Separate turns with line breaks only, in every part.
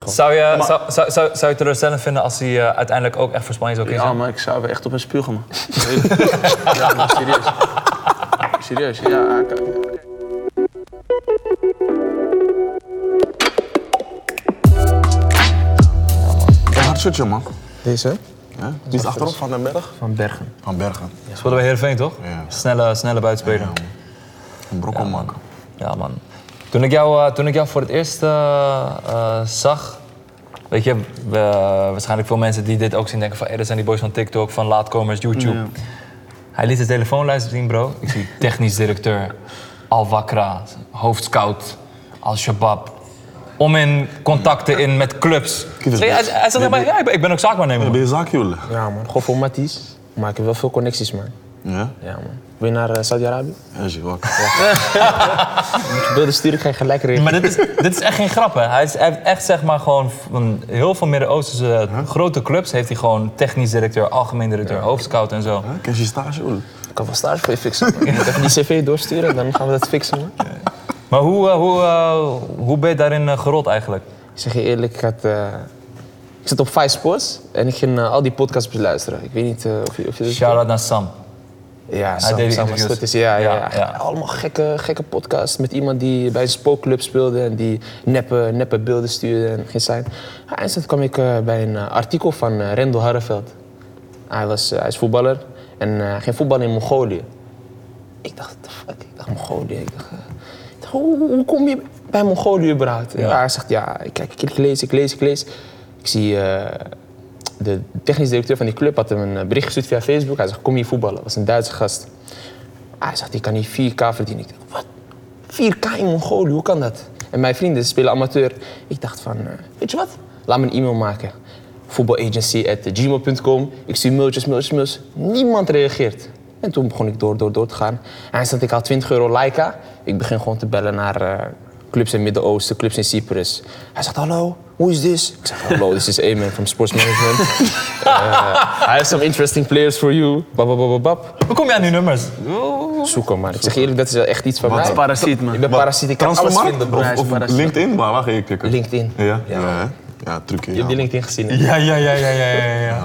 kan.
Zou je, zou, zou, zou, zou je het teleurstellend vinden als hij eh, uiteindelijk ook echt voor Spanje zou kiezen?
Ja, maar ik zou echt op een spugen, man. ja, maar serieus. Serieus, ja. ik-
Een hard shirtje, man.
Deze?
Ja? Die is achterop van Den Berg.
Van Bergen.
Van Bergen.
Spelen bij Heerenveen, toch?
Ja.
Snelle, snelle buitenspeler. Ja,
Een brokkelmak.
man. Toen ik, jou, eh, toen ik jou voor het eerst eh, eh, zag... Weet je, we- waarschijnlijk veel mensen die dit ook zien denken van... Hey, dat zijn die boys van TikTok, van laatkomers, YouTube. Hij liet de telefoonlijst zien, bro. Ik zie technisch directeur, Al-Wakra, hoofdscout, Al-Shabaab. Om in contacten in met clubs.
Kievers,
Hey, hij,
bro.
hij zat tegen mij, ja, ik ben- ik ben ook zaakwaarnemer.
Ja,
man.
ben je zaakjoelen?
Ja, man. Gewoon voor Matties. Maar ik heb wel veel connecties, man.
Ja?
Ja, man. Wil je naar eh, Saudi-Arabië?
Ja, is je wel.
Moet je beelden sturen, ik ga je gelijk regelen.
Maar dit is, dit is echt geen grap, hè? Hij, is, hij heeft echt, zeg maar, gewoon van heel veel Midden-Oosterse eh, grote clubs... heeft hij gewoon technisch directeur, algemeen directeur, hoofdscout en zo.
Ken je stage, joelen?
Ik kan wel stage voor je fixen, man. Je moet even die cv doorsturen, dan gaan we dat fixen, man.
Maar hoe, eh, hoe, eh, hoe ben je daarin eh, gerold eigenlijk?
Ik zeg je eerlijk, ik, had, eh, ik zat op Five Sports en ik ging eh, al die podcasts beluisteren. Ik weet niet eh, of je, of je dat
Shout-out naar Sam.
Ja, Sam,
deed die
Sam was
interviews.
goed. Is, ja, ja,
Ja,
ja,
ja.
Allemaal gekke, gekke podcasts met iemand die bij een spookclub speelde en die neppe, neppe beelden stuurde en ging zijn. Ja, en toen kwam ik eh, bij een eh, artikel van eh, Rendel Harreveld. Hij, was, eh, hij is voetballer en eh, hij ging voetballen in Mongolië. Ik dacht, what the fuck? Ik dacht Mongolië. Ik dacht, eh, ik dacht, hoe, hoe kom je bij Mongolië überhaupt? Ja. hij zegt, ja, ik, kijk, ik lees, ik lees, ik lees. Ik zie... eh, de technisch directeur van die club had hem een eh, bericht gestuurd via Facebook. Hij zegt, kom hier voetballen. Dat was een Duitse gast. Ah, Hij zegt, ik kan hier 4K verdienen. Ik dacht, wat? 4K in Mongolië, hoe kan dat? En mijn vrienden spelen amateur. Ik dacht van, eh, weet je wat? Laat me een e-mail maken. Voetbalagency.gmail.com. Ik stuur mailtjes, mailtjes, mailtjes. Niemand reageert. En toen begon ik door, door, door te gaan. En hij zegt, ik haal 20 euro Laika. Ik begin gewoon te bellen naar eh, clubs in het Midden-Oosten, clubs in Cyprus. Hij zegt, hallo, hoe is dit? Ik zeg, hallo, dit is Eamon van Sports Management. Eh, I have some interesting players for you. Bab, bab, bab, bab, bab
Hoe kom jij aan die nummers?
zoeken, maar ik zeg eerlijk, dat is wel echt iets van mij.
Parasiet, man.
Ik ben parasiet, ik kan alles
Transfermarkt?
vinden, bro.
Of, of LinkedIn? Waar, waar ga je klikken?
LinkedIn.
Ja?
Je
Ja, ja, ja trucje.
hebt
Ja.
die LinkedIn gezien, hè?
Ja, ja, ja, ja, ja, ja, ja.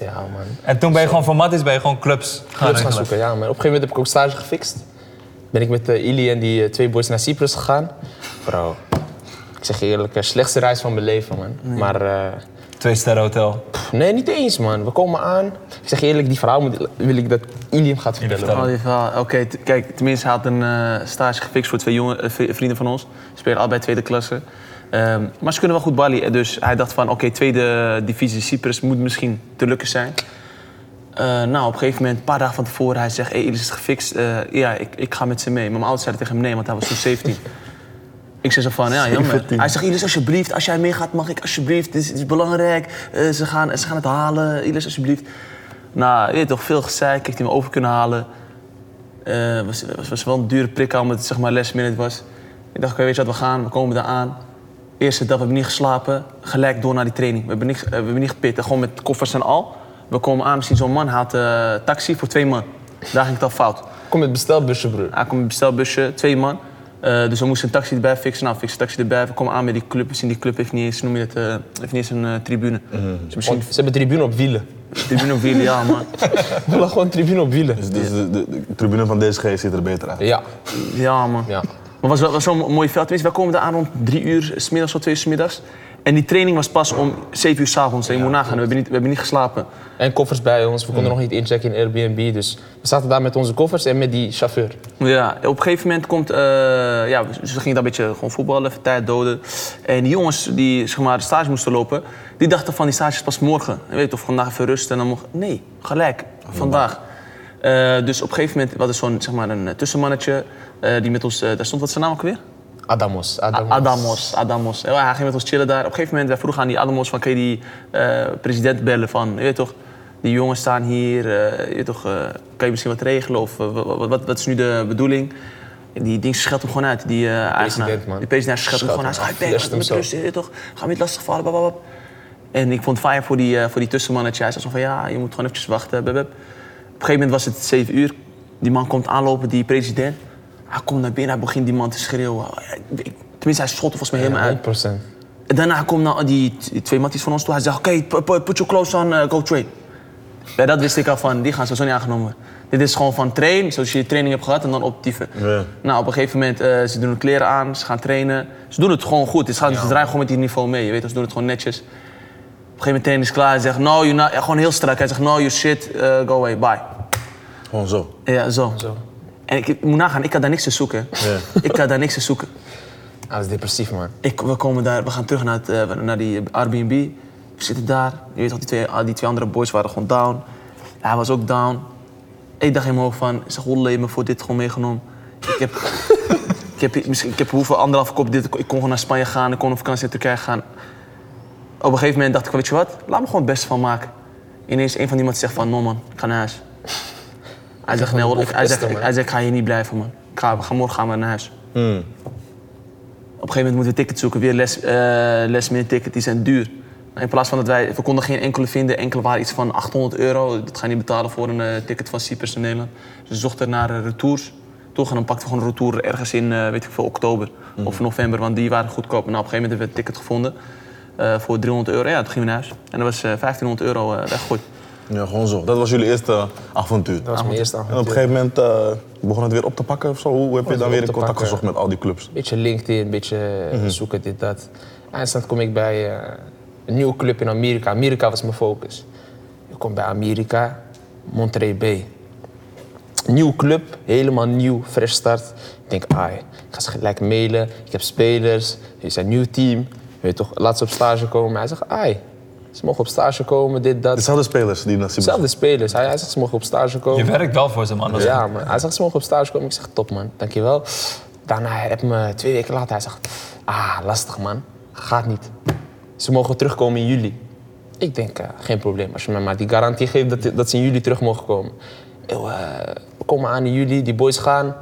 Ja, man.
En toen ben je gewoon formatisch, ben je gewoon clubs gaan,
Clubs gaan
regelen.
zoeken, ja, man. Op een gegeven moment heb ik ook stage gefixt. Ben ik met eh, Ili en die eh, twee boys naar Cyprus gegaan. Bro, ik zeg je eerlijk, eh, slechtste reis van mijn leven, man. Maar... eh,
Twee sterren hotel.
Nee, niet eens, man. We komen aan. Ik zeg je eerlijk, die verhaal moet, wil ik dat Ili hem gaat vertellen.
vertelt.
Oh, die verhaal. Oké, t- kijk, tenminste, hij had een eh, stage gefixt voor twee jonge, eh, v- vrienden van ons. Ze spelen allebei tweede klasse. Ehm, maar ze kunnen wel goed balie. Dus hij dacht van, oké, tweede divisie Cyprus moet misschien te lukken zijn. Eh, nou, op een gegeven moment, een paar dagen van tevoren, hij zegt... Hey, Elis is het gefixt. Eh, ja, ik, ik ga met ze mee. Maar mijn ouders zeiden tegen hem nee, want hij was toen 17. ik zei zo van, ja, jammer. Hij zegt, Ilis, alsjeblieft, als jij meegaat, mag ik alsjeblieft. Dit is, dit is belangrijk. Eh, ze, gaan, ze gaan het halen. Ilis, alsjeblieft. Nou, je weet toch, veel gezeik. Heeft hij me over kunnen halen. Het Eh, was, was, was wel een dure prik aan, omdat het zeg maar last minute was. Ik dacht, oké, weet je wat, we gaan, we komen eraan. Eerste dag, we hebben niet geslapen. Gelijk door naar die training. We hebben niet, ge- eh, we hebben niet gepit. En Gewoon met koffers en al. We komen aan, misschien zo'n man haalt eh taxi voor twee man. Daar ging het al fout.
Kom met bestelbusje, broer.
Hij komt met een bestelbusje, twee man. Eh, dus we moesten een taxi erbij fixen. Nou, fixen taxi erbij. We komen aan bij die club. We zien die club heeft niet eens, noem je dat, eh, heeft niet eens een eh, tribune. Dus misschien
Want ze hebben tribune op wielen.
tribune of wielen, ja man.
We lagen gewoon tribune op wielen.
Dus, dus de, de, de tribune van DSG ziet er beter uit.
Ja,
Ja man.
ja.
Maar het was, wel- was zo'n mooi veld. Tenminste, wij komen daar aan rond drie uur, smiddags of twee uur 's middags. En die training was pas om zeven uur s'avonds. En je moet nagaan, we hebben, niet, we hebben niet geslapen.
En koffers bij ons. We konden nog niet inchecken in Airbnb. Dus we zaten daar met onze koffers en met die chauffeur.
Ja, op een gegeven moment komt... eh, ja, ze gingen daar een beetje gewoon voetballen, even tijd doden. En die jongens die zeg maar, de stage moesten lopen... die dachten van die stage is pas morgen. Je Weet of vandaag even rusten en dan mocht... Nee, gelijk, vandaag. Eh, dus op een gegeven moment, we hadden zo'n zeg maar, een eh, tussenmannetje... eh, die met ons... eh, daar stond wat is zijn naam ook weer?
Adamos. Adamos.
Adamos, Adamos. Ja, hij ging met ons chillen daar. Op een gegeven moment wij vroegen aan die Adamos van, kun je die eh, president bellen van, je weet toch, die jongens staan hier, eh, je weet toch, eh, kan je misschien wat regelen of eh, wa- wa- wat, wat, is nu de bedoeling? Die ding scheldt hem gewoon uit, die eh eigenaar.
man.
Die president scheldt hem
Scheldt
gewoon uit.
hem
Hij
af.
zegt,
Eerst
"Hey,
hem
met
zo."
rust, je weet toch, ga me niet lastigvallen, bababab. En ik vond het fijn voor die, eh, voor die tussenmannetje. Hij zei zo van, ja, je moet gewoon eventjes wachten, babab. Op een gegeven moment was het 7 uur. Die man komt aanlopen, die president. Hij komt naar binnen, hij begint die man te schreeuwen. Ik- ik- Tenminste, hij schot er volgens mij helemaal uit.
100%.
Daarna komt nou die t- die twee matties van ons toe. Hij zegt, oké, pu- pu- put your clothes on, eh, go train. Bij dat wist ik al van, die gaan sowieso niet aangenomen worden. Dit is gewoon van train, zoals je je training hebt gehad en dan optieven.
Ja.
Nou, op een gegeven moment, eh, ze doen hun kleren aan, ze gaan trainen. Ze doen het gewoon goed. Ze, gaan, ze draaien gewoon met die niveau mee. Je weet, toch, ze doen het gewoon netjes. Op een gegeven moment is klaar. Hij zegt, no, you not. Ja, gewoon heel strak. Hij zegt, no, you shit, eh, go away, bye.
Gewoon zo.
Ja, zo. En ik, ik moet nagaan, ik had daar niks te zoeken. ik had daar niks te zoeken.
Ah, dat is depressief, man.
Ik, we, komen daar, we gaan terug naar, het, eh, naar die Airbnb. We zitten daar. Je weet toch, die twee, ah, die twee andere boys waren gewoon down. Hij was ook down. Ik dacht in mijn hoofd van, zeg, holle, je me voor dit gewoon meegenomen. Ik heb, ik heb, hier- misschien, ik heb hoeveel anderhalf kop dit. Ik kon gewoon naar Spanje gaan, ik kon op vakantie naar Turkije gaan. Op een gegeven moment dacht ik, van, weet je wat, laat me gewoon het beste van maken. Ineens een van die mannen zegt van, no man, ik ga naar huis. Hij zegt, nee hoor, ik, hij, zegt,
overpesten, man.
hij zegt, ik ga hier niet blijven man. Ik ga, we gaan morgen gaan we naar huis. Op een gegeven moment moeten we tickets zoeken, weer les, eh last minute ticket, die zijn duur. In plaats van dat wij, we konden geen enkele vinden, enkele waren iets van 800 euro. Dat ga je niet betalen voor een eh, ticket van Cyprus naar Nederland. Dus we zochten naar eh, retours. Toch, en dan pakten we gewoon een retour ergens in, eh, weet ik veel, oktober of november, want die waren goedkoop. Nou, op een gegeven moment hebben we het ticket gevonden eh, voor 300 euro. Ja, toen gingen we naar huis. En dat was eh, 1500 euro eh, weggegooid.
Ja, gewoon zo. Dat was jullie eerste avontuur.
Dat was mijn eerste
En op een
avontuur.
gegeven moment eh, begon het weer op te pakken of zo. Hoe heb je dan
het weer
weer
op
in
te
contact
pakken.
gezocht met al die clubs?
beetje LinkedIn, een beetje eh,
Mhm.
zoeken, dit, dat. Eindstand kom ik bij eh, een nieuwe club in Amerika. Amerika was mijn focus. Ik kom bij Amerika, Monterey Bay. Nieuw club, helemaal nieuw, fresh start. Ik denk, ai, ik ga ze gelijk mailen. Ik heb spelers, er is een nieuw team. Weet je toch, laat ze op stage komen. Hij zegt, ai, ze mogen op stage komen, dit, dat.
Dezelfde spelers die naar Cyprus
Zelfde spelers. Hij, hij zegt, ze mogen op stage
Je
komen.
werkt wel voor ze, man. Dat is-
Ja, man. Hij zegt, ze mogen op stage komen. Ik zeg, top, man. Dankjewel. Daarna heb me twee weken later. Hij zegt, ah, lastig, man. Gaat niet. Ze mogen terugkomen in juli. Ik denk, eh, geen probleem. Als je me maar die garantie geeft dat, dat ze in juli terug mogen komen. Eeuw, eh, we komen aan in juli. Die boys gaan.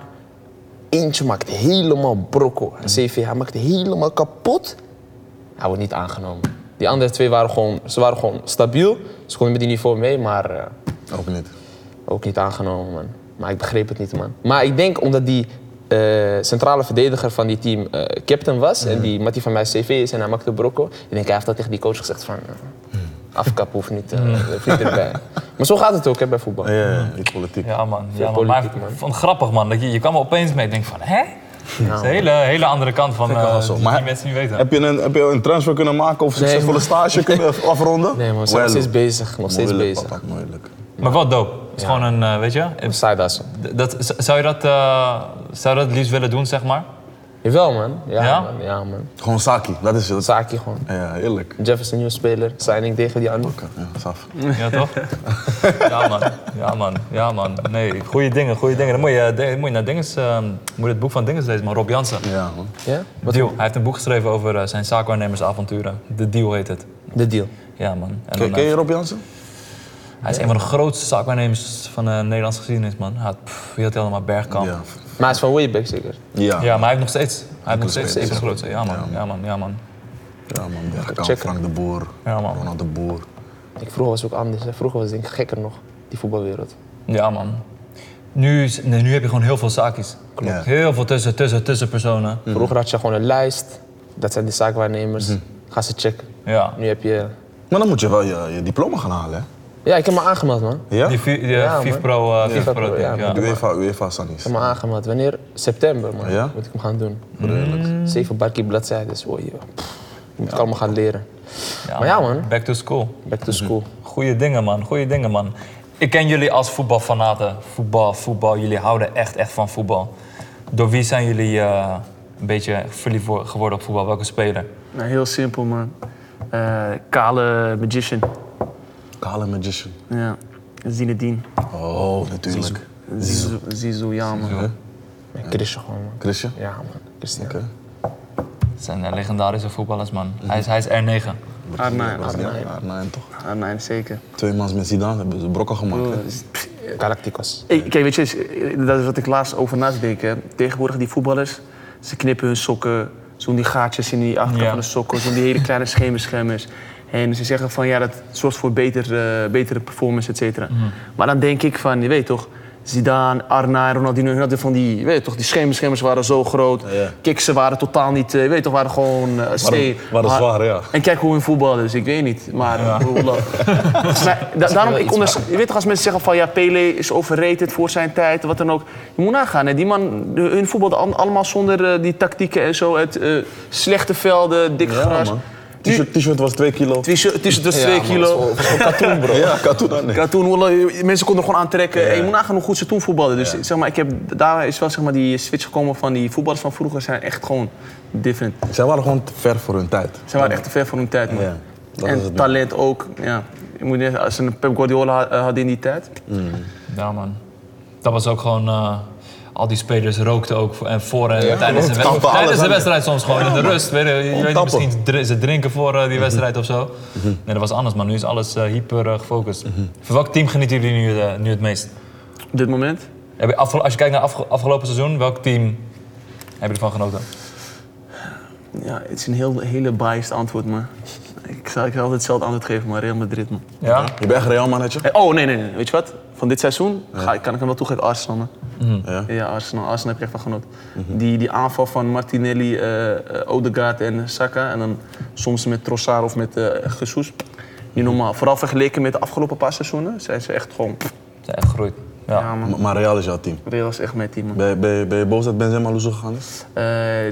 Eentje maakt helemaal brokko. CV, hij maakt helemaal kapot. Hij wordt niet aangenomen. Die andere twee waren gewoon, ze waren gewoon stabiel. Ze konden met die niveau mee, maar... eh,
Ook Oh, niet.
ook niet aangenomen, man. Maar ik begreep het niet, man. Maar ik denk omdat die eh, centrale verdediger van die team eh, captain was... en die Mattie van mij CV is en hij maakte Brocco... ik denk, hij heeft dat tegen die coach gezegd van... eh, afkap hoeft niet, eh, hoeft niet erbij. Maar zo gaat het ook hè, bij voetbal.
Ja, ja, ja, die politiek.
Ja, man.
Veel
Ja, man. Maar ik
politiek, man.
vond het grappig, man. Dat je, je kwam er opeens mee. Ik denk van, hè? Dat is een hele, hele andere kant van
wel
eh,
zo.
die
Maar-
mensen niet weten.
Heb je, een, heb je een transfer kunnen maken of een
Nee,
succesvolle stage kunnen afronden?
Nee, man, we zijn nog steeds bezig. Nog steeds
moeilijk,
bezig.
Papa, moeilijk.
Maar wel dope. Het is gewoon een, eh, weet je? het-
Side hustle.
Dat, z- zou, je dat, eh, zou je dat het liefst willen doen, zeg maar?
Jawel, man. Ja,
Ja?
man. Ja, man.
Gewoon Saki, dat is het.
Zaakje gewoon.
Ja, heerlijk.
Jefferson, nieuwe speler. Signing tegen die andere.
Oké, Ja, saf.
Ja, toch? ja, man. Ja, man. Ja, man. Nee, goede dingen, goede dingen. Dan moet je, de- moet je naar Dinges, eh, moet je het boek van Dinges lezen, man. Rob Jansen.
Ja, man.
Ja? Wat
Deal. Hij heeft een boek geschreven over eh, zijn zaakwaarnemersavonturen. De Deal heet het.
De deal.
Ja, man. En
Ken,
dan,
ken
eh,
je Rob Jansen?
hij is een van de grootste zaakwaarnemers van de Nederlandse geschiedenis, man. Hij had, pff, wie had hij allemaal? Bergkamp.
Ja.
Maar hij is van Wayback zeker.
Ja.
Ja, maar hij heeft nog steeds. Hij heeft nog steeds
steeds.
even groot. Ja man, ja man, ja man.
Ja, man. Bergkamp,
Checken.
Frank de Boer,
Ja, man.
Ronald de Boer.
Ik, vroeger was het ook anders. Hè. Vroeger was het denk ik gekker nog, die voetbalwereld.
Ja man. Nu, is- nee, nu heb je gewoon heel veel zaakjes. Klopt.
Ja.
Heel veel tussen, tussen, tussenpersonen.
Vroeger had je gewoon een lijst. Dat zijn de zaakwaarnemers. Ga ze checken.
Ja.
Nu heb je...
Maar dan moet je wel je, je diploma gaan halen, hè?
Ja, ik heb me aangemeld, man. Ik
Ja?
Die vi- die, eh,
Ja, man.
FIFA Pro, eh,
Ja.
FIFA Pro,
Ja,
denk ik, ja.
man.
UEFA, UEFA Sanis.
heb me aangemeld. Wanneer? September, man.
Ja?
Moet ik hem gaan doen. Mhm. Zeven barkie bladzijden. Oh, joh. Pff, Moet ik allemaal gaan leren.
Ja,
Maar ja, man.
Back to school.
Back to school.
Goeie dingen man, goeie dingen man. Ik ken jullie als voetbalfanaten. Voetbal, voetbal. Jullie houden echt, echt van voetbal. Door wie zijn jullie eh, een beetje verliefd wo- geworden op voetbal? Welke speler?
Nou, heel simpel, man. Eh, kale magician.
Kale Magician.
Ja. Zinedine.
Oh, natuurlijk.
Zizou, Zizou, ja, man.
Ik Christian gewoon, man.
Christian?
Ja, man. Christian.
Oké.
Het zijn eh, legendarische voetballers man. Hij is, hij is R9.
Arnhem.
Ja, Arnhem toch?
Arnhem, zeker.
Twee maanden met Zidane hebben ze brokken gemaakt. hè?
Galacticos.
Ik, kijk, weet je, is- dat is wat ik laatst over naast denk. Hè. Tegenwoordig die voetballers, ze knippen hun sokken, ze doen die gaatjes in die achterkant
Ja.
van de sokken, ze doen die hele kleine schemerschermers. En ze zeggen
Mhm.
van ja, dat zorgt voor beter, eh, betere performance, et cetera. Maar dan denk ik van, je weet toch, Zidane, Arna, Ronaldinho. hun hadden van die, weet je toch, die schemerschermers waren zo groot.
ja.
Kiksen waren totaal niet, eh, weet je toch, waren gewoon eh steen.
waren
Maar-
zwaar, ja.
En kijk hoe hun voetballen, dus ik weet niet. Maar, hoe lang. Maar da- daarom, ik onders- je weet toch, als mensen zeggen van ja, Pele is overrated voor zijn tijd, wat dan ook. Je moet nagaan, hè. die man, de- hun voetbalde al- allemaal zonder eh, die tactieken en zo. Het eh, slechte velden, dik
Ja,
gras.
man.
Nu-
T-shirt, t-shirt was 2 kilo.
T-shirt tussen de 2 kilo.
Bro. Ja, katoen aan. nee.
Ja, toen, wallah, mensen konden gewoon aantrekken. En je moet nagaan hoe goed ze toen voetbalden. Dus zeg maar, ik heb, daar is wel zeg maar, die switch gekomen van die voetballers van vroeger zijn echt gewoon different.
Zij waren gewoon te ver voor hun tijd.
Ze waren echt te ver voor hun tijd, man.
Ja, dat is
en
het.
talent ook, ja. Je moet net- als ze een Pep Guardiola had- eh, hadden in die tijd.
Ja, man. Dat was ook gewoon. eh, al die spelers rookten ook voor- en voor en tijdens, de,
klopt.
wedstrijd-
Tappen,
tijdens
alles
de
aan.
wedstrijd soms gewoon in de rust. Weet je, je weet niet,
tappen. Mhm.
misschien dr- ze drinken voor eh, die wedstrijd of zo. Nee, dat was anders, maar nu is alles eh, hyper eh, gefocust.
Mhm.
Van welk team genieten jullie nu, eh, nu het meest?
Op dit moment.
Heb je afge- als je kijkt naar afge- afgelopen seizoen, welk team heb je ervan genoten?
Ja, het is een heel, hele biased antwoord, maar ik zal ik zal altijd hetzelfde antwoord geven, maar Real Madrid, man.
Ja?
Je bent echt Real mannetje?
Eh, Oh, nee, nee, nee. Weet je wat? Van dit seizoen ga, ik- kan ik hem wel toegeven. Arsenal, man.
Ja. Mhm.
Ja, Arsenal. Arsenal heb ik echt van genoten. die, die aanval van Martinelli, eh, eh, Odegaard en Saka. En dan soms met Trossard of met eh Jesus. Niet normaal. Vooral vergeleken met de afgelopen paar seizoenen zijn ze echt gewoon... pff,
Ja, echt groeit. Ja.
Ja, man.
Maar- Maar Real is jouw team.
Real is echt mijn team, man.
Ben je, ben je, ben je boos dat Benzema loezo gegaan is?
Eh,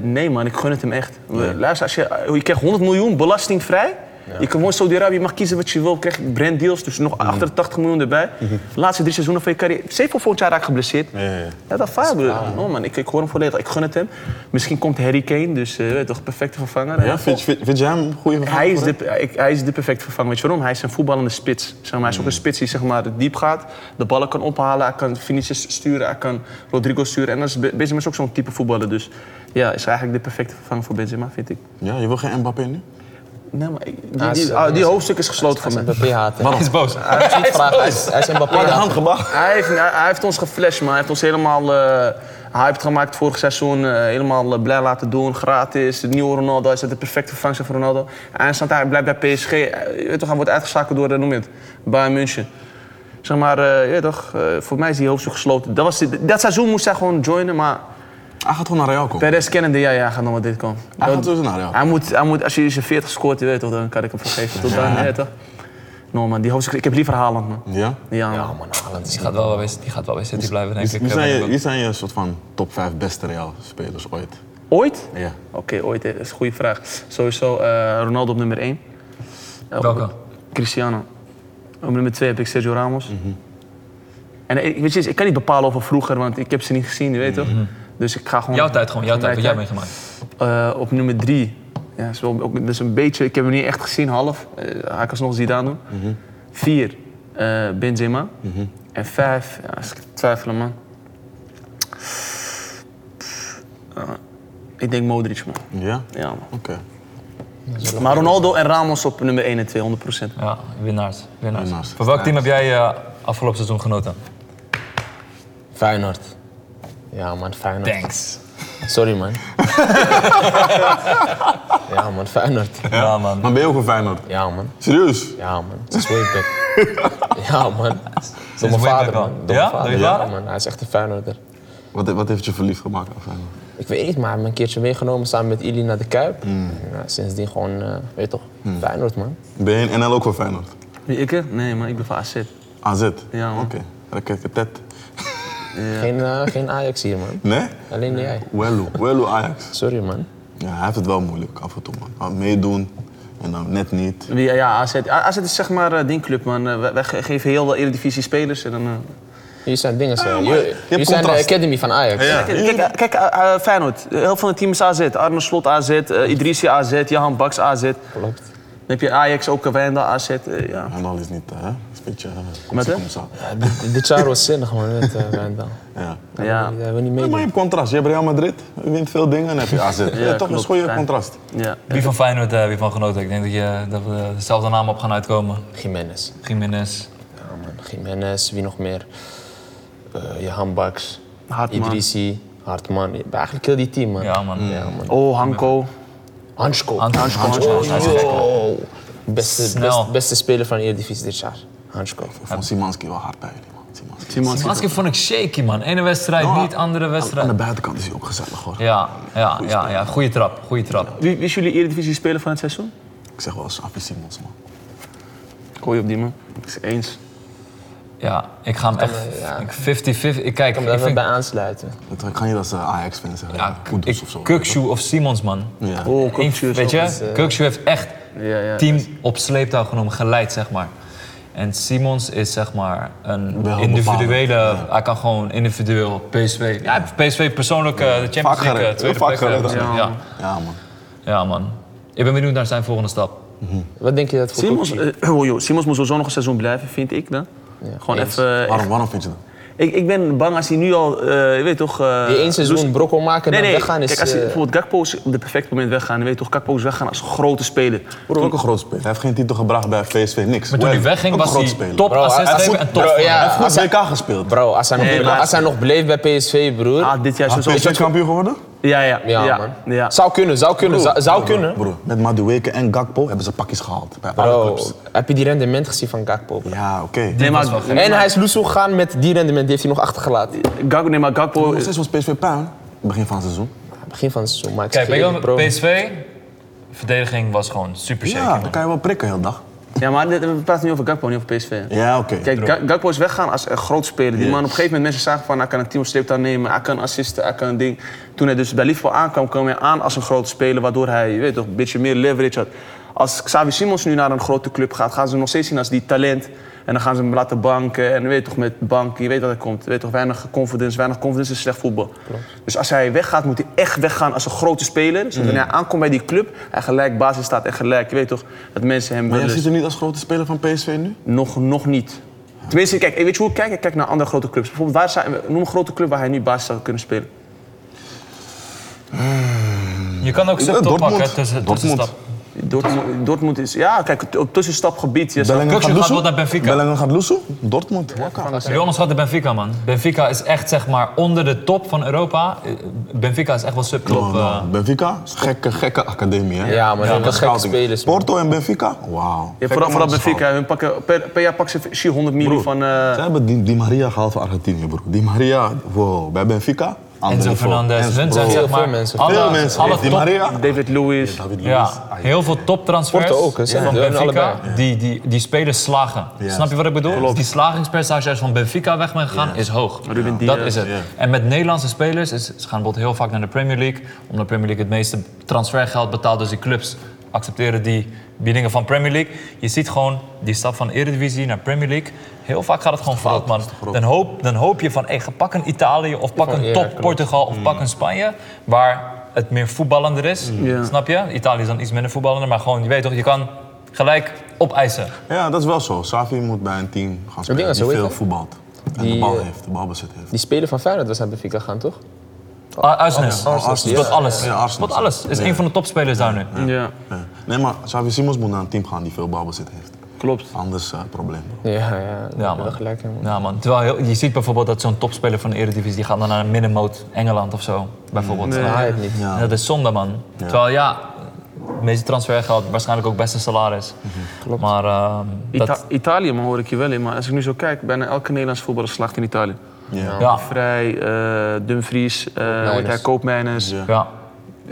nee, man, ik gun het hem echt. Luister, als je, je krijgt 100 miljoen belastingvrij. Je kan gewoon Saudi-Arabië, je mag kiezen wat je wil. Je krijgt brand deals, dus nog
Mhm.
88 miljoen erbij. De laatste drie seizoenen van je carrière. Zeven voor volgend jaar raak ik geblesseerd.
Ja, ja, ja.
Ja, dat vaar broer. No, man, ik, ik hoor hem volledig. Ik gun het hem. Misschien komt Harry Kane, dus eh, weet je toch perfecte vervanger.
Ja, vind, vind, vind jij hem een goede vervanger
Hij is,
voor
de, ik- hij is de perfecte vervanger. Weet je waarom? Hij is een voetballende spits. Zeg maar, hij is ook een spits die zeg maar, diep gaat, de ballen kan ophalen, hij kan finishes sturen, hij kan Rodrigo sturen. En dat is, Be- Benzema is ook zo'n type voetballer. Dus ja, is eigenlijk de perfecte vervanger voor Benzema, vind ik.
hem? Ja, je wil geen Mbappé nu?
Nee, maar ik- die,
Ah,
die,
is-
ah, die hoofdstuk is gesloten voor
Hij
mij.
is Mbappé haten.
Hij is boos.
Hij is niet vragen, hij is- hij is Mbappé haten.
handgebaar.
Hij heeft, hij, hij heeft ons geflasht, man. Hij heeft ons helemaal eh hyped gemaakt vorig seizoen. eh, helemaal eh, blij laten doen, gratis. De nieuwe Ronaldo, hij is de perfecte vervanger van Ronaldo. En staat hij blijft bij PSG. Eh, Je weet toch, hij wordt uitgeschakeld door, eh, noem je het, Bayern München. Zeg maar, eh, je weet toch, eh, voor mij is die hoofdstuk gesloten. Dat, was, dat seizoen moest hij gewoon joinen, maar
Hij gaat gewoon naar Real komen.
Perez kennende, ja, ja, hij gaat nog wel dit komen.
Hij gaat sowieso naar Real.
Hij moet, hij moet, als je zijn 40 scoort, je weet toch, dan kan ik hem vergeven. Tot dan, je weet toch. No man, die hoofdstuk, ik heb liever Haaland, man.
Ja?
Ja, man.
Ja man, Haaland is
Die gaat wel bij, die gaat wel bij City blijven, denk ik.
Wie
Eh,
zijn,
ben
je,
ik
wie zijn je soort van top 5 beste Real-spelers ooit?
Ooit?
Ja.
Oké, ooit. hè. Dat is een goede vraag. Sowieso eh, Ronaldo op nummer 1.
Welke?
Cristiano. Op nummer 2 heb ik Sergio Ramos. En eh, ik, weet je, eens, ik kan niet bepalen over vroeger, want ik heb ze niet gezien, je weet toch? Dus ik ga gewoon...
Jouw tijd gewoon, jouw tijd, wat jij
Mijn
meegemaakt.
tijd. Eh, op nummer 3. Ja, is wel, ook, dat is een beetje... Ik heb hem niet echt gezien, half. Eh, hij kan ze nog Zidane doen. 4. Benzema. En 5. Ja, als ik twijfel, man. Eh, ik denk Modric, man.
Ja?
Ja, man.
Oké.
Maar Ronaldo en Ramos op nummer 1 en 2, 100 procent.
Ja, winnaars. winnaars.
Winnaars.
Voor welk team heb jij eh, afgelopen seizoen genoten?
Feyenoord. Ja man, Feyenoord.
Thanks.
Sorry man. ja man, Feyenoord.
Ja, man.
Maar ben je ook een Feyenoord?
Ja man.
Serieus?
Ja man, sinds way back. ja man.
way
Door mijn vader
back al.
man. Door
Ja?
mijn
Door je
vader.
vader?
man. Hij is echt een Feyenoorder.
Wat, wat heeft je verliefd gemaakt aan Feyenoord?
Ik weet niet, maar hij heeft me een keertje meegenomen samen met Ili naar de Kuip. Ja, sindsdien gewoon, eh, weet je toch, Feyenoord man.
Ben je in NL ook van Feyenoord?
Wie ik? hè? Nee, man, ik ben van AZ.
AZ?
Ja, man.
Oké. Raketje Tet.
Geen, eh, geen Ajax hier man.
Nee?
Alleen jij.
Welu. Welu Ajax.
Sorry man.
Ja, hij heeft het wel moeilijk af en toe, man. Hij meedoen en dan net niet.
Wie, ja, AZ. A- AZ is zeg maar eh, die club, man. Eh, wij- wij ge- geven heel veel Eredivisie spelers. En dan, eh,
Jullie zijn dingen,
Ja,
zo.
maar je
Jullie
hebt
jullie zijn de
contrast.
academy van Ajax.
Kijk, kijk, eh, kijk eh, eh, Feyenoord. De helft van het team is AZ. Arne Slot AZ, eh, Idrissi AZ, Jahan Baks AZ. Dan
Klopt.
heb je Ajax, ook Wijndal AZ. eh, ja.
En dan is niet, hè? Dat is een beetje... eh, kom
Met
zo,
hem?
kom zo.
Ja, dit, dit jaar was zinnig man, met eh Wijndal.
Ja.
Ja.
Ja,
Dat we niet
maar
meedoen.
je hebt contrast. Je hebt Real Madrid, je wint veel dingen en heb je AZ. ja, toch een
klopt.
goede
Ja.
contrast.
ja.
Wie van Feyenoord heb je van genoten? Ik denk dat, je, dat we dezelfde namen op gaan uitkomen.
Jiménez.
Jiménez.
Ja, man. Jiménez, wie nog meer? Eh Jahan Baks,
Hartman.
Idrissi, Hartman. Eigenlijk heel die team, man.
Ja, man.
Ja, man.
Oh, Hanko.
Hansko.
Hans- Hans- Hans- Hans- Hans- Hans-
Yo. Beste,
Snel.
best- beste speler van de Eredivisie dit jaar. Hansko.
Van Simanski wel hard bij jullie, man. Simons.
Simanski vond ik shaky, man. Ene wedstrijd
Nou,
niet, andere
Aan, aan
wedstrijd.
de buitenkant is hij ook gezellig hoor.
Ja, ja, ja, ja. Goeie trap, goeie trap.
Wie, wie is jullie Eredivisie speler van het seizoen?
Ik zeg wel eens Appie Simons man.
Kooi op die man. Is eens.
Ja, ik ga hem echt
ja.
ik 50-50. Ik kijk,
Kan me daar
ik
even
vind...
bij aansluiten.
Dat kan je als eh, Ajax-fan zeggen.
Ja,
Kudus of zo.
ik- Kukshu of Simons, man.
Ja.
Oh,
Ik-
Kopje
weet
eens,
je,
eh,
Kukshu heeft echt
Ja, ja.
team op sleeptouw genomen, geleid, zeg maar. En Simons is zeg maar een
Wel
individuele,
bepalend,
hij kan gewoon individueel PSV. Ja, hij heeft PSV persoonlijk eh, de Champions League eh,
gered,
tweede
vaak
plek eh,
gered.
gezet. Ja.
Ja man.
ja, man. Ik ben benieuwd naar zijn volgende stap.
Wat denk je dat voor
Simons,
Kopje?
eh, oh joh, Simons moet sowieso nog een seizoen blijven, vind ik dan. Gewoon
eens.
even... eh,
Waarom, waarom vind je dat?
Ik, ik ben bang als hij nu al, eh, je weet toch... eh,
Die één seizoen brokkel maken
Nee,
en dan
nee.
weggaan is...
Kijk, als hij
eh,
bijvoorbeeld Gakpo is op het perfecte moment weggaan, weet je toch, Gakpo is weggaan als grote speler.
Bro, ook een groot speler. Hij heeft geen titel gebracht bij VSV, niks.
Maar toen hij
Wel,
wegging
ook een
was
groot
hij
speler.
top
Bro,
assist
hij-
geven en top.
Bro, ja,
Hij heeft goed WK gespeeld.
Bro, als hij, nog,
Nee, maar-
als hij nog bleef bij PSV, broer.
Ah, dit jaar
Hij is
sowieso.
PSV kampioen geworden?
Ja, ja,
ja,
ja.
man.
ja.
Zou kunnen, zou kunnen, zou, zou kunnen.
Bro, met Madueke en Gakpo hebben ze pakjes gehaald bij alle
Bro,
clubs.
heb je die rendement gezien van Gakpo? bro?
Ja, oké.
Nee, maar,
was
nee,
En
maar-
hij is Loesoe gegaan met die rendement, die heeft hij nog achtergelaten.
Gakpo, nee, maar Gakpo...
Nog steeds was PSV puin. Begin van het seizoen.
Begin van het seizoen, maar ik
Kijk,
zeg
weet
je
je
eerlijk,
wel,
bro.
PSV, verdediging was gewoon super shaky.
Ja,
man.
dan kan je wel prikken heel dag.
Ja, maar dit- we praten nu over Gakpo, niet over PSV. hè.
Ja, oké.
Kijk, Ga- Gakpo is weggaan als een groot speler. Die
Yes.
man op een gegeven moment mensen zagen van hij kan een team op sleeptouw nemen, hij kan assisten, hij kan een ding. Toen hij dus bij Liverpool aankwam, kwam hij aan als een grote speler, waardoor hij je weet toch, een beetje meer leverage had. Als Xavi Simons nu naar een grote club gaat, gaan ze hem nog steeds zien als die talent. En dan gaan ze hem laten banken. En je weet toch, met banken, je weet dat hij komt. Je weet toch, weinig confidence. Weinig confidence is slecht voetbal. Dus als hij weggaat, moet hij echt weggaan als een grote speler. Zodat wanneer hij aankomt bij die club, hij gelijk basis staat. En gelijk, je weet toch, dat mensen hem
Maar jij
dus-
willen.
ziet hem niet als grote speler van PSV nu?
Nog, nog niet. Tenminste, kijk, weet je hoe ik kijk? Ik kijk naar andere grote clubs. Bijvoorbeeld, waar zijn, noem een grote club waar hij nu basis zou kunnen spelen.
Je kan ook
Eh,
subtop
Dortmund.
pakken hè, tussen, tussen
Dortmund.
stap.
Dortmund, Dortmund is... Ja, kijk, op tussenstapgebied... Je zou-
Kukshoe gaat
Lusso?
wel naar Benfica.
Bellingham gaat Lusso? Dortmund? Waka.
Jonas gaat de Benfica, man. Benfica is echt zeg maar onder de top van Europa. Eh, Benfica is echt wel subtop.
Oh,
eh.
nou, Benfica? Gekke, gekke academie, hè?
Ja, maar
Ja,
dat
maar
zijn gekke
Scouting.
spelers. man.
Porto en Benfica? Wauw.
Ja, vooral vooral Benfica, hun pakken, per, per jaar pakken ze 400 miljoen van... eh,
Ze hebben die, die Maria gehaald van Argentinië, bro. Die Maria, wow, bij Benfica. ander
Enzo
niveau.
Fernandez.
Enzo,
Hun
bro.
zijn zeg maar
Veel mensen.
alle,
Veel mensen.
alle
die
top-
Maria.
David Lewis.
David
Ja,
Luiz.
heel veel toptransfers
Porto ook, hè, zijn
van
het, hè,
Benfica.
allebei.
Die, die, die spelers slagen.
Ja.
Snap je wat ik bedoel? Die slagingspercentage als van Benfica weg bent gegaan is hoog.
Ruben
Dat
Diaz.
is het.
Ja.
En met Nederlandse spelers, is, ze gaan bijvoorbeeld heel vaak naar de Premier League. Omdat de Premier League het meeste transfergeld betaalt. Dus die clubs accepteren die biedingen van Premier League. Je ziet gewoon die stap van Eredivisie naar Premier League. Heel vaak gaat het gewoon fout, man. Dan hoop, dan hoop je van, hey, ga pak een Italië of pak een
ja,
top
klopt.
Portugal of pak een Spanje. Waar het meer voetballender is.
Ja.
Snap je? Italië is dan iets minder voetballender. Maar gewoon, je weet toch, je kan gelijk opeisen.
Ja, dat is wel zo. Savi moet bij een team gaan
denk
spelen
dat
die
zo is,
veel
hè?
voetbalt. En
Die,
de bal
eh,
heeft, de balbezit heeft.
Die speler van Feyenoord was naar Benfica gaan, toch?
Ah, Uisnes.
Arsenal,
Tot
ja.
alles.
Ja, Arsenal.
Tot alles. Is
Ja.
een van de topspelers daar nu.
Ja,
Ja. Nee, maar Xavi Simons moet naar een team gaan die veel balbezit heeft.
klopt.
Anders eh probleem. bro.
Ja, ja.
Ja,
Wel
man.
gelijk, hè, man.
Ja, man. Terwijl heel- je ziet bijvoorbeeld dat zo'n topspeler van de Eredivisie die gaat dan naar een middenmoot Engeland of zo. Bijvoorbeeld.
Maar hij heeft niet.
Ja.
Dat is zonde, man. Terwijl ja, het meeste transfergeld, waarschijnlijk ook beste salaris. Maar ehm, dat,
Ita- Italië, maar hoor ik je wel in. Maar als ik nu zo kijk, bijna elke Nederlands voetballer slaagt in Italië.
Ja.
ja,
Vrij, eh, Dumfries, eh hoe heet hij,
Koopmeiners.
Koopmeiners. Ja,
Ja.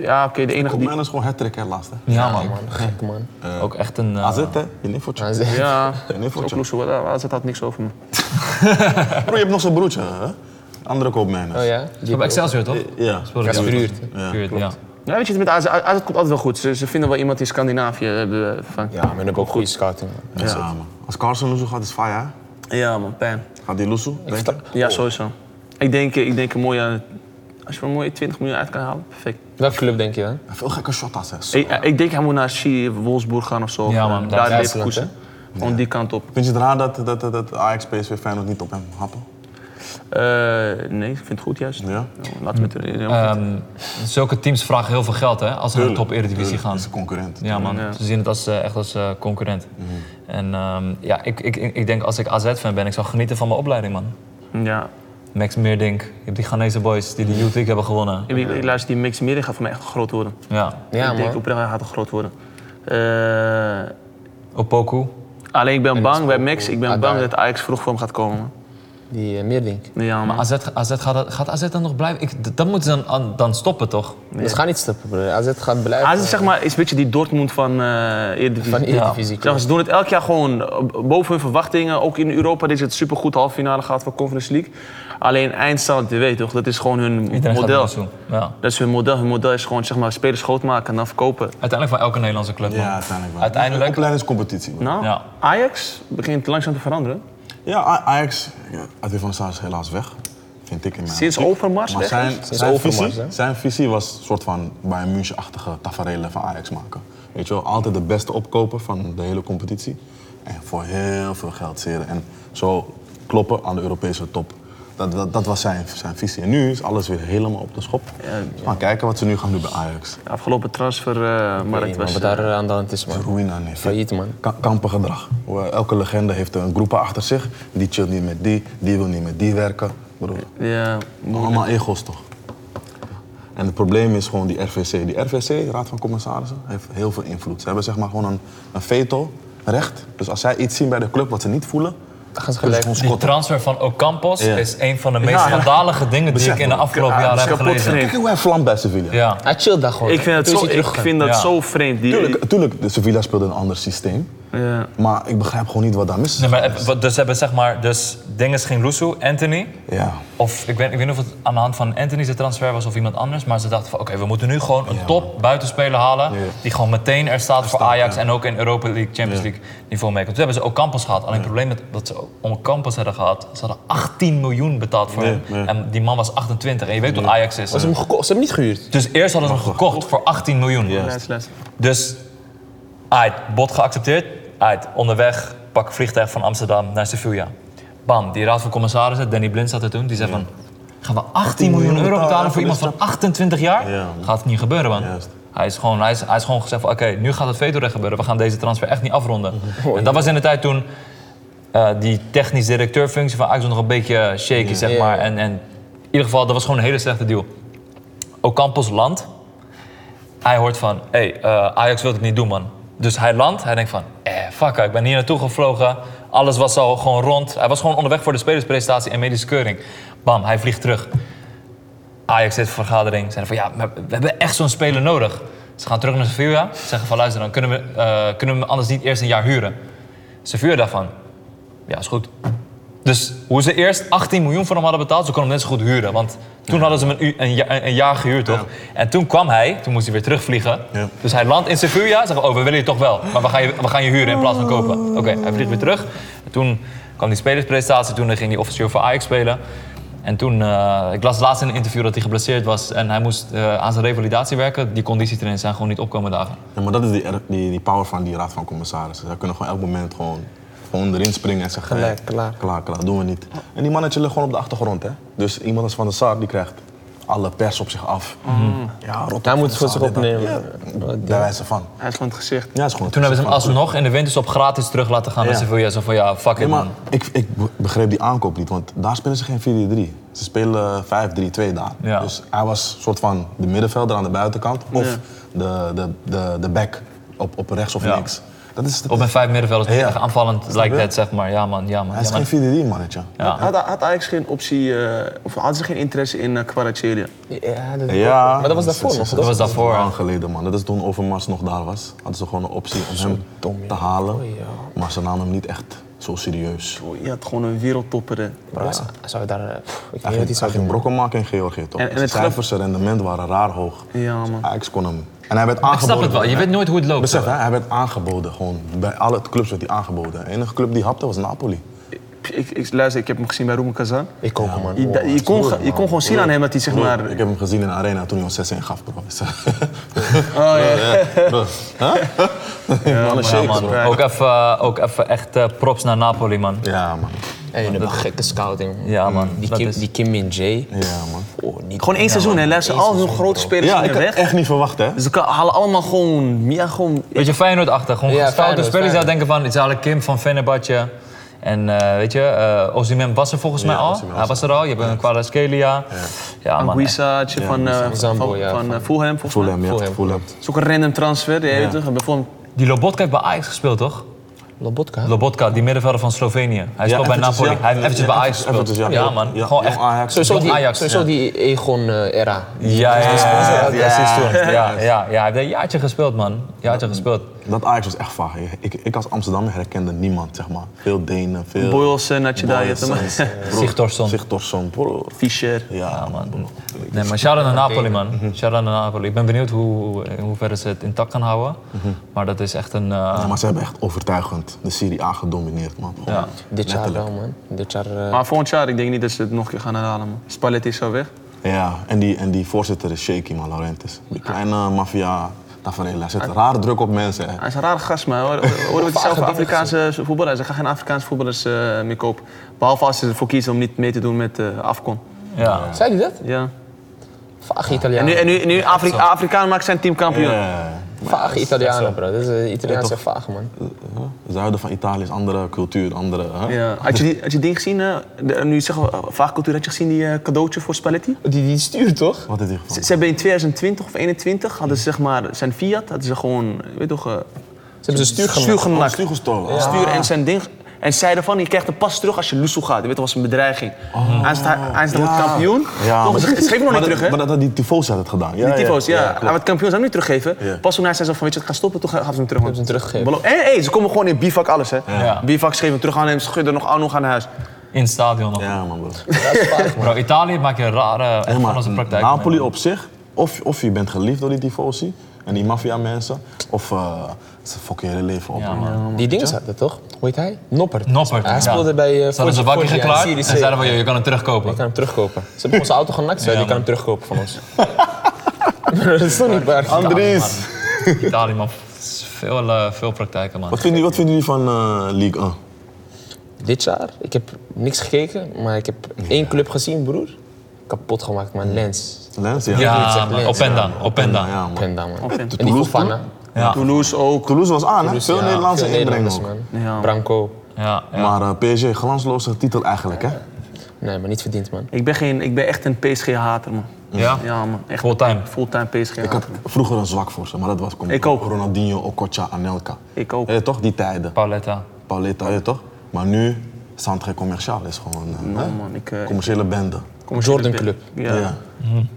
ja,
oké, de enige die...
Koopman is gewoon hat-trick, hè, laatst. hè.
ja, man.
Gek, man.
Ook echt een. eh,
AZ, hè? Je niffeltje.
AZ.
Ja,
Een
ook
niffeltje.
Loeso, AZ had niks over me.
Bro, je hebt nog zo'n broertje, hè? Andere Koopman.
Oh ja? Die
Op Excelsior toch?
Ja.
Sorry,
Ja, is
ja.
verhuurd.
Verhuurd, ja.
Ja, Nou, weet je, het met AZ, AZ komt altijd wel goed. Ze, ze vinden wel iemand in Scandinavië. eh, hebben we van.
Ja, maar dan heb ik ook goede scouting. man.
Ja, man. Als Carson Lusso gaat, is het fire, hè?
Ja, man, pijn. Oh.
Gaat die Lusso, denk je?
Ja, sowieso. Ik denk, eh, ik denk een mooie... Als je er een mooie 20 miljoen uit kan halen, perfect.
Welke club denk je dan?
Veel gekke shotas, hè? Zo.
Ik, eh, ik denk hij moet naar Chi, Wolfsburg gaan of zo.
Ja,
Of,
man,
eh,
dat
daar
is
Duitsland,
Leverkusen. Gewoon die kant op.
Vind je het raar dat, dat, dat, dat Ajax, PSV, Feyenoord niet op hem happen?
Eh, nee, ik vind het goed juist.
Ja.
Nou, Laten we het er helemaal niet-
Ehm, zulke teams vragen heel veel geld hè, als ze naar de top Eredivisie
Dat
gaan.
is een concurrent.
Ja, man.
Ja.
Ze zien het als, eh, echt als eh, concurrent. En ehm, ja, ik, ik, ik ik denk als ik AZ-fan ben, ik zou genieten van mijn opleiding, man.
Ja.
Max Meerdink, je hebt die Ghanese boys die de Youth League hebben gewonnen.
Ik, ik luister, die Max Meerdink gaat voor mij echt groot worden.
Ja.
Ja,
ik denk
man.
oprecht, hij gaat groot worden. Eh,
Opoku.
alleen ik ben bang bij Max. Ik ben
Ah,
bang
daar.
dat Ajax vroeg voor hem gaat komen. man.
Die eh, Meerdink.
Ja,
Maar
man.
AZ, ga- AZ gaat, gaat AZ dan nog blijven? Ik, d- dat moeten ze dan, an- dan stoppen, toch?
Dat gaat Dus niet stoppen, broer. AZ gaat blijven.
AZ zeg maar, is een beetje die Dortmund van eh Eredivisie.
eh, Van Eredivisie.
Ik dacht, ze doen het elk jaar gewoon eh, boven hun verwachtingen. Ook in Europa. Deze het supergoed halve finale gehad van Conference League. Alleen eindstand, je weet toch, dat is gewoon hun
Iedereen gaat er
model.
naartoe. Ja.
Dat is hun model. Hun model is gewoon zeg maar, spelers groot maken en dan verkopen.
Uiteindelijk van elke Nederlandse club. man.
Ja, uiteindelijk wel.
Uiteindelijk-
Opleidingscompetitie. man.
Nou,
Ja.
Ajax begint langzaam te veranderen.
Ja, A- Ajax, ja, Adrie van Saar is helaas weg. Vind ik in mijn
Sinds
optiek.
Overmars
Maar
weg
zijn,
is?
Sinds
zijn
Overmars,
visie,
hè?
zijn visie was een soort van Bayern München-achtige tafereelen van Ajax maken. Weet je wel, altijd de beste opkoper van de hele competitie. En voor heel veel geld zeren. En zo kloppen aan de Europese top. Dat, dat, dat was zijn, zijn visie. En nu is alles weer helemaal op de schop. Dus Maar kijken wat ze nu gaan doen bij Ajax.
De afgelopen
Ik
transfermarkt
weet niet, man,
was...
wat daar eh, aan de hand is, man.
Ruïna, nee.
Failliet, man.
Ka- kampengedrag. Hoor, Elke legende heeft een groep achter zich. Die chillt niet met die, die wil niet met die werken. Broer,
ja,
allemaal ego's toch? En het probleem is gewoon die RVC. Die RVC, Raad van Commissarissen, heeft heel veel invloed. Ze hebben zeg maar gewoon een, een veto-recht. Dus als zij iets zien bij de club wat ze niet voelen...
Dan gaan ze
kunnen
gelijk.
gewoon
Die
scotten.
transfer van Ocampos
Ja.
is een van de meest
Ja.
schandalige dingen die ik in de
man.
afgelopen
Ja,
jaren
dat is
dus
heb
kapot
gelezen.
vreemd.
Kijk hoe hij vlamt bij Sevilla.
Ja.
Hij chillt daar gewoon.
Ik vind het
Toen is
zo,
hij
ik
teruggegaan.
vind dat
Ja.
zo vreemd. Die,
Tuurlijk, tuurlijk, de Sevilla speelde een ander systeem.
Ja.
Maar ik begrijp gewoon niet wat daar mis is.
Nee, maar, eh, wat- dus hebben zeg maar, dus dingen ging Lusso, Anthony.
Ja.
Of ik weet, ik weet niet of het aan de hand van Anthony's transfer was of iemand anders. Maar ze dachten van oké, we moeten nu gewoon een
Ja,
top buitenspeler halen.
Ja.
Die gewoon meteen er staat voor
staat,
Ajax
ja.
en ook in Europa League, Champions
Ja.
League niveau mee. Toen hebben ze Ocampos gehad. Alleen het probleem met, dat ze Ocampos hadden gehad, ze hadden 18 miljoen betaald voor
Ja,
hem.
ja.
En die man was 28 en je weet hoe Ajax is.
Maar Ze hebben hem gekocht. Ze hebben hem niet gehuurd.
Dus eerst hadden ze hem gekocht voor 18 miljoen.
Les, les.
Dus, uit, bod geaccepteerd. Uit, onderweg, pak een vliegtuig van Amsterdam naar Sevilla. Bam, die raad van commissarissen, Danny Blind zat er toen, die zei van... Gaan we 18 miljoen euro betalen voor iemand van 28 jaar?
Ja, man.
Gaat het niet gebeuren, man.
Juist.
Hij is, gewoon, hij, is, hij is gewoon gezegd van, oké, nu gaat het vetorecht gebeuren. We gaan deze transfer echt niet afronden. en dat was in de tijd toen eh, die technisch directeurfunctie van Ajax nog een beetje shaky, zeg
Ja.
maar. En, en in ieder geval, dat was gewoon een hele slechte deal. Ocampos land. Hij hoort van, hé, hey, eh, Ajax wil het niet doen, man. Dus hij landt, hij denkt van, eh, fuck, ik ben hier naartoe gevlogen. Alles was al gewoon rond. Hij was gewoon onderweg voor de spelerspresentatie en medische keuring. Bam, hij vliegt terug. Ajax heeft een vergadering. Zeiden van, ja, maar we hebben echt zo'n speler nodig. Ze gaan terug naar Sevilla. Zeggen van, luister, dan kunnen we, eh, kunnen we hem anders niet eerst een jaar huren. Sevilla daarvan, ja, is goed. Dus hoe ze eerst 18 miljoen voor hem hadden betaald, ze konden hem net zo goed huren. Want toen hadden ze hem een, u- een, ja- een jaar gehuurd, toch? En toen kwam hij, toen moest hij weer terugvliegen.
Ja.
Dus hij landt in Sevilla, zeggen oh, we willen je toch wel. Maar we gaan je, we gaan je huren in plaats van kopen. Oké, hij vliegt weer terug. En toen kwam die spelerspresentatie, toen ging hij officieel voor Ajax spelen. En toen, eh, ik las laatst in een interview dat hij geblesseerd was en hij moest eh, aan zijn revalidatie werken. Die conditietrainers zijn gewoon niet opkomen dagen.
Ja, maar dat is die, er- die, die power van die raad van commissarissen. Zij kunnen gewoon elk moment gewoon, gewoon erin springen en zeggen...
Gelijk,
"Hey,
klaar."
Klaar, klaar, doen we niet. En die mannetje ligt gewoon op de achtergrond, hè. Dus iemand als Van der Sar, die krijgt alle pers op zich af.
Mhm.
Ja, rot op
Hij
Van der
moet het
Sar,
voor zich
dit, dat.
opnemen.
Ja, daar wijzen van.
Hij is van het gezicht.
Ja, is gewoon
Toen hebben ze hem
van-
alsnog in de winters op gratis terug laten gaan naar
Ja.
Sevilla. Zo van, ja, fuck
Nee,
it
maar
man.
ik, ik be- begreep die aankoop niet, want daar spelen ze geen 4-3-3. Ze spelen 5-3-2 daar.
Ja.
Dus hij was soort van de middenvelder aan de buitenkant of de, de, de, de back op, op rechts of
Ja.
links. Dat is, dat
Op
is-
mijn vijf middenvelders,
Ja.
echt aanvallend,
Snap
like
je?
that, zeg maar. Ja man, ja man.
Hij is
Ja, man.
geen 4-3 mannetje.
Ja.
Had, had Ajax geen optie, eh, of hadden ze geen interesse in eh Kvaratskhelia?
Ja, dat,
Ja.
Maar dat was daarvoor nog,
Dat
toch?
was daarvoor,
Lang
ja.
geleden, man. Dat is toen Overmars nog daar was. Hadden ze gewoon een optie om hem te halen. Maar ze namen hem niet echt zo serieus.
Oh, Je had gewoon een wereldtopper. eh. hè.
Bro, hij- hij zou daar... eh, pff, ik weet
Hij
niet wat
ging,
hij
hij
zou
ging
doen.
brokken maken in Georgië, toch?
En- en
zijn
het grap-
cijfers, zijn rendement waren raar hoog.
Ja,
Dus
man.
Ajax kon hem... En hij werd
Ik
aangeboden.
snap het wel, je weet nooit hoe het loopt.
Besef, hè, hij werd aangeboden. Gewoon bij alle clubs werd hij aangeboden. De enige club die hapte was Napoli.
Ik, ik, ik- luister, ik heb hem gezien bij Roemen Kazan.
Ik ook, man.
Je,
Oh,
da- je, kon,
broer,
ge- je
man.
kon gewoon zien aan hem dat hij zeg maar...
Broer, Ik heb hem gezien in de arena toen hij ons 6-1 gaf, bro.
Oh, ja.
Bro, hè?
man,
Ja,
shakes,
man.
bro.
Ook even, eh, ook even echt eh, props naar Napoli, man.
Ja, man.
En jullie hebben gekke scouting.
Ja, man.
Die
Dat
Kim,
is-
die Kim Min Jae.
Ja, man.
Oh, niet
Gewoon één seizoen, hè. Luister, al hun grote spelers
Ja,
zijn
ik
er
had
weg.
echt niet verwacht, hè.
Dus ze kan- halen allemaal gewoon... Ja, gewoon...
Beetje Feyenoord-achtig. Gewoon
Ja,
ja, foute
Feyenoord,
spelers. Je zou
Feyenoord.
denken van, het is eigenlijk Kim van Fenerbahce. En eh, weet je, eh Osimhen was er volgens
Ja,
mij al.
Osimhen was
Hij was er al. Je hebt een Kvaratskhelia. Ja. man. echt.
Anguissa, tje, van, eh, van,
Zambo,
van,
ja,
eh,
van-
Fulham, volgens mij.
Fulham, ja.
Fulham.
Fulham.
Het is ook een random transfer, ja, weet je toch? En bijvoorbeeld-
Die Lobotka heeft bij Ajax gespeeld, toch?
Lobotka.
Lobotka, die middenvelder van Slovenië. Hij speelt bij
eventjes,
Napoli.
ja.
Hij heeft eventjes
Ja,
bij Ajax
eventjes,
gespeeld.
ja.
ja, man.
Ja,
Gewoon
jong
echt
Ajax.
Sowieso die,
jong Ajax.
sowieso die eh, Egon-era.
Ja, ja, ja, ja,
Ja.
sinds toen. ja, ja, ja. Hij heeft een jaartje gespeeld, man. Jaartje gespeeld.
Dat Ajax was echt vaag. Ik, ik als Amsterdammer herkende niemand, zeg maar. Veel Denen, veel...
Boylsen, Natjedajet,
Broer,
Sigtorsson.
Sigtorsson, broer.
Fischer.
Ja, man.
Nee, maar shout-out naar Napoli, man.
Mhm.
Shout-out naar Napoli. Ik ben benieuwd hoe, in hoeverre ze het intact gaan houden. Maar dat is echt een... eh,
Mhm. Ja, maar ze hebben echt overtuigend de Serie A gedomineerd, man. Gewoon
Ja.
Dit jaar
letterlijk.
wel, man. Dit jaar... eh,
Maar volgend jaar, ik denk niet dat ze het nog een keer gaan herhalen. Man. Spalletti is zo weg.
Ja, en die, en die voorzitter is shaky, man, Laurentis. Die kleine maffia tafereel. Hij zet rare druk op mensen, hè.
Hij is een rare gast, maar hoor. Hoor wat zelf Afrikaanse voetballers. Ze gaan geen Afrikaanse voetballers eh, meer kopen. Behalve als ze ervoor kiezen om niet mee te doen met eh Afcon.
ja.
Zei hij dat?
Ja.
Vaag
En
Italianen.
nu, en nu, nu Afri Afrikaan maakt zijn team kampioen.
Ja.
Vaag Italianen, bro. Dat is eh, Italiaanse
Ja,
vaag, man.
Zuiden van Italië is andere cultuur, andere... Hè?
Ja. Had, je die, had je ding gezien? eh, de- nu zeggen we vaagcultuur. Had je gezien die eh, cadeautje voor Spalletti?
Die, die stuurt toch?
Wat is die
Ze,
geval?
ze hebben in 2020 of 2021 hadden ze zeg maar zijn Fiat. Hadden ze gewoon, weet je toch, eh,
Ze hebben ze stuur gemaakt.
stuur
Oh,
genakt.
stuur gestolen. Ah.
stuur en zijn ding. En zeiden van, je krijgt de pas terug als je Lusso gaat. Je weet toch, was een bedreiging. Hij is daar- hij is dan
Oh. Ja.
wordt kampioen.
Ja,
toch,
maar-
ze, ze geven hem nog
maar
niet
dat-
terug, hè?
Maar dat had die Tifosi had het gedaan. Ja,
die tyfo's, ja.
klopt.
Hij werd kampioen, zou hem niet teruggeven.
Ja.
Pas toen hij zei zo van, weet je, het gaat stoppen, toen gaan ze hem terug.
Hebben ze hem teruggegeven.
Belo- En hey, ze komen gewoon in bivak alles, hè.
Ja.
Bivak schreef hem terug aan hem, schudde nog aan, nog aan huis.
In het stadion nog.
Ja, man, bro.
Bro, Italië maakt een rare... Echt
Hey,
van
maar
onze praktijk.
Napoli
man.
op zich, of, of je bent geliefd door die tifosi en die maffia mensen, of eh, ze fokken je hele leven op.
Ja,
man.
man.
Die ding zat er toch? Hoe heet hij? Noppert.
Noppert.
Hij
ja.
speelde bij eh
Ze hadden ze wakker
Foggia in
geklaard
Serie
en
C.
zeiden van, joh, je kan hem terugkopen.
Ik kan hem terugkopen. Ze hebben onze auto genakt,
Ja,
ze je kan hem
man.
terugkopen van ons. dat is toch niet waar?
Andries,
Italië, man. Veel, eh, veel praktijken, man.
wat vinden, jullie- wat vinden jullie van eh, League 1?
Dit jaar, ik heb niks gekeken, maar ik heb één club gezien, broer. Kapot gemaakt, man. Lens.
Lens, ja.
ik
Ja,
zeg
man.
Lens,
Openda.
Openda,
Openda.
ja, man.
Penda, man.
Openda.
En die
Toulouse
Fofana.
Ja,
Toulouse ook.
Toulouse was aan, hè?
Dus
Veel
ja,
Nederlandse
veel
inbreng
Nederlanders,
ook.
man.
Ja.
Branco.
ja, ja.
Maar eh, PSG, glansloze titel eigenlijk, hè?
Nee, maar niet verdiend, man.
Ik ben, geen, ik ben echt een PSG-hater, man.
Ja?
Ja, man. Echt
Fulltime.
Fulltime
Ik had
PSG-hater.
vroeger een zwak voor ze, maar dat was kom,
Ik ook.
Ronaldinho, Okocha, Anelka.
Ik ook.
Eh, toch, die tijden.
Pauletta.
Pauleta, eh, toch? Maar nu, Centre Commercial is gewoon eh,
No,
hè?
man. Ik, eh,
commerciële bende.
commerciële
Jordan
pe-
Club.
Ja.
Ja.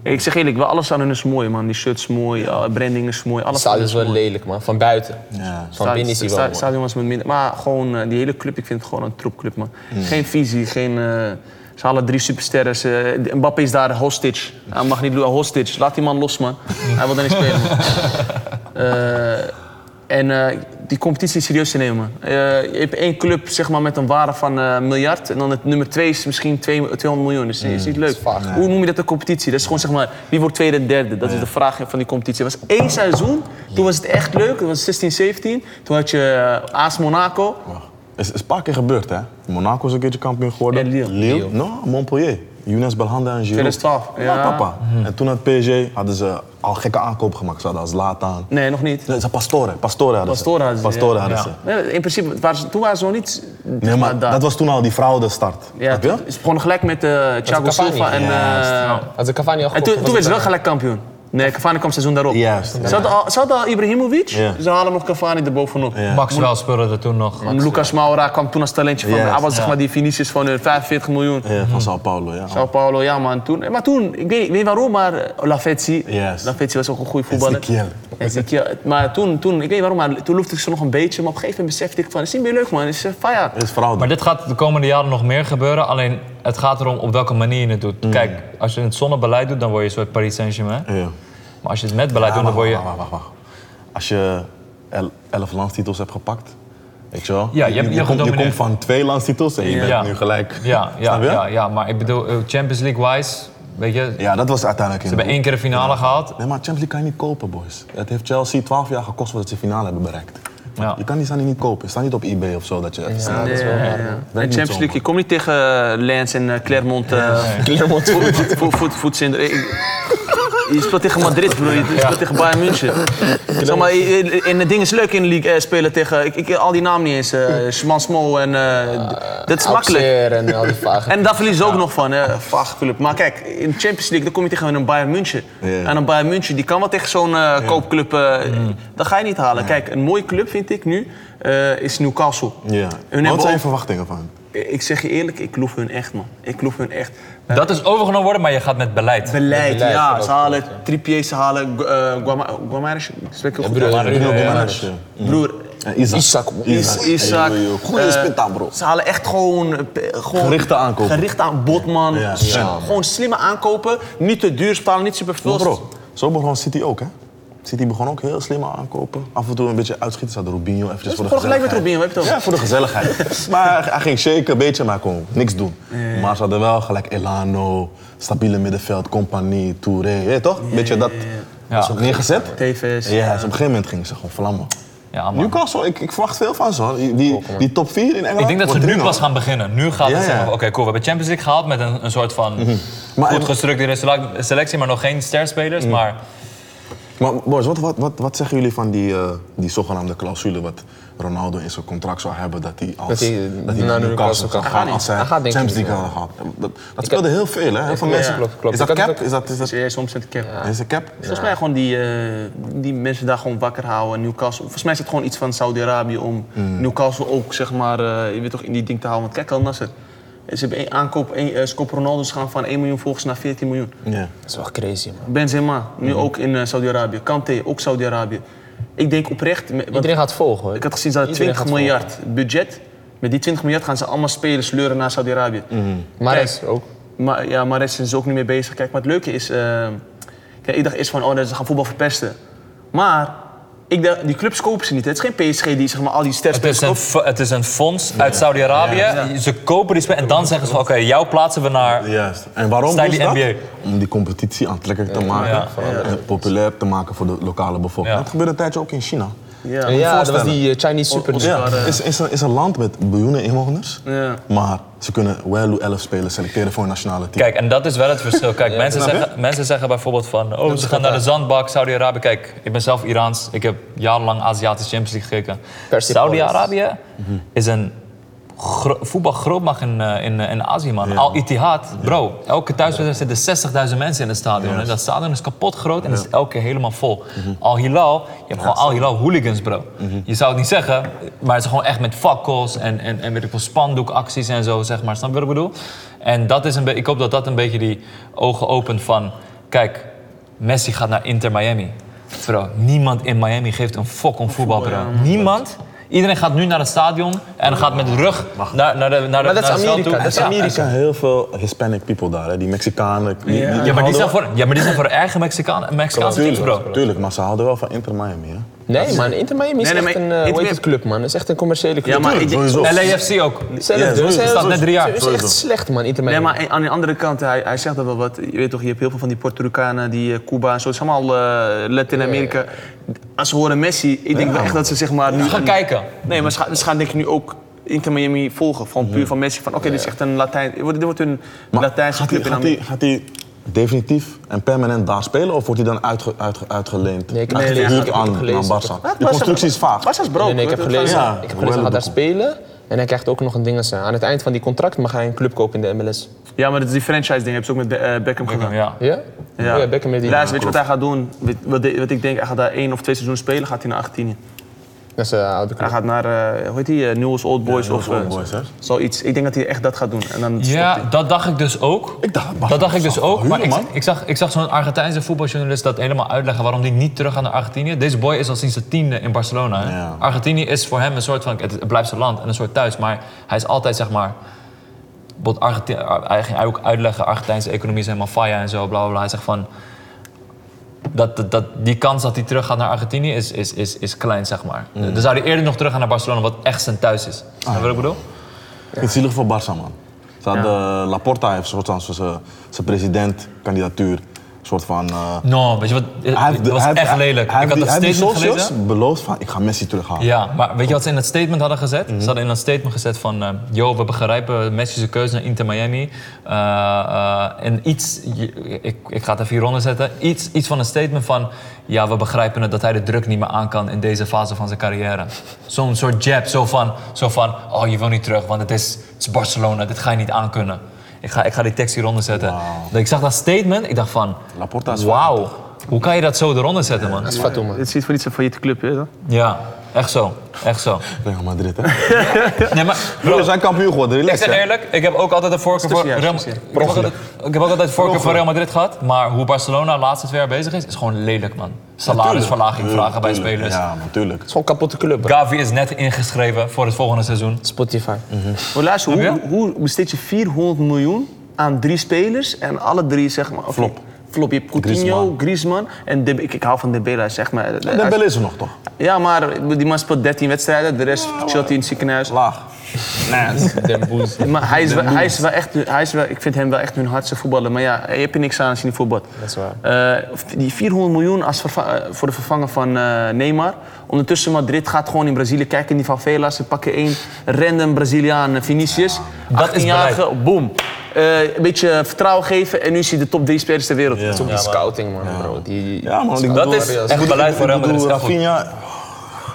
Ik zeg eerlijk, wel, alles aan hun is mooi, man. Die shirts mooi, ja, branding is mooi.
Het
Alles aan
stadion
hun
is wel lelijk, man. Van buiten.
Ja.
Van binnen is hij wel
Sta-
mooi.
Stadion was met minder. Maar gewoon eh, die hele club, ik vind het gewoon een troepclub, man.
Hmm.
Geen visie, geen. eh, ze halen drie supersterren. Ze, de- Mbappé is daar hostage. Hij mag niet doen, hostage. Laat die man los, man. Hij wil daar niet spelen. man. Eh, en eh, die competitie serieus te nemen. man. Eh, je hebt één club zeg maar, met een waarde van eh, een miljard. En dan het nummer twee is misschien twee- 200 miljoen. Dus dat is niet leuk.
Hmm, vaag,
Hoe noem je dat een competitie? Dat is gewoon zeg maar, wie wordt tweede en derde? Dat is de vraag van die competitie. Er was één seizoen, toen was het echt leuk. Dat was 16, 17. Toen had je eh, AS Monaco.
Wacht. Is, is een paar keer gebeurd, hè? Monaco is een keertje kampioen geworden.
En Lille.
Lille. No, Montpellier. Younes Belhanda en Giroud.
2012,
Ja,
ja.
papa. En toen had PSG hadden ze al gekke aankoop gemaakt. Ze hadden als Zlatan.
Nee, nog niet.
Nee, ze Pastore. Pastore hadden ze.
Pastore hadden ze,
Pastore
ja.
hadden
Ja.
ze.
Nee, in principe, waren ze- toen waren ze nog niet...
Nee, maar dat was toen al die fraudestart.
Ja,
Heb je?
toen- ze begonnen gelijk met eh Thiago
Cavani.
Silva en... eh,
Had ze Cavani al
En
gekocht,
toen, toen
was
werd ze wel gelijk kampioen. Nee, Cavani kwam seizoen daarop.
Juist,
Ze hadden al, ze hadden al Ibrahimovic,
Ja.
ze halen nog Cavani erbovenop.
Max wel speelde er toen nog.
En Lucas Moura kwam toen als talentje van.
Juist,
Hij was zeg maar die Vinicius van hun 45 miljoen.
Ja, van Sao Paulo, ja.
Sao Paulo, ja man. Toen, maar toen, ik weet, ik weet niet waarom, maar eh, Lavezzi.
Juist.
Lavezzi was ook een goede voetballer.
Ezekiel.
Ezekiel. Maar toen, toen, ik weet niet waarom, maar toen loefde ik ze nog een beetje. Maar op een gegeven moment besefte ik van, het is niet meer leuk man. Het is eh, fire.
Het is fraude.
Maar dit gaat de komende jaren nog meer gebeuren. Alleen het gaat erom op welke manier je het doet.
Mm.
Kijk, als je het zonder beleid doet, dan word je een soort Paris Saint-Germain.
Ja.
Maar als je het met beleid
Ja,
doet, dan word je...
wacht, wacht, wacht, wacht. Als je el- elf landstitels hebt gepakt, weet je wel?
Ja, je hebt- je
komt, je
gedomineerd.
komt van twee landstitels en je bent
Ja.
nu gelijk.
Ja, ja,
Snap je?
ja, ja, maar ik bedoel, eh, Champions League-wise, weet je... Ze
Ja, dat was uiteindelijk in.
hebben één keer de finale gehaald.
Nee, maar Champions League kan je niet kopen, boys. Het heeft Chelsea 12 jaar gekost voordat ze de finale hebben bereikt.
Ja.
Je kan die Sani niet kopen. Staat niet op eBay of zo dat je. Ja,
dat is wel
Ja, ja.
waar.
En
niet
Champions
zo,
League, je komt niet tegen eh, Lens en eh, Clermont. eh,
Clermont.
Voet- voet- voet- voet- voetsinder. Ik- Je speelt tegen Madrid, broer. Je speelt tegen Bayern München. Zeg maar, je- je- en het ding is leuk in de league eh, spelen tegen... Ik, ik al die namen niet eens. eh Schmansmo en... eh, d- dat is
Ah,
makkelijk.
Auxerre en al die vagen.
En daar verliezen ze ook nog van, hè. Vaag club. Maar kijk, in de Champions League dan kom je tegen een Bayern München.
Ja.
En een Bayern München die kan wel tegen zo'n eh, koopclub... eh, Dat ga je niet halen. Kijk, een mooie club vind ik nu. eh, is Newcastle.
Ja. Wat
hebben
zijn je
ook-
verwachtingen van hem?
Ik zeg je eerlijk, ik loef hun echt, man. Ik loef hun echt. Eh,
Dat is overgenomen worden, maar je gaat met beleid.
Beleid,
beleid,
ja.
dat
Ze
ook,
halen
ja.
Trippier, ze halen Gu- eh, Guama- Guamaraes. Spreek ik
Ja,
goed?
broer,
Guamaraes.
broer,
Ja,
ja,
ja,
broer.
Broer,
En Isaac.
Isaac, man.
Isaac.
Isaac.
Hey, joh, Goeie
eh,
spit bro.
Ze halen echt gewoon... eh, pe- gewoon
Gerichte aankopen.
Gericht aan Botman.
Ja,
Slim.
ja.
Gewoon slimme aankopen. Niet te duur sparen, niet super veel.
Bro, zo begon City ook, hè? City begon ook heel slim aan aankopen. Af en toe een beetje uitschieten. Zat Robinho eventjes voor de
gewoon gelijk met
gezelligheid.
Robinho, heb je het over?
Ja, voor de gezelligheid. maar hij- hij ging shaken, een beetje, maar kon niks doen. Maar ze hadden wel gelijk Elano, stabiele middenveld, compagnie, Touré. Je weet toch? Een beetje dat
ja.
was ook neergezet.
TV's.
Ja, dus op een gegeven moment gingen ze gewoon vlammen.
Ja, man.
Newcastle, ik, ik verwacht veel van ze. hoor. Die, die, die top 4 in Engeland.
Ik denk dat ze
wordt
nu
drie,
pas
man.
gaan beginnen. Nu gaat het
Ja, ja. Mhm.
zeg maar, oké cool, we hebben Champions League gehaald met een, een soort van
Maar- Mhm.
goed gestructureerde sele- selectie, maar nog geen sterspelers. Maar
Maar boys, wat, wat, wat, wat zeggen jullie van die, eh, die zogenaamde clausule wat Ronaldo in zijn contract zou hebben dat hij als
Dat hij naar Newcastle kan gaan.
als hij
Hij gaat denk ik
Champions League
niet,
kan gaan. Dat, dat speelde heel veel hè, heel veel
ja,
mensen.
klopt, klopt.
Is dat
Ik had het
cap?
ook-
Is dat, is dat,
Dus jij is soms met de cap.
is dat cap?
Volgens mij gewoon die, eh, die mensen daar gewoon wakker houden. Newcastle. Volgens mij is het gewoon iets van Saudi-Arabië om
Mm.
Newcastle ook zeg maar, eh, je weet toch, in die ding te houden. Want kijk al Nasser. Ze hebben een aankoop, een, eh, ze kopen Ronaldo's gaan van 1 miljoen volgens naar 14 miljoen.
Ja.
Dat is wel crazy, man.
Benzema, nu
Mm.
ook in eh, Saudi-Arabië. Kante, ook Saudi-Arabië. Ik denk oprecht, me- want
Iedereen gaat volgen, hoor.
ik had gezien dat
Iedereen
20
gaat volgen.
miljard budget. Met die 20 miljard gaan ze allemaal spelen, sleuren naar Saudi-Arabië.
Mm. Maar
Kijk,
is ook.
Maar, ja, Mares is dus ook niet mee bezig. Kijk, maar het leuke is... eh kijk, ik dacht eerst van, oh, dat- ze gaan voetbal verpesten. Maar ik dacht, die clubs kopen ze niet. hè. Het is geen PSG die zeg maar, al die
het
sterspelers
is een,
koopt.
fo- het is een fonds uit Saudi-Arabië. Ze kopen die spelers en dan zeggen ze van oké, jou plaatsen we naar...
Juist. En waarom
Stijl
doen ze
die
dat?
NBA.
Om die competitie aantrekkelijk te maken
ja,
en populair te maken voor de lokale bevolking.
Ja.
Dat gebeurde een tijdje ook in China.
Ja.
ja, dat was
voorstellen.
die eh, Chinese Super League.
Ja, is, is, een, is een land met miljoenen inwoners,
Ja.
maar ze kunnen wel 11 spelers selecteren voor een nationale team.
Kijk, en dat is wel het verschil. Kijk, mensen,
snap je?
zeggen, mensen zeggen bijvoorbeeld van... Oh, ze gaan naar de zandbak, Saudi-Arabië. Kijk, ik ben zelf Iraans. Ik heb jarenlang Aziatische Champions League gekeken.
Persepolis.
Saudi-Arabië
Mhm.
is een gro- voetbalgrootmacht in, eh, in, eh, in Azië, man. Al Ittihad, bro. Elke thuiswedstrijd zitten 60.000 mensen in het stadion. En dat stadion is kapot groot en is elke keer helemaal vol.
Mhm.
Al Hilal, je hebt gewoon Al Hilal hooligans, bro. Je zou het niet zeggen, maar het is gewoon echt met fakkels en, en, en weet ik veel, spandoekacties en zo, zeg maar. Snap je wat ik bedoel? En dat is een be- ik hoop dat dat een beetje die ogen opent van... Kijk, Messi gaat naar Inter Miami. Bro, niemand in Miami geeft een fuck om voetbal, bro. Niemand. Iedereen gaat nu naar het stadion en gaat met de rug naar, naar de, naar de
Maar dat is
naar het veld
Amerika,
toe.
dat is
Nou, Ja.
Er zijn heel veel Hispanic people daar, hè? die Mexicanen. die- die-
Ja, maar die
houden
zijn
wel-
voor, ja, maar die zijn voor eigen Mexicaan, Mexicaanse teams, bro.
Tuurlijk, tuurlijk, maar ze houden wel van Inter Miami. Hè?
Nee, man. Inter Miami is
Nee, nee,
echt
maar
een eh, hoe
Inter-
heet het, club, man. Het is echt een commerciële club.
Ja, maar ik,
Sowieso.
LAFC ook.
Zelf,
Ja,
dus,
sowieso.
hè,
Staat net
dus-
drie jaar.
Het is echt
Sowieso.
slecht, man, Inter
Nee,
Miami.
maar aan de andere kant, hij, hij zegt dat wel wat. Je weet toch, je hebt heel veel van die Puerto-Ricanen, die eh, Cuba en zo. Het is allemaal eh, Latin-Amerika. Als ze horen Messi, ik denk wel echt dat ze zeg maar... Nu
Ga kijken.
Nee, maar ze gaan, ze gaan denk ik nu ook Inter Miami volgen. Van puur van Messi. Van oké, dit is echt een Latijn... Dit wordt- dit wordt een
Maar
Latijnse
gaat hij-
club in
gaat hij-
Amerika.
Gaat hij definitief en permanent daar spelen of wordt hij dan uitge, uitge, uitgeleend?
Nee, ik heb-
Uitgehuurd
nee, ik heb
aan,
gelezen.
aan
Wat?
Barça. De
Barça-
constructie is vaag.
Barça is broke.
Nee, nee, ik heb
Oh, Dat-
gelezen,
Ja,
ik heb gelezen hij gaat daar spelen. En hij krijgt ook nog een ding. eh, Aan het eind van die contract mag hij een club kopen in de MLS.
Ja, maar dat is die franchise ding. Hebben ze ook met Be- eh, Beckham gedaan.
Ja.
Ja? Oh ja, Beckham heeft die.
Luister, weet je wat hij gaat doen? Weet- Wat, de- wat ik denk, hij gaat daar één of twee seizoenen spelen. Gaat hij naar 18.
Dat is eh, oude
Hij
club.
gaat naar, eh, hoe heet die, eh, Newell's Old Boys
Newell's
of eh,
Old Boys, hè?
zoiets. Ik denk dat hij echt dat gaat doen. En dan stopt
Ja,
hij.
dat dacht ik dus ook.
Ik dacht, Barca
dat dacht ik dus
zou
ook. Maar
verhuren,
ik,
man.
ik zag, ik zag zo'n Argentijnse voetbaljournalist dat helemaal uitleggen waarom hij niet terug gaat naar Argentinië. Deze boy is al sinds de tiende in Barcelona. hè.
Ja.
Argentinië is voor hem een soort van, het blijft zijn land en een soort thuis. Maar hij is altijd zeg maar. wat Argenti- Hij ging ook uitleggen, Argentijnse economie is helemaal faya en zo, bla bla bla. Hij zegt van, dat, dat, dat- die kans dat hij terug gaat naar Argentinië is, is, is, is klein, zeg maar.
Mm.
Dan zou hij eerder nog terug gaan naar Barcelona, wat echt zijn thuis is.
Ah,
Snap je wat ik bedoel?
Het is zielig voor Barça, man. Ze hadden, eh, Laporta heeft soort van zijn- zijn presidentkandidatuur. soort van... eh,
No, weet je wat? Het
heeft de-
was
hij heeft-
echt lelijk.
Hij
ik
heeft
had
die-
dat
hij heeft die
statement
socials
gelezen.
beloofd van, ik ga Messi terughalen.
Ja, maar weet je wat ze in dat statement hadden gezet?
Mhm.
Ze hadden in dat statement gezet van... eh, Yo, we begrijpen Messi's keuze naar Inter Miami. Eh, eh, en iets... je- ik, ik ga het even hieronder zetten. Iets, iets van een statement van... Ja, we begrijpen het dat hij de druk niet meer aan kan in deze fase van zijn carrière. Zo'n soort jab. Zo van, zo van... Oh, je wil niet terug, want het is, het is Barcelona. Dit ga je niet aankunnen. Ik ga, ik ga die tekst hieronder zetten. Ik zag dat statement. Ik dacht van...
Laporta is
Wauw. Hoe kan je dat zo eronder zetten, man?
Dat is Fatou, man.
Het is iets voor iets van je club, hè?
Ja. Echt zo. Echt zo.
Real Madrid, hè?
Nee, maar
Bro, we zijn kampioen geworden,
Ik
relax.
zeg
hè.
eerlijk, ik heb ook altijd een voorkeur voor
Tussenjaar,
Real ik
tussenjaar.
heb ook altijd- Ik heb ook altijd voorkeur voor Real Madrid gehad. Maar hoe Barcelona de laatste twee jaar bezig is, is gewoon lelijk, man. Salarisverlaging
Tuurlijk,
vragen bij
tuurlijk.
spelers.
Ja, natuurlijk.
is gewoon een kapotte club, bro.
Gavi is net ingeschreven voor het volgende seizoen.
Spotify.
Maar luister, hoe,
Heb
hoe hoe besteed je 400 miljoen aan drie spelers en alle drie zeg maar... oké,
Flop.
Flop, je hebt Coutinho,
Griezman.
Griezman en Dembele. Ik, ik hou van Dembele, zeg maar.
De bel is er nog, toch?
Ja, maar die man speelt 13 wedstrijden, de rest chillt hij in het ziekenhuis.
Laag. Nee,
Maar hij is, wel, hij is wel echt, hij is wel, ik vind hem wel echt hun hardste voetballer. Maar ja, je hebt er niks aan als je niet voetbalt.
Dat is waar.
Eh, die 400 miljoen als verva- eh, voor de vervanger van eh, Neymar. Ondertussen Madrid gaat gewoon in Brazilië kijken in die favelas. Ze pakken één random Braziliaan, eh, Vinicius.
Dat is
18-jarige, boom. Eh, een beetje vertrouwen geven en nu is hij de top drie spelers ter wereld.
Dat is ook die scouting, man, bro. Die,
Ja, man, ik
Dat
bedoel,
is
Real is
echt beleid voor Real
ik
Madrid.
bedoel,
is echt goed.
Rafinha,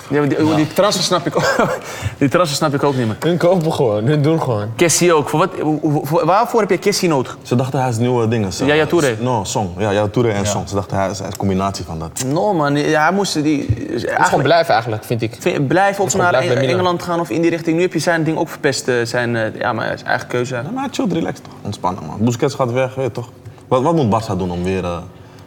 Ja, maar die, die transfer snap ik ook. die transfer snap ik ook niet meer.
Hun kopen gewoon, hun doen gewoon.
Kessie ook. Voor wat, hoe- hoe- waarvoor heb je Kessie nodig?
Ze dachten hij is nieuwe dingen. Ze-
Yaya Touré.
No, Song. Ja, Yaya Touré en Song. Ze dachten hij is hij is een combinatie van dat.
No man, hij moest die.
Het is gewoon
eigenlijk-
blijven eigenlijk, vind ik.
Vind- Blijf op
is gewoon
naar
blijf bij
Eng-
Milan.
Engeland gaan of in die richting. Nu heb je zijn ding ook verpest. eh, Zijn, eh, ja, maar zijn eigen keuze.
Ja, maar chill, relax toch. Ontspannen, man. Busquets gaat weg, weet je toch? Wat, wat moet Barca doen om weer eh,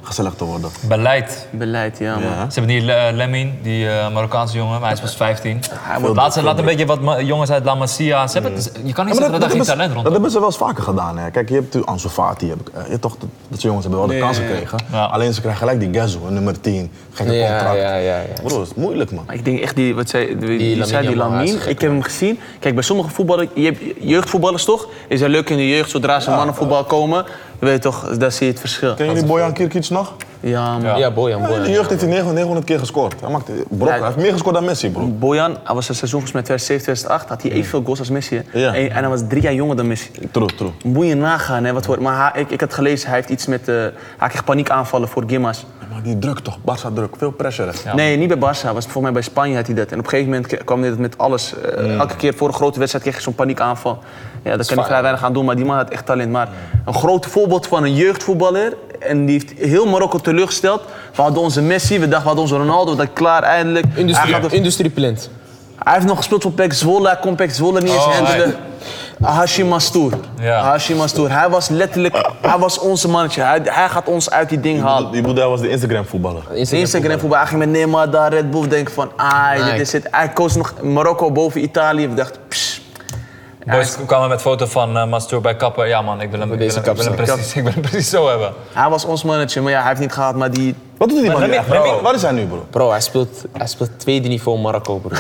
gezellig te worden?
Beleid.
Beleid, ja, man.
Ja.
Ze hebben die eh, Lemmin, die eh, Marokkaanse jongen, maar hij is pas 15.
wordt-
Laat, ze, laat een beetje wat ma- jongens uit La Masia. Ze hebben, het- je kan niet
Ja,
zeggen
maar
dat daar geen
hebben ze-
talent rond
dat hebben ze wel eens vaker gedaan. Hè. Kijk, je hebt natuurlijk Ansu Fati. Heb ik, eh, je hebt toch, dat, dat soort jongens hebben wel de kansen gekregen.
Ja.
Alleen ze krijgen gelijk die Gazzo, nummer 10. Gekke
Ja,
contract.
ja, ja, ja.
Bro, dat is moeilijk, man.
Maar ik denk echt die, wat zei die, die,
Lamine
zei die
Yamal, hij is
Lamine.
gek,
Ik heb hem gezien. Kijk, bij sommige voetballers, je hebt jeugdvoetballers toch? Is hij leuk in de jeugd zodra ze mannenvoetbal komen? Weet je toch, daar zie je het verschil.
Ken jullie Bojan Kirkic nog?
Ja, man.
Ja, Bojan,
Ja, in de
Bojan.
jeugd heeft hij 900 900 keer gescoord. Hij, maakt, bro, hij heeft meer gescoord dan Messi, bro.
Bojan, hij was een seizoen volgens mij 2007, 2008, had hij evenveel goals als Messi. hè?
Ja.
En, en hij was drie jaar jonger dan Messi.
True, true.
Moet je nagaan, hè, wat wordt. Maar hij- ik, ik had gelezen, hij heeft iets met. eh, hij kreeg paniekaanvallen voor Gimmas.
Maar die druk toch, Barca druk. Veel pressure. hè.
Nee, niet bij Barça. Was volgens mij bij Spanje had hij dat. En op een gegeven moment ke- kwam hij dat met alles. Eh, Elke keer voor een grote wedstrijd kreeg je zo'n paniekaanval. Ja, daar kan ik vrij weinig aan doen, maar die man had echt talent. Maar een groot voorbeeld van een jeugdvoetballer. En die heeft heel Marokko teleurgesteld. We hadden onze Messi, we dachten we hadden onze Ronaldo, dat klaar eindelijk. Hij, gaat
Industrie,
er-
industrieplant.
hij heeft nog gespeeld voor PEC Zwolle, hij kon PEC Zwolle niet eens
Oh,
handelen. Hashim Mastour.
Ja.
Hashim Mastour. Hij was letterlijk, hij was onze mannetje. Hij, hij gaat ons uit die ding halen.
Die Boeddha was de Instagram-voetballer.
Instagram voetbal, hij ging met Neymar daar, Red Bull, denk van, ah, dit
Nee.
is het. Hij koos nog Marokko boven Italië. We dachten, pss,
Boys kwamen met foto van eh Mastour bij Kapper. Ja man, ik wil hem, ik wil
deze
hem, ik wil hem
kapsel.
precies, ik wil hem precies zo hebben.
hij was ons mannetje, maar ja, hij heeft niet gehad, maar die...
Wat doet die man nu
Remy-
eigenlijk?
Remy-
Waar is hij nu, bro?
Bro, hij speelt, hij speelt tweede niveau Marokko, bro.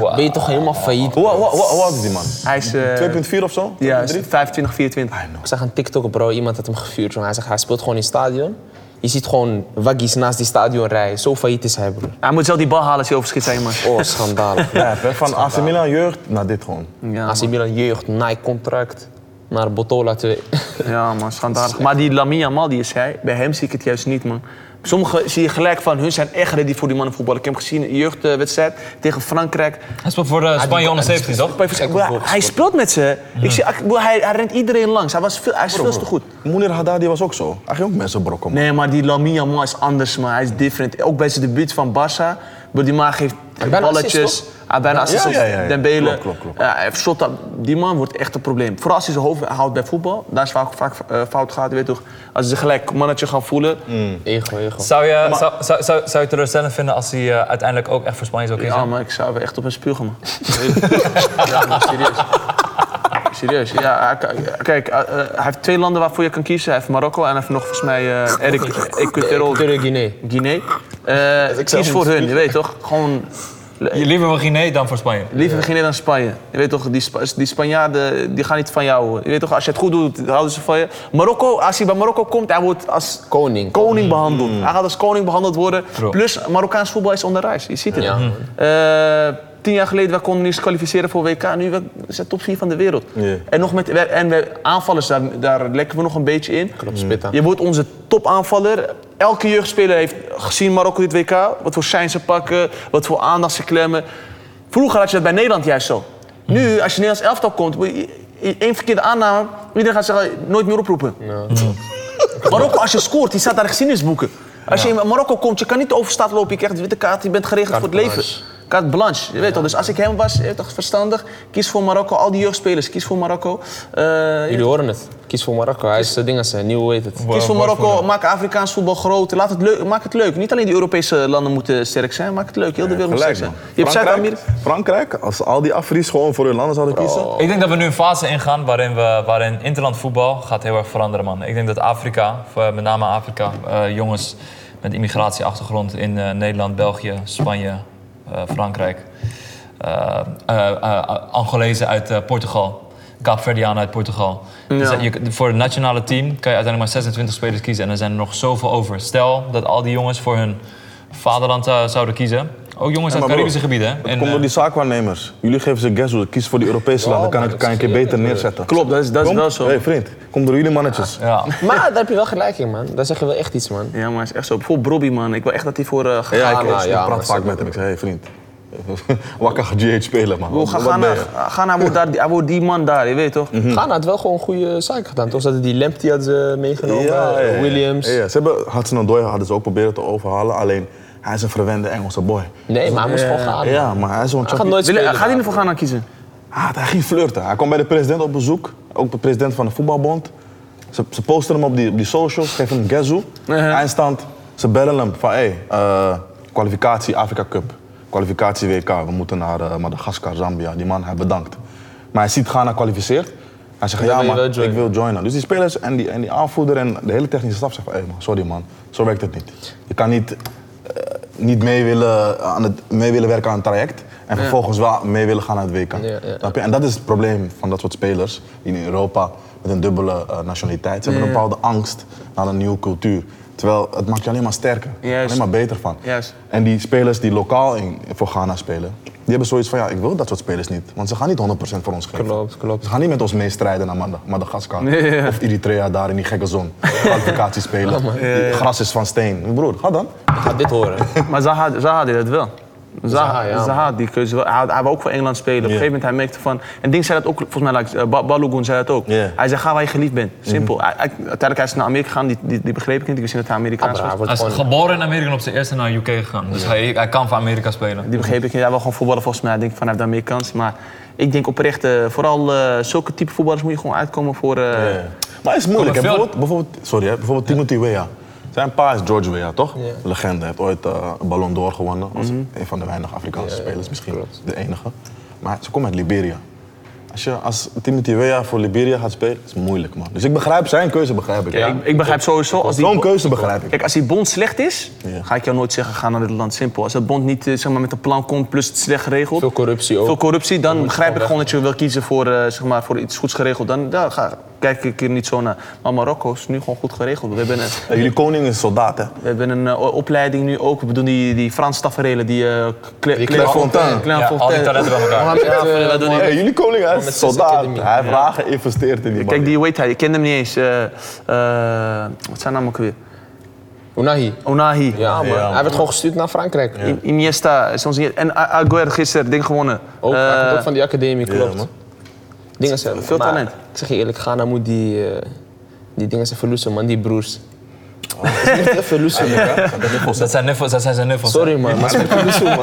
Wauw.
Ben je toch helemaal failliet?
Hoe, hoe, hoe, hoe oud is die man?
Hij is... eh,
2,4 of zo?
ja,
2,3?
25, 24.
Ik zag een TikTok, bro. Iemand had hem gevuurd, jongen. Hij zegt, hij speelt gewoon in het stadion. Je ziet gewoon waggies naast die stadion rijden. Zo failliet is hij, bro.
Hij moet zelf die bal halen als hij overschiet, zijn man.
Oh, schandalig.
Ja, hè, van AC Milan jeugd naar dit gewoon.
Ja,
AC
man,
Milan jeugd, Nike-contract. Naar Botola 2.
ja, man schandalig. Maar die Lamine Yamal, die is hij, bij hem zie ik het juist niet, man. Sommigen zie je gelijk van, hun zijn echt ready voor die mannen voetbal. Ik heb hem gezien in een jeugdwedstrijd tegen Frankrijk.
Hij speelt voor eh, Spanje onder 17, toch?
Broer, hij- hij speelt met ze. Ik zie, ak- broer, hij, hij rent iedereen langs. Hij, was veel, hij is veel te goed.
Moeder Haddadi was ook zo. Hij ging ook mensen brokken, man.
Nee, maar die Lamine Yamal is anders, man. Hij is different. Ook bij zijn debuut van Barça. Broer, die man geeft
bijna
balletjes.
assist,
hij bijna assist.
ja,
op
ja, ja, ja.
Dembele.
Klopt, klopt, klopt.
Ja, hij heeft shot up. die man wordt echt een probleem. Vooral als hij zijn hoofd houdt bij voetbal. Daar is vaak, vaak eh, fout gaat. je Weet toch, als ze gelijk mannetje gaan voelen.
Mm. Hm.
Ego, ego.
Zou je, zou, zou, zou, zou je teleurstellend vinden als hij eh, uiteindelijk ook echt voor Spanje zou kiezen?
Ja, maar ik zou hem echt op een spuug man. ja, maar serieus. Serieus, ja. hij kan- Kijk, eh, eh, hij heeft twee landen waarvoor je kan kiezen. Hij heeft Marokko en hij heeft nog volgens mij eh Eric Equatorial
Guinea.
Guinea. Eh kies voor hun, je weet toch? Gewoon
Je liever voor Guinea dan voor Spanje?
liever beginnen dan Spanje. Je weet toch, die, Spa- die Spanjaarden die gaan niet van jou. hoor. Je weet toch, als je het goed doet, houden ze van je. Marokko, als hij bij Marokko komt, hij wordt als
Koning. Mm.
koning behandeld. Hij gaat als koning behandeld worden.
Bro.
Plus, Marokkaans voetbal is onder reis. Je ziet het.
Ja. Mhm.
Eh, tien jaar geleden, wij konden niet eens kwalificeren voor WK. Nu we zijn top 4 van de wereld.
Ja.
En, nog met, en we, aanvallers, daar, daar lekken we nog een beetje in.
Klopt, spit aan.
Je wordt onze topaanvaller. Elke jeugdspeler heeft gezien Marokko dit WK. Wat voor shine ze pakken, wat voor aandacht ze klemmen. Vroeger had je dat bij Nederland juist zo.
Mm.
Nu, als je Nederlands elftal komt, moet je- je- één verkeerde aanname, iedereen gaat zeggen, nooit meer oproepen. Marokko, als je scoort, die staat daar in geschiedenisboeken. Als je in Marokko komt, je kan niet over straat lopen, je krijgt een witte kaart, je bent geregeld voor het leven.
Kartellage.
carte blanche. Je weet toch? Dus als ik hem was, je weet toch, verstandig, kies voor Marokko. Al die jeugdspelers, kies voor Marokko. Eh,
Jullie horen het. Kies voor Marokko. Hij is de ding als een nieuw, weet het.
Wow.
Kies voor
Mooi
Marokko,
voorbeeld.
maak Afrikaans voetbal groot. Laat het leuk, maak het leuk. Niet alleen die Europese landen moeten sterk zijn, maak het leuk. Heel de wereld moet sterk
Gelijk,
zijn.
man.
Je hebt
Frankrijk,
Zuid-Amerika.
Frankrijk, als al die Afris gewoon voor hun landen zouden kiezen.
Ik denk dat we nu een fase ingaan waarin, we, waarin interland voetbal gaat heel erg veranderen, man. Ik denk dat Afrika, of, eh, met name Afrika, eh, jongens met immigratieachtergrond in eh, Nederland, België, Spanje, eh, Frankrijk, eh, eh, eh, Angolezen uit eh, Portugal, Kaapverdianen uit Portugal. Dus dat je, voor het nationale team kan je uiteindelijk maar 26 spelers kiezen en er zijn er nog zoveel over. Stel dat al die jongens voor hun vaderland eh, zouden kiezen. Ook jongens uit
maar
Caribische
broer,
gebieden. hè.
Het
En,
komt
eh,
door die zaakwaarnemers. Jullie geven ze gesso, kies voor die Europese landen. Kan ik kan je een keer beter neerzetten.
Klopt, dat is, dat is
Kom.
wel zo.
Hey vriend, kom door jullie mannetjes.
ja.
Maar daar heb je wel gelijk in, man. Daar zeg je wel echt iets, man.
Ja, maar het is echt zo. Bijvoorbeeld Brobby, man. Ik wil echt dat hij voor eh gaat.
Ja,
Ah,
ik,
nou,
ik
ja, maar
praat
dat
vaak
is
met hem. Ik zeg, hey vriend, wakker GH spelen man.
Bro,
Wat-
ga,
wat
ga
ben
naar,
je?
ga naar wordt daar, hij wordt die man daar, je weet toch?
Mhm.
Ghana had wel gewoon goede zaken gedaan. Toch dat die Lempty had ze meegenomen, eh, Williams.
Ja, ze hebben Hudson Odoi hadden ze ook proberen te overhalen, alleen hij is een verwende Engelse boy.
Nee, maar hij moest gewoon gaan. Ah, man.
Ja, maar hij is zo'n
Hij gaat
chappie.
nooit
Wil,
spelen.
gaat hij niet voor Ghana kiezen?
Hij had- hij Ah, ging flirten. Hij kwam bij de president op bezoek, ook de president van de voetbalbond. Ze, ze posten hem op die, op die socials, geven hem gezoe.
Uh-huh.
Eindstand, ze bellen hem van hey, eh, kwalificatie Afrika Cup, kwalificatie WK. We moeten naar eh, Madagaskar, Zambia. Die man, hij bedankt. Maar hij ziet Ghana kwalificeert. Hij zegt,
Dan
ja
wil je
man,
wel
ik
joinen."
wil joinen. Dus die spelers en die, en die aanvoerder en de hele technische staf zeggen van, hey, man, sorry man, zo werkt het niet. Je kan niet, eh, niet mee, willen eh, aan het, mee willen werken aan het traject en vervolgens wel mee willen gaan naar het WK.
Ja, ja.
Snap je? En dat is het probleem van dat soort spelers die in Europa met een dubbele eh, nationaliteit. Ze hebben een bepaalde angst naar een nieuwe cultuur. Terwijl het maakt je alleen maar sterker,
Juist.
alleen maar beter van.
Juist.
En die spelers die lokaal in, voor Ghana spelen, die hebben zoiets van ja, ik wil dat soort spelers niet. Want ze gaan niet 100% voor ons geven.
Klopt, klopt.
Ze gaan niet met ons meestrijden naar Mada- Madagaskar.
Nee, ja.
Of Eritrea daar in die gekke zon. Kwalificatie spelen. Die Gras is van steen. Broer, ga dan.
Gaat dit horen.
Maar Zaha, Zaha deed dat wel. Zaha,
Zaha,
Zaha,
ja,
had die keuze wel. Hij, had- hij wou ook voor Engeland spelen. Op een gegeven moment hij merkte van... En Ding zei dat ook, volgens mij, like, eh, Ba- Balogun zei dat ook.
Ja.
Hij zei, ga waar je geliefd bent.
Mhm.
Simpel. Hij- hij- uiteindelijk hij is naar Amerika gegaan, die, die, die begreep ik niet. Ik wist niet dat hij Amerikaans
Abra
was.
wordt
Hij is
gewoon...
geboren in Amerika en op zijn eerste naar UK gegaan. Dus hij, hij kan voor Amerika spelen.
Die begreep ik niet. Hij wil gewoon voetballen volgens mij. Ik denk van, hij heeft daarmee kans. Maar ik denk oprecht, eh, vooral eh, zulke type voetballers moet je gewoon uitkomen voor... eh,
Maar het is moeilijk. hè.
Kom, maar veel-
Bijvoorbeeld, bijvoorbeeld, sorry, hè. bijvoorbeeld Timothy Weah. Zijn pa is George Weah, toch? Legende. Hij heeft ooit eh, een Ballon d'Or gewonnen. Als
Mhm.
een van de weinige Afrikaanse spelers, misschien de enige. Maar ze komt uit Liberia. Als, je, als Timothy Weah voor Liberia gaat spelen, is het moeilijk, man. Dus ik begrijp zijn keuze, begrijp ik.
Ik, ik begrijp sowieso... Als die,
Zo'n keuze begrijp ik.
Kijk, als die bond slecht is,
Ja.
ga ik jou nooit zeggen, ga naar dit land. Simpel. Als dat bond niet eh, zeg maar, met een plan komt, plus het slecht geregeld.
Veel corruptie ook.
Veel corruptie, dan begrijp ik gewoon dat je wil kiezen voor, eh, zeg maar, voor iets goeds geregeld. Dan daar ga, kijk ik er niet zo naar. Maar Marokko is nu gewoon goed geregeld. We hebben een,
Eh, jullie koning is soldaat, hè?
we hebben een eh, o- opleiding nu ook. We doen die, die Franse taferelen, die eh Cle- Cle-
Clairefontaine.
Ja, al die
Clairefontaine.
talenten bij elkaar.
Mohamed, eh,
dat doen
Hey, jullie koning hij
met
is
zes
soldaat.
academie.
Hij heeft raar geïnvesteerd in die man.
Kijk, die weet hij, ik kende hem niet eens. Eh, eh, wat zijn namen ook weer?
Unahi.
Onahi.
Ja, man.
man.
Hij werd gewoon gestuurd naar Frankrijk.
I- Iniesta, is ons niet- en A- Agüero gisteren, ding gewonnen.
Ook, hij
Eh,
komt ook van die academie, klopt.
man.
dingen zijn,
Veel
maar
talent.
Ik zeg je eerlijk, Ghana moet die, eh, die dingen zijn verloezen, man. Die broers. Het
Oh.
is niet te verloezen, man.
Dat zijn nuffels, dat zijn zijn nuffels.
Sorry, man. Maar ze zijn verloezen, man.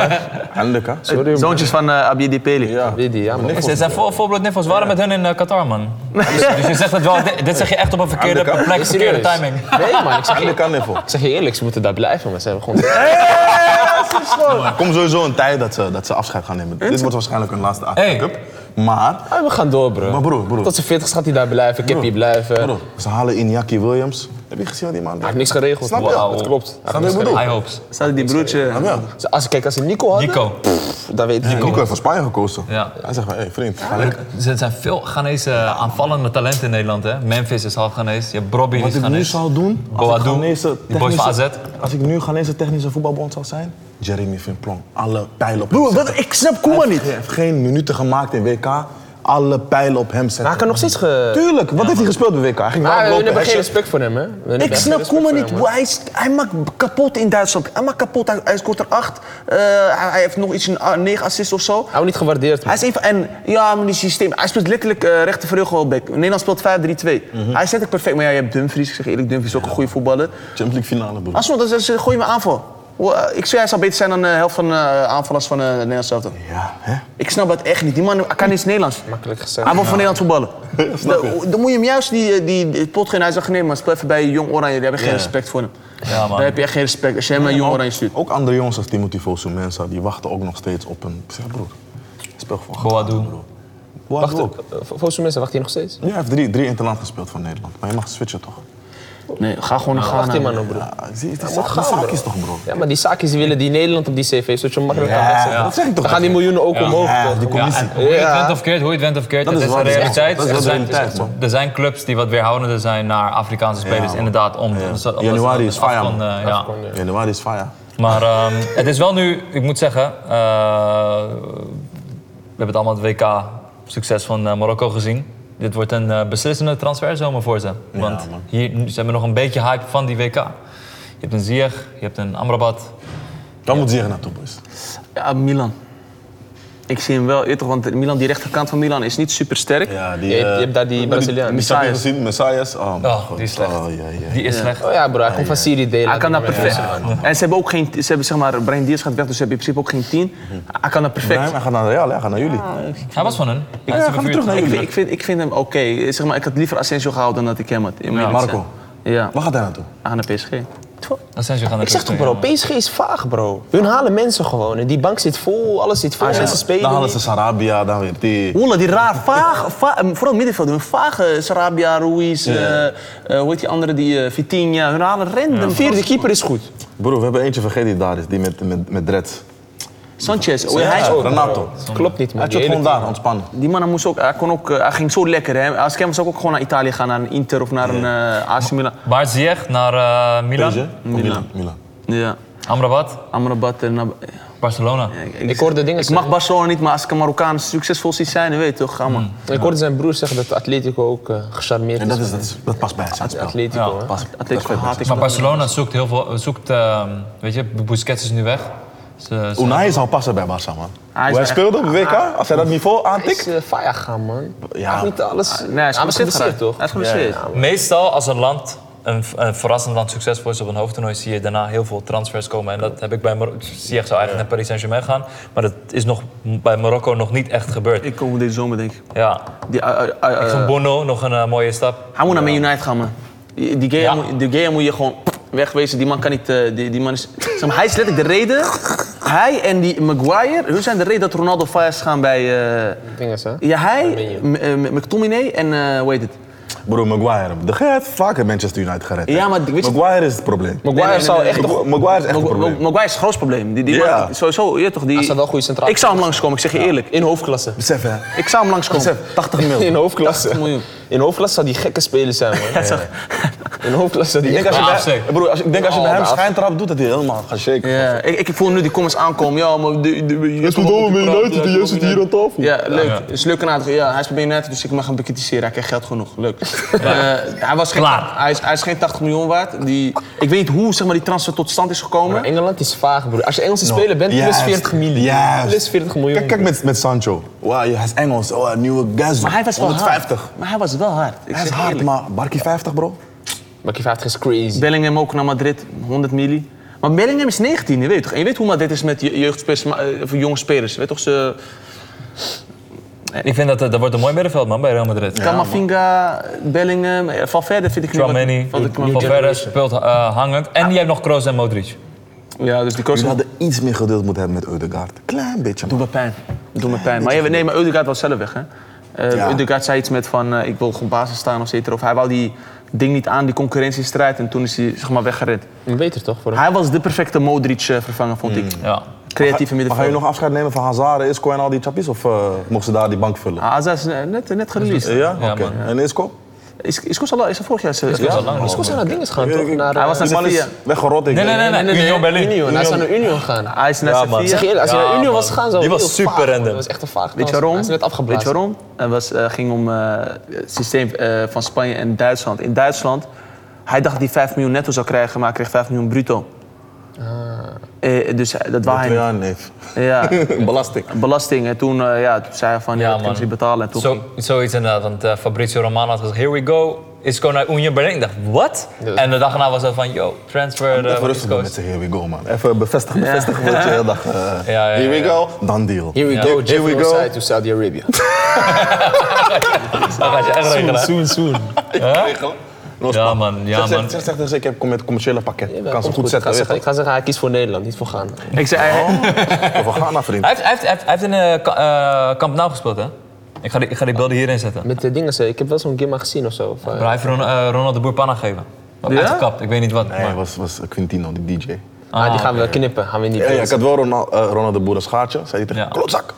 Eindelijk, hè?
Sorry, man.
Zoontjes van eh Abdi Depeli.
Ja.
Weet je, ja, man.
Ze zijn vol, volbloed niffels. We waren met hun in eh, Qatar, man. Dus, dus je zegt het wel, dit, dit zeg je echt op een verkeerde
Aan de kant.
plek, verkeerde
Serieus.
timing.
Nee, man. Ik zeg, je,
Eindelijk aan Niffel.
ik zeg je eerlijk, ze moeten daar blijven, maar ze hebben gewoon...
Er komt sowieso een tijd dat ze, dat ze afscheid gaan nemen. Dit wordt waarschijnlijk hun laatste Afrika
Hey.
Cup. Maar
Ah, we gaan door, bro.
Maar broer, broer.
Tot zijn 40 gaat hij daar blijven, Kippie blijven. Hij
Broer, ze halen Iñaki Williams. Heb je gezien wat die man
heeft niks geregeld.
Snap je?
Wauw.
Dat klopt.
Snap je wat ik bedoel?
High hopes.
Staat die broertje.
Snap je?
Ze- Als, kijk, als ze Nico hadden,
Nico.
dan weet ik
Nico
niet.
heeft voor Spanje gekozen.
Ja.
Hij zegt van, hé hey, vriend, ga
Er
lekker.
er zijn veel Ghanese eh, aanvallende talenten in Nederland, hè. Memphis is half Ghanese. Je hebt Brobby, die
Wat
is
ik nu
Ghanese.
zou doen, als ik,
Boadu,
Ghanese
die boys van AZ.
technische- als ik nu Ghanese technische voetbalbond zou zijn, Jeremy Vimplong, alle pijlen op hem
Broer,
zetten.
wat, ik snap Koeman
Hij heeft geen minuten gemaakt in WK, alle pijlen op hem zetten.
Maar hij kan nog steeds ge...
Tuurlijk, wat heeft hij gespeeld bij WK? Hij ging
Maar
rondlopen,
we hebben geen
hesje.
respect voor hem, hè? We hebben
Ik
geen
snap
respect
Koeman
voor
niet.
hem,
Hij, is- hij maakt kapot in Duitsland. Hij maakt kapot. Hij, hij scoort er acht. Eh, hij, hij heeft nog iets, een, ah, negen assists of zo.
Hij wordt niet gewaardeerd.
Hij is even, en ja, maar die systeem. Hij speelt letterlijk eh rechter vleugelback. Nederland speelt 5-3-2. Hij zet het perfect. Maar ja, je hebt Dumfries. Ik zeg eerlijk, Dumfries is ook een goede voetballer.
Champions League finale, broer.
Alsnog, dat is, dat is een goede aanval. Wel, eh, Ik zie hij zou beter zijn dan de helft van de aanvallers van eh, het Nederlands elftal.
Ja, hè?
Ik snap het echt niet. Die man kan niets Nederlands.
Makkelijk gezegd.
Hij wil van Nederland voetballen.
Snap je?
Dan, dan moet je hem juist die, eh, die, die pot gaan. Hij zegt nee, maar speel even bij Jong Oranje. Daar heb ik geen
Ja.
respect voor hem.
Ja, man.
Daar heb je echt geen respect als je hem naar Jong Oranje stuurt.
Ook andere jongens als Timothy Fosu Mensa, die wachten ook nog steeds op een... Ik zeg, broer, speel gewoon.
Boadu.
broer. Boadu
Wacht,
ook.
eh, voor- voor zo'n mensen wacht hij nog steeds.
Ja, hij heeft drie, drie interland gespeeld voor Nederland. Maar je mag switchen toch?
Nee, ga gewoon naar
Ah, Wacht die
Ghana.
man op, broer.
Ja, zie je, het is
moet
toch
gaan,
zaak
bro.
is toch, bro?
Ja, maar die zaakjes die willen die Nederland op die cv, zodat je makkelijk kan
Ja,
wegzetten.
dat zeg ik toch
Dan gaan die
echt.
miljoenen ook
Ja.
omhoog.
Ja,
toch?
die
Ja.
commissie.
Hoe je het wint of keert, hoe je het wint of keert,
Dat
het
is
is
wel
een
de
realiteit.
realiteit. Dat is
Er
wel de
zijn-
realiteit, man.
Er zijn clubs die wat weerhoudender zijn naar Afrikaanse spelers,
man.
inderdaad. Om,
Ja.
omdat ze dat
Januari
met
is fire,
Afcon,
man.
eh, ja.
Januari is fire.
Maar ehm, het is wel nu, ik moet zeggen, eh, we hebben het allemaal het WK succes van eh, Marokko gezien. Dit wordt een eh, beslissende transferzomer voor ze. Want
man.
hier nu- ze hebben nog een beetje hype van die WK. Je hebt een Ziyech, je hebt een Amrabat.
Dan moet Ziyech naartoe, boys.
Ja, Milan. Ik zie hem wel eerder, want Milan, die rechterkant van Milan is niet super sterk.
Ja, die,
Je hebt- je
eh,
hebt daar die Braziliaan.
Die heb je gezien, Messias. Oh, mijn
Oh,
God.
die is slecht.
Oh, ja, ja.
Die is slecht.
Oh ja, bro, hij komt van Syrië delen.
Hij kan dat
Ja.
perfect. En ze hebben ook geen, ze hebben zeg maar, Brian Diaz gaat weg, dus ze hebben in principe ook geen tien. Hij kan dat perfect.
Nee, hij gaat naar Real, hij gaat naar jullie.
Hij was van hun. Hij
Ja,
is
ga maar terug naar
Ik,
jullie.
vind- ik, vind, ik vind hem oké. Zeg maar, ik had liever Asensio gehouden dan dat ik hem had. in mijn
Ja,
eerlijk
Marco.
zijn. Ja,
Waar gaat hij naartoe?
aan de PSG.
Asensio gaan
Ik zeg toch
natuurlijk
bro,
toe, ja.
PSG is vaag bro. Hun halen mensen gewoon en die bank zit vol, alles zit vol, mensen spelen
Dan halen
niet.
ze Sarabia, dan weer die.
Oele, die raar, vaag, va- eh, vooral middenveld. Hun vage Sarabia, Ruiz, eh, eh, hoe heet die andere, die eh Vitinha. Hun halen random.
De vierde keeper is goed.
Broer, we hebben eentje vergeten die daar is, die met, met, met dreads.
Sanchez, oh, hij is
Ja,
ook-
Renato.
Klopt niet man.
Hij zit
Die
gewoon
hele
daar, ontspannen.
Die man hij moest ook, hij kon ook, eh, hij ging zo lekker. Hè. Als ik hem was, zou ik ook gewoon naar Italië gaan, naar een Inter of naar een eh, AC Milan.
Maar Ziyech naar eh,
PSG?
Milan,
Of Milan. Milan.
Ja,
Amrabat,
Amrabat en Nab-
Barcelona.
Ik hoorde dingen
Ik mag
zeggen.
Barcelona niet, maar als ik een Marokkaan succesvol zie zijn, dan weet je toch, ga
Hmm.
maar.
team. Ik hoorde zijn broer zeggen dat Atletico ook eh, gecharmeerd
En
is.
dat, is, dat, is, dat past bij zijn spel.
Atletico, hè.
Past-
Atletico
dat
haat
past
ik.
bij
Maar Barcelona zoekt heel veel. zoekt, ehm, weet je, Busquets is nu weg. Ze, ze-
zijn- Unai zou passen bij Barca, man.
Hij is
Hoe hij
echt-
speelde op WK, als hij dat niveau
Hij is
aantikt.
eh, vaag gaan man.
Ja.
Hij heeft niet alles. Ah,
Nee, hij is
Hij was
geblesseerd geraakt.
geblesseerd toch?
Hij is geblesseerd.
Ja,
Meestal als een land, een, een verrassend land succesvol is op een hoofdtoernooi, zie je daarna heel veel transfers komen. En dat heb ik bij Marokko. Ziyech zou eigenlijk naar Paris Saint-Germain gaan, maar dat is nog bij Marokko nog niet echt gebeurd.
Ik kom deze zomer, denk ik.
Ja.
Die, eh, eh, eh,
Van Bono nog een eh, mooie stap.
hij moet naar Man United gaan, man. Die die Gea,
Ja.
moet, die Gea moet je gewoon wegwezen. Die man kan niet... eh, die, die man is, zeg maar, hij is letterlijk de reden... Hij en die Maguire, hun zijn de reden dat Ronaldo fires gaan bij... eh,
Dingen, hè.
ja, hij,
Mourinho.
M- eh, McTominay en... eh hoe heet het?
Broer, Maguire. De Gea heeft vaker Manchester United gered. hè.
Ja, maar weet je-
Maguire is het probleem.
Maguire
nee, nee,
zou
nee,
echt
nee.
toch...
Magu- Maguire is echt het
Mag-
probleem.
Mag- Maguire is een groot probleem. Die, die
Ja.
man, sowieso, je toch? Die,
Hij staat wel goede centraal.
ik zou hem langskomen, ik zeg je eerlijk.
In hoofdklasse.
Besef, hè.
Ik zou hem langskomen.
Besef, 80 mil.
In
Dat
hoofdklasse.
miljoen.
In hoofdklasse zou die gekke speler zijn, man. In hoofdklasse zou die
Ik denk
echt...
als je
Ja,
bij-
afzek.
Broer, als- ik denk als je
Oh,
bij hem
de af-
schijntrap doet, dat hij helemaal gaat shaken.
Ja, ik, ik voel nu die comments aankomen. Ja, maar... de- de- je hebt hem op je praat, ja, je hebt hem op je-
tafel.
Ja, leuk.
Ja.
Is leuk en aardig. Ja, hij is bij net, dus ik mag hem bekritiseren. Hij krijgt geld genoeg. Leuk. Eh, hij, was geen,
Klaar.
Hij, is, hij is geen 80 miljoen waard. Die, ik weet niet hoe zeg maar, die transfer tot stand is
Maar
gekomen.
Engeland is vaag, broer. Als je Engelse speler bent, plus
Juist.
40 miljoen.
Juist.
Plus 40 miljoen.
Kijk, kijk met, met Sancho. Wow, hij is Engels. Oh, een nieuwe Gazo.
Maar hij was wel
150.
hard. Maar hij was wel hard. Ik
Hij is
zeg
hard,
eerlijk.
maar Barkie 50, bro.
Bakkie 50 is crazy.
Bellingham ook naar Madrid, 100 milli. Maar Bellingham is 19, je weet toch? En je weet hoe Madrid is met je- jeugdspelers, maar, eh, of jonge spelers. Je weet toch, ze...
Ik vind dat eh, dat wordt een mooi middenveld man bij Real Madrid. Ja.
Camavinga, Bellingham, eh, Valverde vind ik niet... wat- wat ik-
Valverde speelt eh, hangend. En je hebt nog Kroos en Modric.
Ja, dus die
Ze
kost
hadden iets meer geduld moeten hebben met Eudegaard. Klein beetje,
Doe
man.
me pijn. Doe me pijn. Maar, ja, nee, maar Udegaard was zelf weg, hè? Eh
Ja.
Ødegaard zei iets met van, eh, ik wil gewoon basis staan of zoiets. Of hij wou die ding niet aan, die concurrentiestrijd. En toen is hij, zeg maar, weggered.
Beter toch? Voor hem?
Hij was de perfecte Modric-vervanger, vond ik.
Ja.
Creatieve
Maar ga je
middenvelder.
nog afscheid nemen van Hazard, Isco en al die chappies? Of eh, mochten ze daar die bank vullen?
Ah, Azar is eh, net, net gereleased.
Ja?
Ja,
Oké.
man.
En Isco?
Is, is, Koos al- is hij vorig jaar... Is,
Dat is al lang.
Isco zou naar dingen gaan,
Ja,
toch?
ik-
Naar,
Hij
eh,
was naar
Die man is
Sevilla.
weggerot. ik
Nee, nee,
denk.
nee, nee. Union Berlin.
Union. Hij zou naar Union gaan.
Ah, Hij is naar
Ja, man.
Sevilla.
Zeg je eerlijk, als hij naar Union was gegaan, zou
Die was
het heel
super
vaag worden.
random.
Dat was echt een vaag
Weet je
kans.
waarom?
Hij is net afgeblazen.
Weet je waarom? Het was, eh, ging om eh, het systeem eh, van Spanje en Duitsland. In
Ah.
Duitsland, hij dacht dat hij 5 miljoen netto zou krijgen, maar hij kreeg 5 miljoen bruto. Eh, dus eh, dat waren
Ja, neef.
Ja,
Belasting.
belasting. En toen, eh, ja, toen zei hij van, ja, dat
man.
kunnen ze niet betalen. En toen
Zo, zoiets inderdaad, want eh, Fabrizio Romano had gezegd, here we go, Isco naar Union Berlin. Ik dacht, wat?
Ja.
En de dag daarna was dat van, yo, transfer eh
Even
van
rustig
Isco.
doen met z'n here we go, man. Even bevestigen, bevestigen wat je heel dag... eh,
ja,
here we
ja.
go, dan deal.
Here we
Ja.
go,
Here
Jeffrey
we go.
Osai to Saudi Arabia.
Dat gaat je echt regelen. hè?
Soon, soon.
Ja, man, ja,
Zeg,
man.
zeg, zeg, zeg, ik heb met commerciële pakket.
Ja,
kan
komt
ze goed
Ik
zetten,
ga
weet
zeggen,
je
ik ga zeggen, hij kiest voor Nederland, niet voor Ghana.
Ik zei, eh, hij-
toch? We gaan naar vriend.
Hij heeft, hij heeft, hij heeft- hij heeft in eh, Ka- eh, Camp Nou gespeeld, hè? Ik ga die, ik ga die beelden hierin zetten.
Met de dingen, ik heb wel zo'n Gimma gezien of zo. Van,
Maar hij heeft Ron- eh, Ronald de Boer panna gegeven. Maar
Ja?
Uitgekapt, ik weet niet wat.
Nee,
maar-
was, was Quintino, die DJ.
ah, die gaan we knippen, gaan we niet
Ja, ja,
doen.
ik had wel Ronald, eh, Ronald de Boer een schaartje. Zei hij tegen
Ja.
me, klootzak.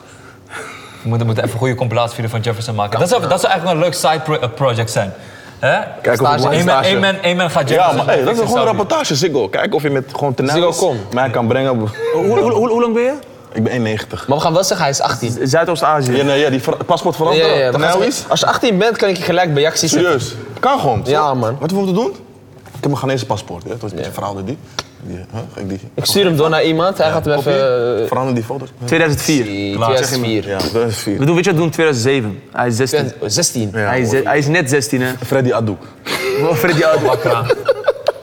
We moeten, moeten even een goede compilatievideo van Jefferson maken. Dat zou, dat zou eigenlijk wel een leuk side pro- eh, project zijn. Hè?
Kijk of ik
Stage.
Eén
mijn
man, één
stage...
man, één man gaat
Ja,
Jefferson.
maar hey, dat is
fixen,
gewoon een
Saudi.
rapportage, Ziggo. Kijk of je met gewoon tenaris
Ziggo, kom.
mij kan brengen.
hoe, hoe, hoe lang ben je?
Ik ben 1,90.
Maar we gaan wel zeggen, hij is Nou, 18.
Zuidoost-Azië.
Ja, nee, ja, die ver- paspoort
Ja,
veranderen.
ja, ja. We gaan
Tenaris?
zeggen, Als je 18 bent, kan ik je gelijk bij Jaxi zetten.
Serieus. Nou Kan gewoon.
Ja, man.
Wat we moeten doen? Ik heb een Ghanese paspoort. Ja? Toen is een verhaal die. die hè? Ga ik die?
Ik stuur hem door naar iemand, hij gaat hem
Kopie?
even... eh,
Verander die foto's.
2004.
Die
Klaar, zeg
2004.
Ja, dat is vier.
We doen, weet je wat we doen? 2007. Hij is 16.
16.
Ja,
hij, is,
hoor.
ze- hij is net 16, hè? Oh,
Freddy Adouk.
Freddy Ado.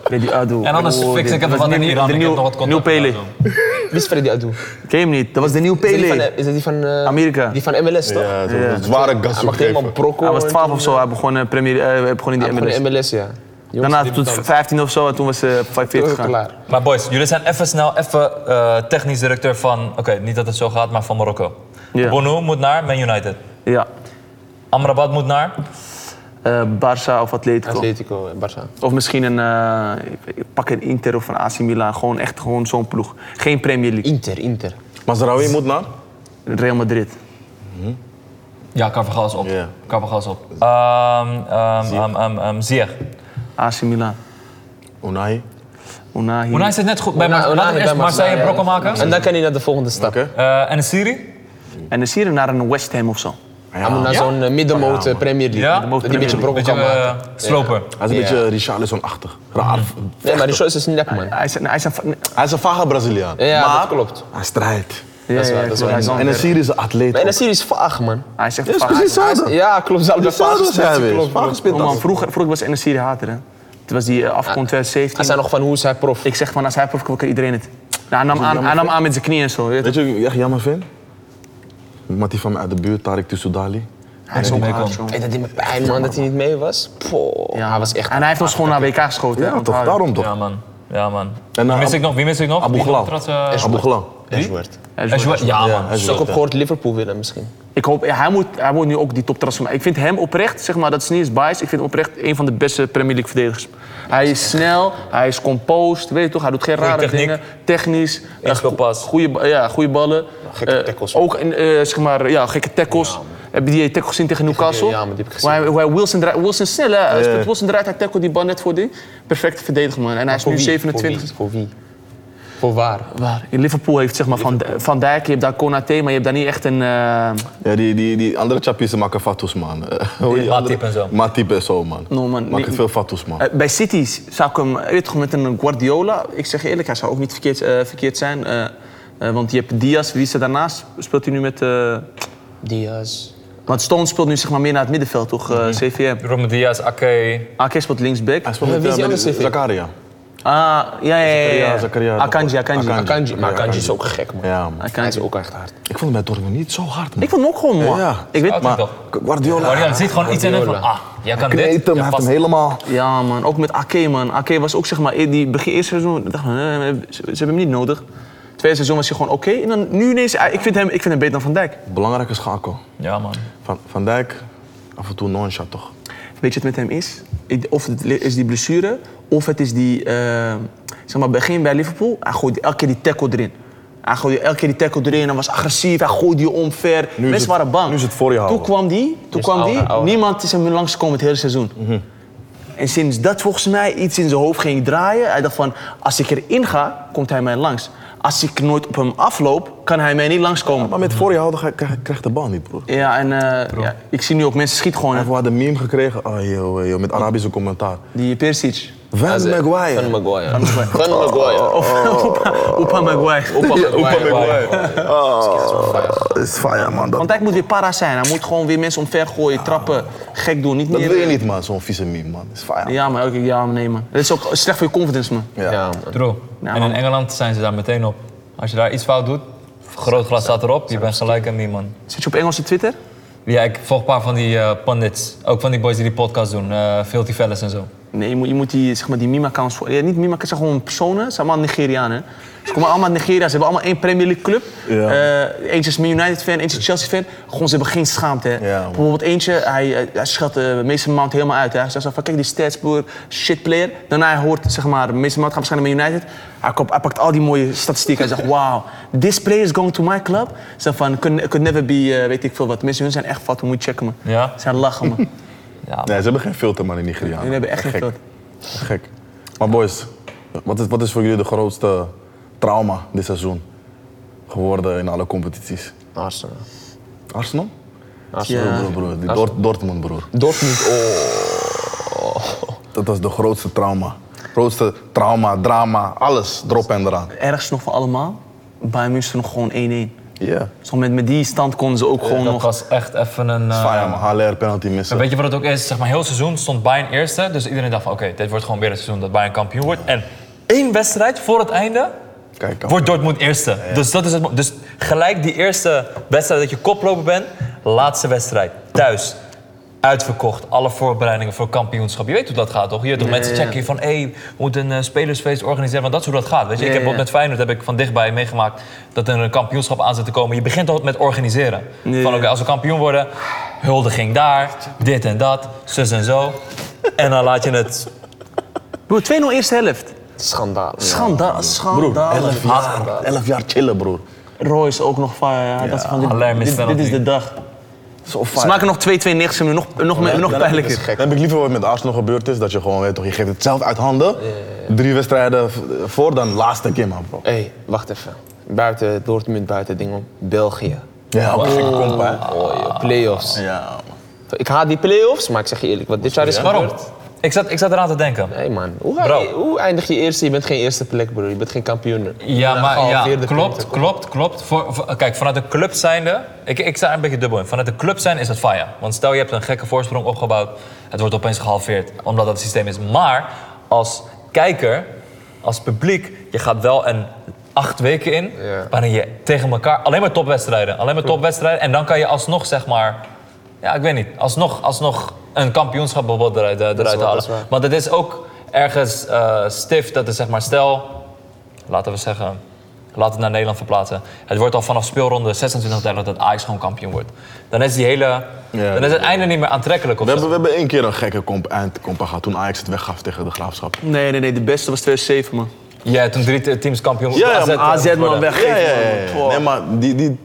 Freddy Ado.
En anders
Oh,
fix
dit
ik even
was
wat
de
in
nieuw-
Iran.
De
Ik heb nog wat
nieuw, nieuw
contact.
Pele.
Wie is Freddy Adu?
Ken je hem niet? Dat was de nieuwe
Is dat die van,
Pele.
eh, is dat die van... eh,
Amerika.
Die van MLS, toch?
Ja, zo'n zware gast.
Hij mag helemaal brokkel.
Hij was 12 of zo. Hij begon, eh, premier, eh, hij begon in
Hij
die
mag gewoon
MLS.
MLS, ja. Jongens,
Daarna tot 15 of zo. En toen was ze 45 gegaan.
klaar.
Maar boys, jullie zijn even snel even eh, technisch directeur van... Oké, niet dat het zo gaat, maar van Marokko.
Ja.
Bonou moet naar Man United.
Ja.
Amrabat moet naar...
Eh Barça of Atletico.
Atletico, eh, Barça.
Of misschien een, eh, ik- ik pak een Inter of een AC Milan. Gewoon echt gewoon zo'n ploeg. Geen Premier League.
Inter, Inter.
Mazraoui moet naar?
Real Madrid.
Ja, Carvajal is op.
Ja.
Carvajal is op. Ehm ehm ehm ehm ehm, Ziyech.
AC Milan.
Unai.
Unai.
Unai zit net goed bij
Una-
Marseille. Laten
Unai
we
bij
eerst Marseille
ja.
brokken maken.
En dan kan hij naar de volgende stap.
Oké.
Eh, en de Siri?
En dan zie je hem naar een West Ham of zo.
Hij moet naar
Ja?
zo'n eh, middenmoot eh, Premier League.
Ja?
Dat hij een beetje brokkel
Beetje
kan maken.
eh, sloper.
Hij is een beetje Richarlison-achtig. Raar.
Nee, maar die show is niet lekker, man.
Hij is een... Hij is een nee,
Hij is een vage Braziliaan.
Ja,
Maar-
dat klopt.
Hij strijdt.
ja,
is waar,
ja,
dat is
klopt.
waar.
Hij is
En een
een-
Syrische atleet.
Maar
ook.
de serie is vaag, man.
Hij is echt
Dit
een
is
vaag.
precies hetzelfde.
Ja, klopt. Ze hadden
Dit is
vaag
hetzelfde als hij
gespeeld,
weer.
klopt,
Vaag
klopt.
gespeeld
Oh man,
als-
vroeger, vroeger was NSC de hater, hè. Het was die eh, afgrond
Hij
2017.
zei nog van, hoe is hij prof?
Ik zeg van, als hij proef kan, kan iedereen het. Nou, hij, nam aan, hij nam aan met zijn knieën en zo. Weet je.
Weet je wat ik echt jammer vind? Mattie van mij uit de buurt, Tarek Toussoudali.
Hij is ook
mee
hard,
kwam.
joh.
Hey, dat deed me pijn, man, dat hij niet mee was. Poh,
Ja,
hij was echt...
En hij heeft ons gewoon naar WK geschoten. hè,
Ja, toch?
onthouden.
Daarom toch?
Ja, man. Ja, man.
En,
wie,
eh,
mis
Ab-
ik nog? wie mis ik nog?
Abu
Die
Ghlal.
contract, eh,
Abu Ghlan.
Ashworth.
Hij is
Ashworth.
goed.
Ja,
Ja,
Ah, man.
Ashworth.
Ik
Zo.
heb gehoord Liverpool willen misschien.
Ik hoop, ja, hij, moet, hij moet nu ook die toptransformatie. Ik vind hem oprecht, zeg maar, dat is niet eens bias. Ik vind hem oprecht een van de beste Premier League verdedigers. Hij is snel, hij is composed, weet je toch? Hij doet geen
Goeie
rare
techniek.
dingen. Technisch. eh,
Inspeelpas.
Goede, ba- ja, goede ballen.
gekke
Eh,
tackles.
Ook, in, eh, zeg maar, ja, gekke tackles. Heb je die tackle gezien tegen Newcastle?
ja, maar die heb ik
Waar hij- waar hij Wilson, draait- Wilson snel, hè? Hij speelt Wilson draait, hij tackle die bal net voor die. Perfecte verdediger, man. En hij is
Voor
nu
wie?
27.
Voor wie? Voor, wie? voor waar?
Waar? In Liverpool heeft zeg maar, van, van Dijk, je hebt daar Konaté, maar je hebt daar niet echt een... eh,
Ja, die, die, die andere chappies maken fatus, man.
Matip en zo.
Matip en zo, man.
No, man,
Maken
die-
veel fatus, man.
Eh, bij City zou ik hem, eh, weet toch, met een Guardiola, ik zeg je eerlijk, hij zou ook niet verkeerd, eh, verkeerd zijn. eh, eh, want je hebt Diaz, wie is er daarnaast? Speelt hij nu met... eh,
Diaz.
want Stones speelt nu zeg maar meer naar het middenveld, toch? eh, CVM.
Romy Diaz, Ake.
AK Ah, speelt linksback.
Hij speelt
Ja,
met,
wie is die
eh, met
andere CV?
Zakaria.
Ah, ja, ja, ja. ja.
Zakaria, Zakaria.
Akanji, Akanji.
Akanji.
Kanji. Maar
Ja,
Kanji is
Kanji.
ook gek, man.
Ja, man.
Hij
Akanji.
is ook echt hard.
Ik vond hem bij Dortmund niet zo hard, man.
Ah. Ik vond hem ook gewoon mooi.
Ja.
Ik weet,
Maar,
maar
toch.
Guardiola,
Guardiola ziet gewoon iets in hem van,
Guardiola.
ah, jij kan dit.
kneed hem,
Ja,
heeft
vast.
hem helemaal...
ja, man. Ook met AK, man. AK was ook zeg maar, eh, die begin eerste seizoen, dacht ik, eh, ze, ze hebben hem niet nodig. Tweede seizoen was hij gewoon oké. En dan nu ineens, eh, ik vind, hem, ik vind hem beter dan Van Dijk.
Belangrijke schakel.
Ja, man.
Van, van Dijk, af en toe non-shot, toch?
Weet je wat het met hem is? Ik- Of het le- is die blessure, of het is die... eh, zeg maar, begin bij Liverpool, hij gooide elke keer die tackle erin. Hij gooide elke keer die tackle erin, hij was agressief, hij gooide je omver. Mensen
het-
waren bang.
nu is het voor je
Toen
houden.
kwam die, toen
is
kwam
oude,
die.
oude.
niemand is hem langs gekomen het hele seizoen.
Mhm.
En sinds dat volgens mij iets in zijn hoofd ging draaien, hij dacht van, als ik erin ga, komt hij mij langs. Als ik nooit op hem afloop, kan hij mij niet langskomen.
Mm.
Maar met voor je houden ga- krijg- krijg de bal niet, broer.
Ja, en eh, ja, ik zie nu ook mensen schieten gewoon.
Hij
hè.
heeft wel de meme gekregen, ah, joh, joh, met Arabische commentaar.
Die Persic.
Als-
Van
Van
Maguire.
Maguire. Van Maguire.
Of opa, opa Maguire.
Dat Ah, is fire, man. Dat,
Want hij moet weer para zijn. Hij moet gewoon weer mensen omver gooien, trappen, gek doen. Niet
dat
meer.
wil je niet, man. Zo'n vieze meme, man. Dat is fire.
Ja, maar ook ja, maar nee, man. Dat is ook slecht voor je confidence, man.
Ja.
Ja, man.
True.
Nou,
Ja,
en
man.
in Engeland zijn ze daar meteen op. Als je daar iets fout doet, groot glas staat erop, je bent gelijk aan die man.
Zit je op Engelse Twitter?
Ja, ik volg een paar van die eh, pundits. Ook van die boys die die podcast doen. eh Filthy Fellas en zo.
Nee, je moet, je moet die, zeg maar, die meme-accounts voor. Ja, niet meme-accounts, het zijn gewoon personen. Het zijn allemaal Nigerianen. Ze komen allemaal uit Nigeria. Ze hebben allemaal één Premier League club.
Ja.
Eh, eentje is Man United fan, eentje is Chelsea fan. Gewoon, ze hebben geen schaamte. Hè.
Ja, man.
Bijvoorbeeld eentje, hij, eh, hij schat eh Mason Mount helemaal uit. Hè. Hij zegt zo van, kijk die stats, broer, shit player. Daarna hij hoort, zeg maar, Mason Mount gaat waarschijnlijk naar Man United. Hij, komt, hij pakt al die mooie statistieken. Hij zegt, wow, this player is going to my club. Zo van, could, could never be, eh, weet ik veel wat. Mensen, hun zijn echt fat, moet je checken, man.
Ja?
Ze zijn lachen, man.
Ja,
Nee, ze hebben geen filter, man, in Nigeria.
Hun hebben echt geen
gek.
filter.
Gek. Maar boys, wat is, wat is voor jullie de grootste trauma dit seizoen geworden in alle competities?
Arsenal.
Arsenal?
Arsenal.
Ja.
Broer, broer, die Dort- Dortmund, broer.
Dortmund, oh.
Dat was de grootste trauma. Grootste trauma, drama, alles erop en eraan.
ergste nog van allemaal, Bayern München nog gewoon 1-1.
Ja.
Dus met, met die stand konden ze ook gewoon
dat
nog...
was echt even een... eh,
Fire, man. HLR penalty missen.
Weet je wat het ook is? Zeg maar, heel het seizoen stond Bayern eerste. Dus iedereen dacht van, oké, dit wordt gewoon weer een seizoen dat Bayern kampioen wordt. En één wedstrijd voor het einde
Kijk,
wordt Dortmund eerste. Dus, dat is het, mo- dus gelijk die eerste wedstrijd dat je koploper bent, laatste wedstrijd, thuis. Uitverkocht, alle voorbereidingen voor kampioenschap. Je weet hoe dat gaat, toch? Je hebt toch mensen checken hier van, hé, we moeten een eh, spelersfeest organiseren. Want dat is hoe dat gaat, weet je. ik heb
ja.
ook met Feyenoord heb ik van dichtbij meegemaakt dat er een kampioenschap aan zit te komen. Je begint altijd met organiseren. Van, oké, als we kampioen worden, huldiging daar, dit en dat, zus en zo. En dan laat je het...
Broer, 2-0 eerste helft.
Schandaal.
Schandaal,
broer,
schandaal.
11 jaar, 11 jaar chillen, broer.
Royce ook nog fire. Ja. Dat is van,
alarm
dit,
is
dit,
dan
dit
nog
is de
niet.
dag.
Zo
Ze
fire.
maken nog 2-2 niks en nu nog, nog, me- nog pijnlijker.
Dan heb ik liever wat met Arsenal gebeurd is, dat je gewoon weet toch, je geeft het zelf uit handen. Drie wedstrijden v- voor, dan laatste keer, man, bro.
Hé, hey, wacht even. Buiten Dortmund, buiten ding om. België.
Ja, ook een gekke komp, hè.
Oh, joh, playoffs.
Ja, man.
Ik haat die playoffs, maar ik zeg je eerlijk, wat dit jaar is
Waarom?
gebeurd.
Ik zat, ik zat eraan te denken.
Hé hey man, hoe,
Bro.
hoe eindig je eerste? Je bent geen eerste plek, broer. Je bent geen kampioen.
Ja, maar ja,
Gehalveerde punten.
klopt, klopt, klopt. Voor, voor- kijk, vanuit de club zijnde... Ik, ik sta er een beetje dubbel in. Vanuit de club zijnde is dat fire. Want stel, je hebt een gekke voorsprong opgebouwd. Het wordt opeens gehalveerd, omdat dat het systeem is. Maar als kijker, als publiek... Je gaat wel een acht weken in...
Ja.
waarin je tegen elkaar... Alleen maar topwedstrijden. Alleen maar topwedstrijden. En dan kan je alsnog, zeg maar... Ja, ik weet niet. Alsnog, alsnog een kampioenschap bijvoorbeeld eruit, eh, eruit
waar,
halen.
dat is waar.
Want het is ook ergens eh stift dat is zeg maar... Stel, laten we zeggen, laten het naar Nederland verplaatsen. Het wordt al vanaf speelronde 26 duidelijk dat Ajax gewoon kampioen wordt. Dan is die hele,
Ja,
dan is het einde niet meer aantrekkelijk. Of
We
zo.
hebben, we hebben één keer een gekke komp, eindkompa gehad toen Ajax het weggaf tegen de Graafschap.
Nee, nee, nee. De beste was 2007, man.
Ja, toen drie teams kampioen
Ja, ja,
AZ
maar
AZ, man,
worden.
weg.
Ja, ja, ja, ja.
man.
Nee, maar die, die,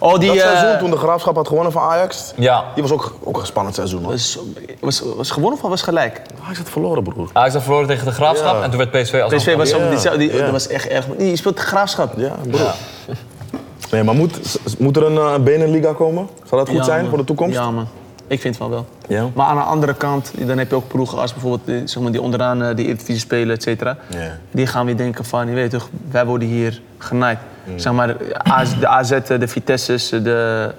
Oh, die,
dat
eh,
seizoen toen de Graafschap had gewonnen van Ajax,
Ja.
die was ook, ook een spannend seizoen. Man.
Was, was, was gewonnen of was gelijk?
Ajax had verloren, broer.
Ajax had verloren tegen de Graafschap
Ja.
en toen werd PSV als
PSV was,
Ja,
ook, die, die,
ja.
dat was echt erg. man. Die speelt de graafschap.
Ja, broer. Nee, maar moet, s- moet er een eh, Benenliga komen? Zal dat goed
Ja,
zijn
man.
voor de toekomst?
Ja, man. Ik vind van wel.
Ja?
Maar aan de andere kant, dan heb je ook ploegen als bijvoorbeeld eh, zeg maar, die onderaan eh, die Eredivisie spelen, et cetera.
Ja.
Die gaan weer denken van, je weet toch, wij worden hier genaaid.
Mm.
Zeg maar, AZ, de AZ, de Vitesse's, eh, de,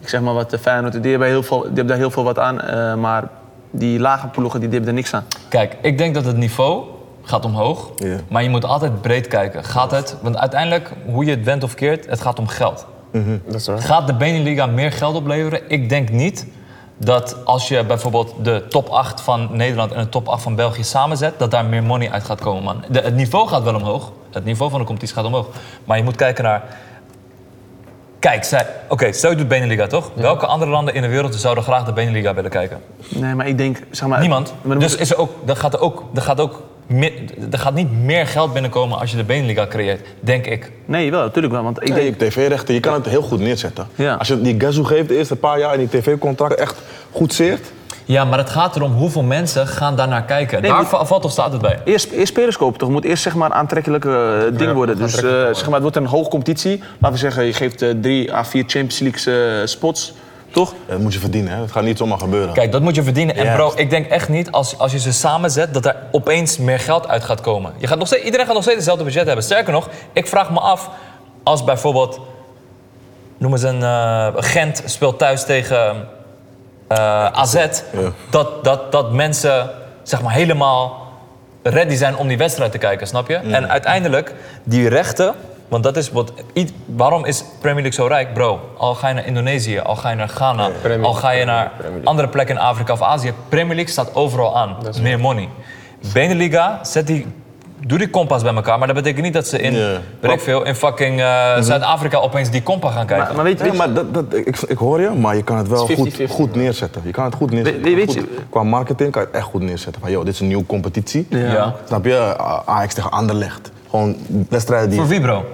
ik zeg maar wat, de Feyenoord, die hebben, heel veel, die hebben daar heel veel wat aan. eh, maar die lage ploegen, die, die hebben er niks aan.
Kijk, ik denk dat het niveau gaat omhoog.
Ja.
Maar je moet altijd breed kijken. Gaat het, want uiteindelijk, hoe je het went of keert, het gaat om geld.
Dat is waar.
Gaat de Beneliga meer geld opleveren? Ik denk niet dat als je bijvoorbeeld de top 8 van Nederland en de top 8 van België samenzet, dat daar meer money uit gaat komen, man. De- het niveau gaat wel omhoog. Het niveau van de competitie gaat omhoog. Maar je moet kijken naar. Kijk, zij. Oké, stel je doet Beneliga toch? Welke andere landen in de wereld zouden graag de Beneliga willen kijken?
Nee, maar ik denk, zeg maar...
Niemand.
Maar dan
dus
moet-
is er ook, er gaat er ook, er gaat ook meer, er gaat niet meer geld binnenkomen als je de Beneliga creëert, denk ik.
nee, wel, natuurlijk wel. Want ik
Nee,
denk,
je tv-rechten, je kan het heel goed neerzetten.
Ja.
Als je die Gazoo geeft de eerste paar jaar en die tv-contract echt goed zeert.
Ja, maar het gaat erom hoeveel mensen gaan daar naar kijken.
Nee,
daar
maar-
va- valt of staat het bij.
Eerst, eerst spelers kopen toch? Het moet eerst zeg maar aantrekkelijke eh, ding worden. Dus eh, zeg maar, het wordt een hoge competitie. Laten we zeggen, je geeft eh, drie à vier Champions League eh, spots. Toch?
Dat moet je verdienen, hè? Dat gaat niet zomaar gebeuren.
Kijk, dat moet je verdienen. En
Ja.
bro, ik denk echt niet als, als je ze samenzet dat er opeens meer geld uit gaat komen. Je gaat nog steeds, iedereen gaat nog steeds hetzelfde budget hebben. Sterker nog, ik vraag me af als bijvoorbeeld, noem eens een eh, Gent speelt thuis tegen eh, AZ, dat, dat, dat mensen zeg maar helemaal ready zijn om die wedstrijd te kijken, snap je? En uiteindelijk, die rechten, want dat is wat... i- Waarom is Premier League zo rijk? Bro, al ga je naar Indonesië, al ga je naar Ghana...
Premier
al ga je
League,
naar
Premier League.
andere plekken in Afrika of Azië... Premier League staat overal aan. Meer money. Beneliga, zet die... Doe die kompas bij elkaar, maar dat betekent niet dat ze in,
Ja.
weet ik veel, in fucking eh, Zuid-Afrika opeens die kompa gaan kijken.
Maar, maar weet je,
Nee, maar dat, dat, ik, ik hoor je, maar je kan het wel
Het is
goed,
50-50,
goed neerzetten. Je kan het goed neerzetten.
We- we- weet
Goed-
je-
qua marketing kan je het echt goed neerzetten. Van, joh, dit is een nieuwe competitie.
Ja.
Snap je? A- Ajax tegen Anderlecht. Gewoon wedstrijden die...
Voor wie, bro?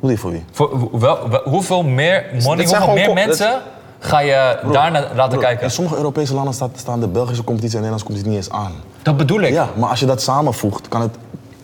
Hoe die voor wie?
Voor, hoe- wel, wel- hoeveel meer money, hoeveel
zijn gewoon
meer
kom- dat-
mensen ga je daarna laten kijken?
In sommige Europese landen staat, staan de Belgische competitie en de Nederlandse competitie niet eens aan.
Dat bedoel ik.
Ja, maar als je dat samenvoegt, kan het...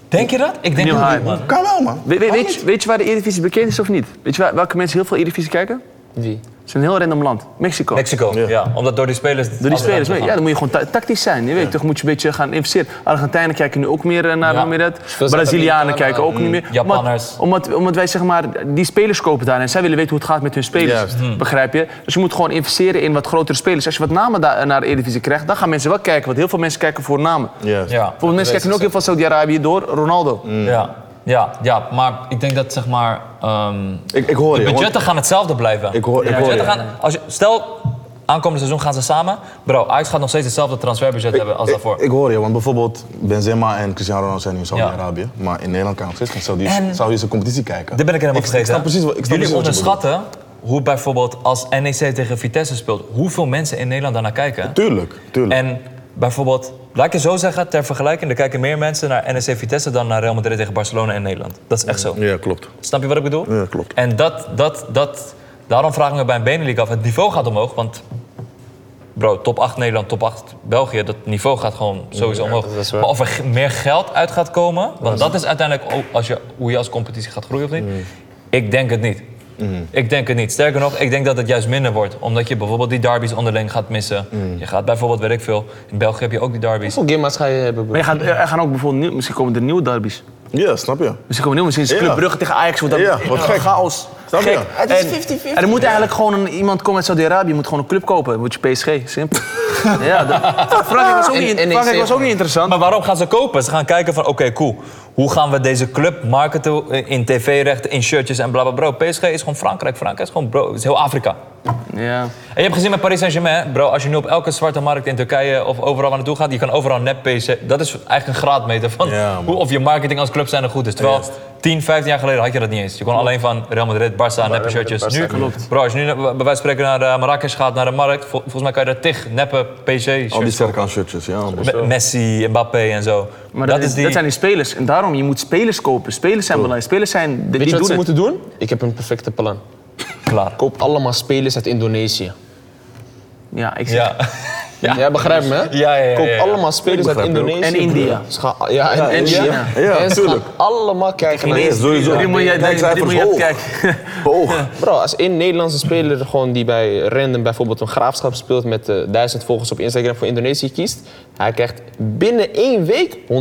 Denk je dat? Ik denk
Nieuw
dat niet,
hype.
man.
Kan wel, man.
we- we-
Waarom
weet,
niet?
je, weet je waar de Eredivisie bekend is of niet? Weet je waar- welke mensen heel veel Eredivisie kijken?
Wie?
Het is een heel random land. Mexico.
Mexico, ja. Omdat door die spelers...
Door die spelers. mee. Ja, dan moet je gewoon ta- tactisch zijn. Je weet toch, moet je een beetje gaan investeren. Argentijnen kijken nu ook meer eh, naar
Ja.
hoe meer
Dus
dat.
Zuid-Amerikanen,
Brazilianen kijken ook
mm,
niet meer.
Japanners.
Omdat, omdat, omdat wij zeg maar, die spelers kopen daar en zij willen weten hoe het gaat met hun spelers.
Juist. Mm.
Begrijp je? Dus je moet gewoon investeren in wat grotere spelers. Als je wat namen daar eh, naar de Eredivisie krijgt, dan gaan mensen wel kijken. Want heel veel mensen kijken voor namen.
Juist.
Ja.
Bijvoorbeeld mensen kijken ook heel veel Saudi-Arabië door Ronaldo.
Mm.
Ja. ja, ja, maar ik denk dat zeg maar... ehm,
Ik, ik hoor je. want-
budgetten gaan hetzelfde blijven.
Ik hoor- ik
De
hoor
budgetten
je.
gaan, als je, stel, aankomende seizoen gaan ze samen. Bro, Ajax gaat nog steeds hetzelfde transferbudget hebben als daarvoor.
Ik, ik hoor je, want bijvoorbeeld Benzema en Cristiano Ronaldo zijn nu in Saudi-Arabië. Maar in Nederland kan je nog steeds geen Saudi-
En-
Saudische competitie kijken.
Dit ben ik helemaal
ik,
vergeten.
Ik snap precies wat, ik snap
Jullie
precies wat je bedoelt.
onderschatten hoe bijvoorbeeld als NEC tegen Vitesse speelt... hoeveel mensen in Nederland daarnaar kijken.
Tuurlijk, tuurlijk.
En bijvoorbeeld, laat ik het zo zeggen, ter vergelijking... er kijken meer mensen naar NEC Vitesse dan naar Real Madrid tegen Barcelona en Nederland. Dat is echt zo.
Ja, klopt.
Snap je wat ik bedoel?
Ja, klopt.
En dat, dat, dat, daarom vragen we bij een Benelink af. Het niveau gaat omhoog, want... Bro, top 8 Nederland, top 8 België. Dat niveau gaat gewoon sowieso omhoog.
dat is waar.
maar of er g- meer geld uit gaat komen... want dat is uiteindelijk ook als je, hoe je als competitie gaat groeien of niet.
Mm.
Ik denk het niet. Ik denk het niet. Sterker nog, ik denk dat het juist minder wordt. Omdat je bijvoorbeeld die derbies onderling gaat missen.
Mm.
Je gaat bijvoorbeeld, weet ik veel... In België heb je ook die derbies.
Hoeveel gamma's ga je hebben,
Maar
bro?
je gaat, eh, er gaan ook bijvoorbeeld, nieuw- misschien komen er nieuwe derbies.
Ja, snap je.
Misschien komen er nieuwe, misschien is
Ja.
Club Brugge tegen Ajax. Wordt dat
Ja, wat gek.
Chaos.
Snap je?
Het is 50-50.
En er moet eigenlijk gewoon een, iemand komen uit Saudi-Arabië, moet gewoon een club kopen. Dan Moet je PSG, simpel. ja, dat- Frankrijk was ook
En-
niet,
en
Frankrijk
NEC
was ook niet interessant.
Maar waarom gaan ze kopen? Ze gaan kijken van, oké, cool. Hoe gaan we deze club marketen in tv-rechten, in shirtjes en bla bla bro. PSG is gewoon Frankrijk. Frankrijk is gewoon bro, het is heel Afrika.
Ja.
En je hebt gezien met Paris Saint-Germain, bro. Als je nu op elke zwarte markt in Turkije of overal waar naartoe gaat, je kan overal net PSG. Dat is eigenlijk een graadmeter van
Ja, man.
hoe, of je marketing als club zijn er goed is. Terwijl 10, 15 jaar geleden had je dat niet eens. Je kon alleen van Real Madrid, Barça, neppe shirtjes. Nu, bro, als je nu naar- bij wijze van spreken naar eh, Marrakesh gaat, naar de markt, vol- volgens mij kan je daar tig neppe PSG-shirts
Al die sterke aan shirtjes, ja. man.
Me- Messi, Mbappé en zo.
Maar dat, is- dat zijn die spelers. En daarom, je moet spelers kopen. Spelers zijn belangrijk. Spelers zijn... De,
Weet
die
je wat
doen
ze
het.
moeten doen? Ik heb een perfecte plan.
klaar.
Koop allemaal spelers uit Indonesië.
Ja, ik zeg...
Ja. Ja.
Jij begrijpt me, hè?
Ja, ja, ja, ja.
Koop allemaal spelers uit
begrijp het ook.
Indonesië.
En India.
broer. Ze gaan, ja, en,
en
India.
China.
Ja,
en ze gaan
tuurlijk.
allemaal kijken naar
Ja, sowieso.
Die moet je,
Kijk,
die,
zij
die moet je
voor het
kijken.
Oog.
Bro, als één Nederlandse speler gewoon die bij random bijvoorbeeld een graafschap speelt met eh, 1000 volgers op Instagram voor Indonesië kiest, hij krijgt binnen één week 150.000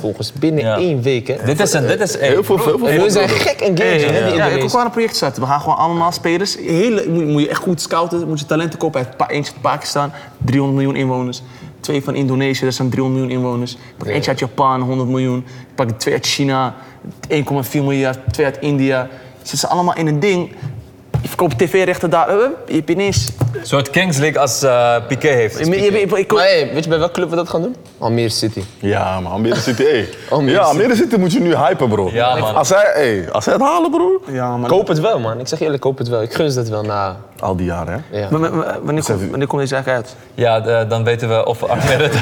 volgers. Binnen
Ja.
één week, hè?
Dit is een, dit is een.
Heel veel, veel, veel.
En hun zijn gek en
Hey,
games,
ja,
hè, die
ik wil
Indonesiërs.
gewoon een project starten. We gaan gewoon allemaal spelers. Hele, moet, moet je echt goed scouten. Moet je talenten kopen uit Pa- eentje uit Pakistan, 300 miljoen inwoners. Twee van Indonesië, dat zijn 300 miljoen inwoners. Pak eentje uit Japan, 100 miljoen. Pak twee uit China, 1,4 miljard. Twee uit India. Zitten ze allemaal in een ding. Je verkoopt tv-rechten daar. eh, Je hebt ineens...
Een soort Kings League als eh, Piqué heeft.
Je, je, je- ik-
Maar hey, weet je bij welke club we dat gaan doen? Almere City.
Ja, maar Almere City, hey.
Almere
ja,
City.
Almere City moet je nu hypen, bro.
Ja, man.
Als zij, hey, als zij het halen, bro.
ja, maar...
Koop het wel, man. Ik zeg je eerlijk, koop het wel. Ik gun ze dat wel nou, na.
Al die jaren, hè.
Ja.
Maar- maar- maar- Wanneer komt wanneer komt deze eigenlijk uit?
Ja, d- eh, dan weten we of Ahmed het...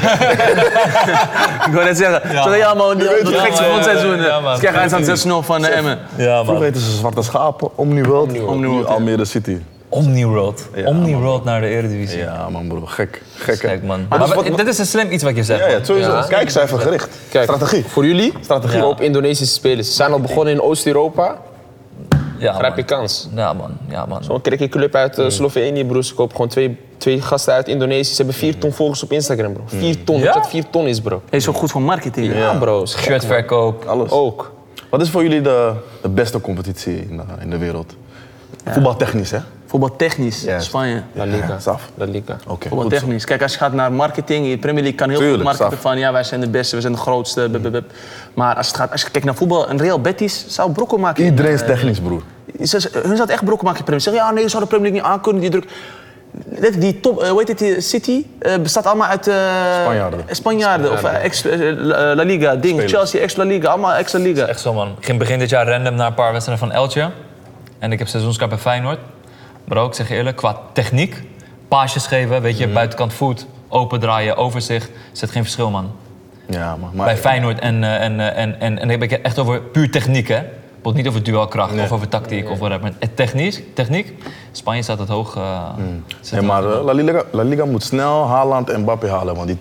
Ik wil net zeggen, ja. ja man, die
het.
het gekste
Ja,
van
man,
het
ja,
seizoen.
ja, ja, man.
Ze krijgen eindstand 6-0 van de Emmen.
ja,
Vroeger heten ze Zwarte Schapen, Omni World.
Omni
Nu
World, ja.
Almere City.
Omni-World. Omni-World naar de Eredivisie.
Ja, man, bro. Gek. Gek, hè.
Kijk, man. Maar,
wat-
dit is een slim iets wat je zegt.
Ja,
man.
ja, sowieso.
Ja.
Kijk, zij vergericht.
Kijk,
Strategie.
Voor jullie,
Strategie.
koop Indonesische spelers. Ze zijn al begonnen in Oost-Europa.
Ja,
Grijp je
man.
kans.
Ja, man. Ja, man.
Zo'n crickyclub uit eh, Slovenië, broers. Ze kopen gewoon twee, twee gasten uit Indonesië. Ze hebben vier ton volgers op Instagram, bro. Vier ton,
Ja?
dat vier ton is, bro.
Hij is ook goed voor marketing.
Ja,
hè?
bro. is gek, man.
Shirtverkoop.
Alles.
Ook.
Wat is voor jullie de, de beste competitie in de, in de wereld? Voetbaltechnisch, hè?
Voetbaltechnisch,
Juist.
Spanje.
La Liga.
Ja, saf.
La Liga.
Oké. goed zo.
Voetbaltechnisch. Kijk, als je gaat naar marketing, de Premier League kan heel
Tuurlijk,
goed marketen
saf.
van ja, wij zijn de beste, wij zijn de grootste. bup, bup, bup. Maar als, het gaat, als je kijkt naar voetbal, een Real Betis zou brokken maken.
Iedereen is technisch, broer.
Ze- ze- hun zat echt brokken maken in de Premier League. Zeggen, ja, nee, ze hadden de Premier League niet aankunnen, die druk. Let- Die top, eh, hoe heet het, die City eh, bestaat allemaal uit... eh,
Spanjaarden.
Spanjaarden, of eh, ex, eh, La La Liga, ding, Chelsea, ex La Liga, allemaal ex La Liga.
Echt zo, man. Ik ging begin dit jaar random naar een paar wedstrijden van Elche. En ik heb seizoenskaart bij Feyenoord. Maar ook, ik zeg je eerlijk, qua techniek. Paasjes geven, weet je, buitenkant voet, open draaien, overzicht. Zit geen verschil, man.
Ja, maar... maar
Bij Feyenoord en, eh, en, eh, en, en, en, dan heb ik het echt over puur techniek, hè. Bijvoorbeeld niet over duelkracht of over tactiek of whatever. Maar het technisch, techniek, Spanje staat het hoog. eh, zit
Nee,
het
maar
hoog.
eh, La Liga, La Liga moet snel Haaland en Mbappé halen. Want die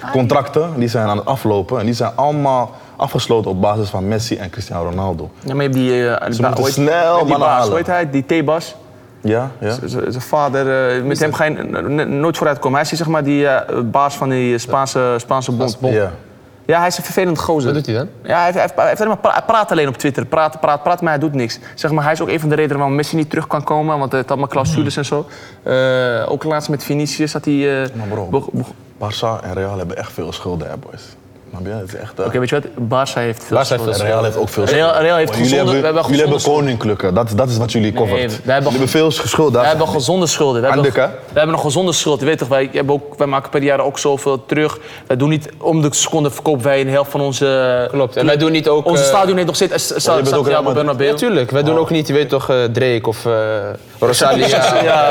tv-contracten die zijn aan het aflopen. En die zijn allemaal afgesloten op basis van Messi en Cristiano Ronaldo.
Ja, maar je hebt die... eh die ba-
moeten
hoe heet-
snel
die
mannen
baas,
halen.
hoe heet hij? Die Tebas.
Ja, ja.
Z- z- Zijn vader, eh, met hem ga je n- n- nooit vooruit komen. Hij is zeg maar die eh, baas van die Spaanse, Spaanse bond.
ja.
Ja, hij is een vervelend gozer.
Wat doet hij dan?
Ja, hij, heeft- hij, heeft- hij, heeft alleen maar pra- hij praat alleen op Twitter. Praat, praat, praat, maar hij doet niks. Zeg maar, hij is ook een van de redenen waarom Messi niet terug kan komen. Want het had maar clausules en zo. Eh, ook laatst met Vinicius had hij... eh,
Maar bro,
beg- beg-
Barça en Real hebben echt veel schulden, hè, boys. Maar ja, het is echt... eh,
Oké, weet je wat? Barça heeft veel
Barça heeft
schulden.
veel
Real heeft ook veel schulden.
Real- Real heeft
Maar
gezonde-
jullie hebben,
we hebben
jullie hebben
gezonde
koninklijke. Dat, dat is wat jullie covert.
wij hebben-
jullie hebben veel schulden.
Wij hebben gezonde schulden. Wij hebben,
Eindelijk,
nog, wij hebben nog gezonde schuld. Je weet toch, wij, hebben ook, wij maken per jaar ook zoveel terug. Wij doen niet om de seconde verkopen wij een helft van onze.
Klopt. En wij doen niet ook,
Onze
eh,
stadion heet nog steeds. eh, sta-
Oh, bent ook Real
Santiago
Madrid.
Ja,
Bernabeu.
tuurlijk. Wij doen ook niet, je weet toch, eh, Drake of eh, Rosalia.
Ja,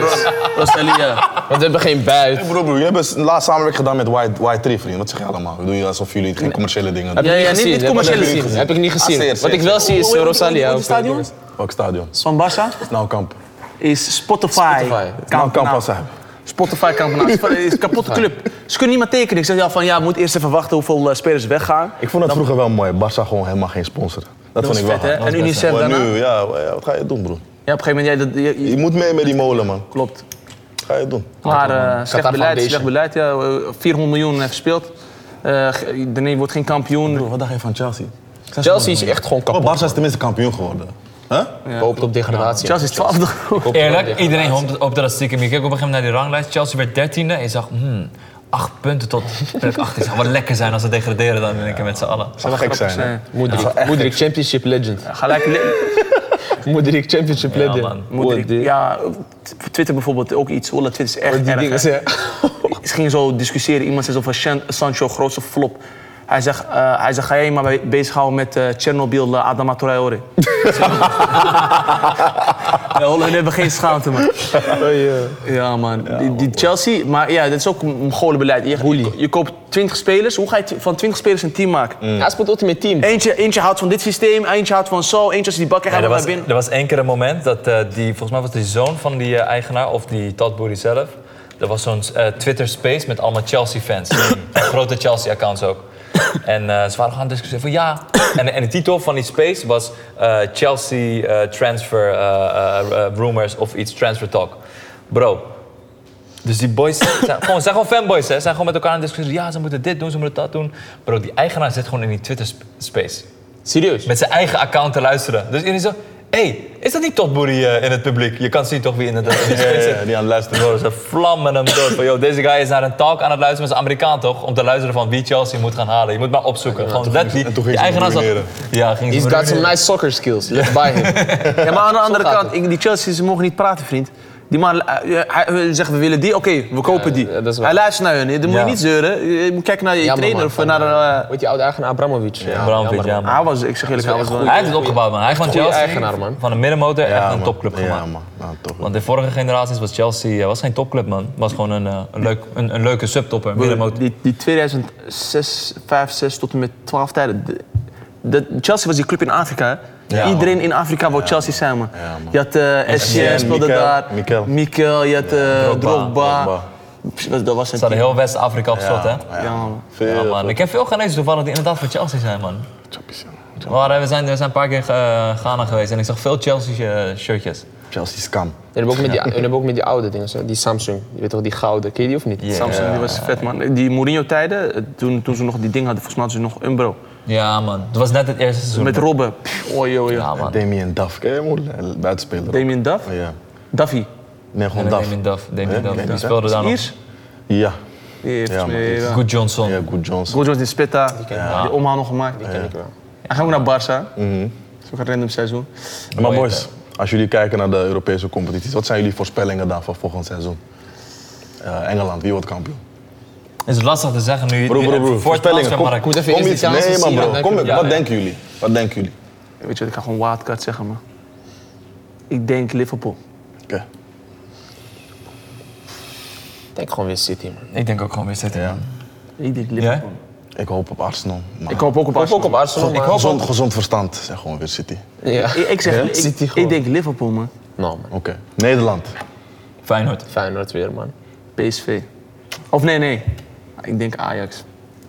Rosalia.
Want we hebben geen buit.
Bro, bro, jullie hebben s- laatst samenwerking gedaan met White, White Tree, vriend. Wat zeg je allemaal? Doe je alsof jullie geen commerciële dingen doen?
Heb ik
Ja,
niet
ja, niet-
gezien.
niet
Heb ik
commercieel
niet
gezien.
gezien. Heb ik niet
Ah,
gezien.
zeer,
Wat ik
zeer.
wel zie is eh, Rosalia.
Hoe heet
ook,
het stadion?
eh,
Welk stadion?
Van Barça
Nou, kamp.
is Spotify.
Spotify.
Nou, kamp
Nou,
als hij.
Spotify Kampenaar. Het is een kapotte club. Ze kunnen niet meer tekenen. Ik zeg ja, van ja, we moeten eerst even wachten hoeveel eh, spelers weggaan.
Ik vond dat vroeger wel mooi. Barça gewoon helemaal geen sponsor.
was
Dat, vond ik wel
vet, hè?
hard.
En Unicef
Maar
daarna?
nu, ja, ja, wat ga je doen, bro?
Ja, op een gegeven moment, jij, dat, je- je-
Je moet mee met die molen, man.
klopt.
Wat ga je doen?
Maar eh slecht
Qatar
beleid,
Foundation.
slecht beleid. Ja, eh, 400 miljoen heeft gespeeld. Eh ge- Daarna wordt geen kampioen.
Wat dacht je van Chelsea?
Chelsea is echt gewoon
Oh,
kapot.
Barça is tenminste kampioen geworden. Huh?
Hoopt op degradatie.
Chelsea is 12.
Hoopt op
Eerlijk,
degradatie.
iedereen hoopt op dat het stiekem. Je keek op een gegeven moment naar die ranglijst. Chelsea werd dertiende en je zag, hmm, acht punten tot plek 18. Het zou wel lekker zijn als ze degraderen dan in één keer met z'n allen.
Zou gek zijn, hè?
Moedrik, Moedrik Championship Legend.
Gelijk. le-
Moedrik Championship Legend.
man.
Moet
Moedrik.
ik- Ja, t- Twitter bijvoorbeeld ook iets. Ola, Twitter is echt
Die
erg.
dingen
hè.
zijn.
Ze gingen zo discussiëren. Iemand zei zo van Shan- Sancho, grootste flop. Hij zegt, eh, hij zegt, ga jij je maar bij- bezighouden met eh Tsjernobyl, eh, Adama Traore. ja, Holland hebben geen schaamte, man.
Oh,
Ja, man. die, die Chelsea, maar ja, dat is ook een Mongolenbeleid. Je, je, je koopt 20 spelers. Hoe ga je tw- van 20 spelers een team maken?
Hij speelt Ultimate Team.
Eentje, eentje houdt van dit systeem, eentje houdt van zo, eentje als die bakker gaat
er,
ja,
was,
binnen.
er was één keer een moment dat eh, die, volgens mij was die zoon van die eh, eigenaar, of die Todd Boehly zelf. Er was zo'n eh, Twitter space met allemaal Chelsea-fans. Van grote Chelsea-accounts ook. En eh, ze waren gewoon aan het discussiëren van ja. En, en de titel van die space was eh, Chelsea eh, transfer eh, eh, eh, rumors of iets, transfer talk. Bro, dus die boys zijn gewoon, zijn gewoon fanboys, hè? Zijn gewoon met elkaar aan het discussiëren. Ja, ze moeten dit doen, ze moeten dat doen. Bro, die eigenaar zit gewoon in die Twitter-space
Serieus.
met zijn eigen account te luisteren. Dus iedereen zo, hé, hey, is dat niet Totboerie in het publiek? Je kan zien toch wie in het publiek zit.
Ja, die aan het luisteren.
Bro, Ze vlammen hem door. Van, yo, deze guy is naar een talk aan het luisteren met zijn Amerikaan toch? Om te luisteren van wie Chelsea moet gaan halen. Je moet maar opzoeken. Gewoon dat die,
en toen
die
ging ze hem
eigenaar zat.
ruïneren.
Ja, ging ze hem
He's got some
ruïneren.
nice soccer skills. Let's buy him.
Ja, maar aan de andere
gaat
kant, ik- die Chelsea's mogen niet praten, vriend. Die man, eh, eh, hij hij zegt, we willen die, oké, we kopen die.
ja, dat is waar.
hij luistert naar hun, dan moet
Ja.
je niet zeuren. Je moet kijken naar je
Jammer,
trainer
man,
of
van,
naar...
eh,
eh,
Hoe heet die oude eigenaar? Abramovic. Ja,
Abramovic,
jammer,
ja,
man.
man.
hij was, ik zeg eerlijk,
Dat
hij
is
was
wel
wel...
Hij heeft het opgebouwd, man. Hij heeft van
Goeie
Chelsea,
eigenaar, man.
van een middenmotor, echt een
man.
topclub
Ja,
gemaakt.
man. Ja, toch.
Want de vorige generaties was Chelsea eh, was geen topclub, man. Was gewoon een, eh, een, leuk, een, een leuke subtopper, een middenmotor.
Die, die 2006, 5, 6 tot en met 12 tijden. de- de- Chelsea was die club in Afrika. hè?
Ja,
Iedereen in Afrika wou Chelsea zijn, man.
Ja, man.
Je had eh SCN
Essien,
speelde
Mikel,
daar.
Mikel.
Mikel, je had eh,
Drogba,
Drogba.
Drogba.
Pff, Dat, dat was een
Ze hadden
team.
heel West-Afrika op slot, hè?
Ja,
Ja, man.
Veel.
Ja, man. Ik heb veel Ghanese toevallig die inderdaad van Chelsea zijn, man.
chappies, ja.
zo.
Maar eh, we zijn, we zijn een paar keer eh, Ghana geweest en ik zag veel eh, Chelsea-shirtjes.
Chelsea is kam.
We hebben ook met die, we hebben ook met die oude dingen, zo, die Samsung. Je weet toch, die gouden, ken je die of niet?
Samsung, die was vet man. Die Mourinho-tijden, eh, toen, toen ze nog die ding hadden, volgens mij hadden ze nog Umbro.
Ja, man. Het was net het eerste seizoen.
Met Robben. Oh joh, joh.
Ja, man.
Damien Duff, ken je hem? hoe- Buitenspeler.
Damien Duff?
Ja.
Daffy.
Nee, gewoon
En
Duff.
Damien Duff. Damien
Ja,
Duff.
ken je
Die
niet, hè?
speelde daar nog.
Iers?
Ja.
Ja, volgens
maar
mij,
die is
ja.
Good Johnson.
Ja, Good Johnson.
Gojo in Spitta, die, omhaal nog gemaakt. Die ken ik wel. Hij ging ook naar Barça.
Mhm.
Dat is ook een random seizoen.
Maar
Mooie
boys, als jullie kijken naar de Europese competities, wat zijn jullie voorspellingen dan voor volgend seizoen? Eh, Engeland, wie wordt kampioen?
Het is lastig te zeggen nu.
Bro, bro, bro.
Voor het
Voorspellingen. Kom,
transfermarkt.
moet even eerst
kom
die
iets.
kansen
Nee, man,
zien,
bro.
dan
Kom,
kunnen
we-
wat
Ja,
denken jullie? Wat denken jullie?
Weet je wat, ik ga gewoon wildcard zeggen, man. Ik denk Liverpool.
Oké.
Ik denk gewoon weer City, man.
Ik denk ook gewoon weer City.
Ja.
Ik denk
Jij?
Liverpool.
Ik hoop op Arsenal. Maar
Ik hoop ook op
Ik hoop ook
Arsenal.
op Arsenal,
gezond,
maar...
gezond, gezond verstand, zeg gewoon weer City.
Ja.
Ik, ik zeg, ik,
City
ik
gewoon.
denk Liverpool, man.
Nou, man.
Oké. Nederland.
Feyenoord.
Feyenoord weer, man.
PSV. Of nee, nee. Ik denk Ajax.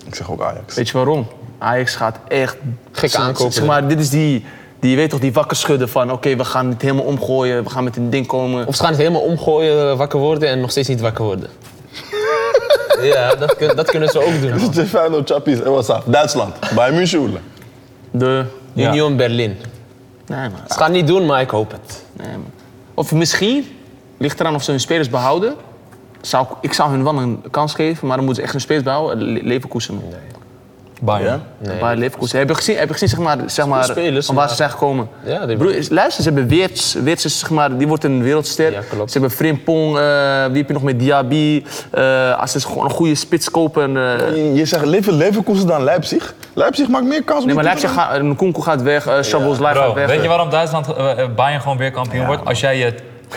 Ik zeg ook Ajax.
Weet je waarom? Ajax gaat echt...
Gekke aankopen.
Zeg maar, dit is die... die je weet toch, die wakker schudden van... Oké, we gaan het helemaal omgooien. We gaan met een ding komen.
Of ze gaan het helemaal omgooien, eh, wakker worden en nog steeds niet wakker worden. ja, dat, kun- dat kunnen ze ook doen. man.
De Final Chappies, en what's up? Duitsland, bij München. hoelen.
De...
Ja.
Union Berlin.
Nee, man.
Ze gaan het niet doen, maar ik hoop het.
Nee, man. Of misschien, ligt eraan of ze hun spelers behouden. Zou, ik- ik zou hun wel een kans geven, maar dan moeten ze echt hun spelers behouden. Le- Leverkusen. Nee.
Bayern.
Ja?
Nee.
Bij Leverkusen. Heb je gezien, heb je gezien zeg maar, zeg maar,
spelers,
van waar
maar-
ze zijn gekomen?
Ja, die-
Broer, is- luister, ze hebben Weerts. Weerts is, zeg maar, die wordt een wereldster.
Ja, klopt.
Ze hebben Frimpong, eh wie heb je nog met Diaby. eh, als ze gewoon een goede spits kopen. eh,
Je- Je zegt Lever Leverkusen dan Leipzig? Leipzig maakt meer kans.
nee, maar Leipzig gaat, Nkunku gaat weg, eh Chabos
Bro,
gaat weg.
weet je waarom Duitsland, eh, eh, Bayern gewoon weer kampioen wordt? Als jij je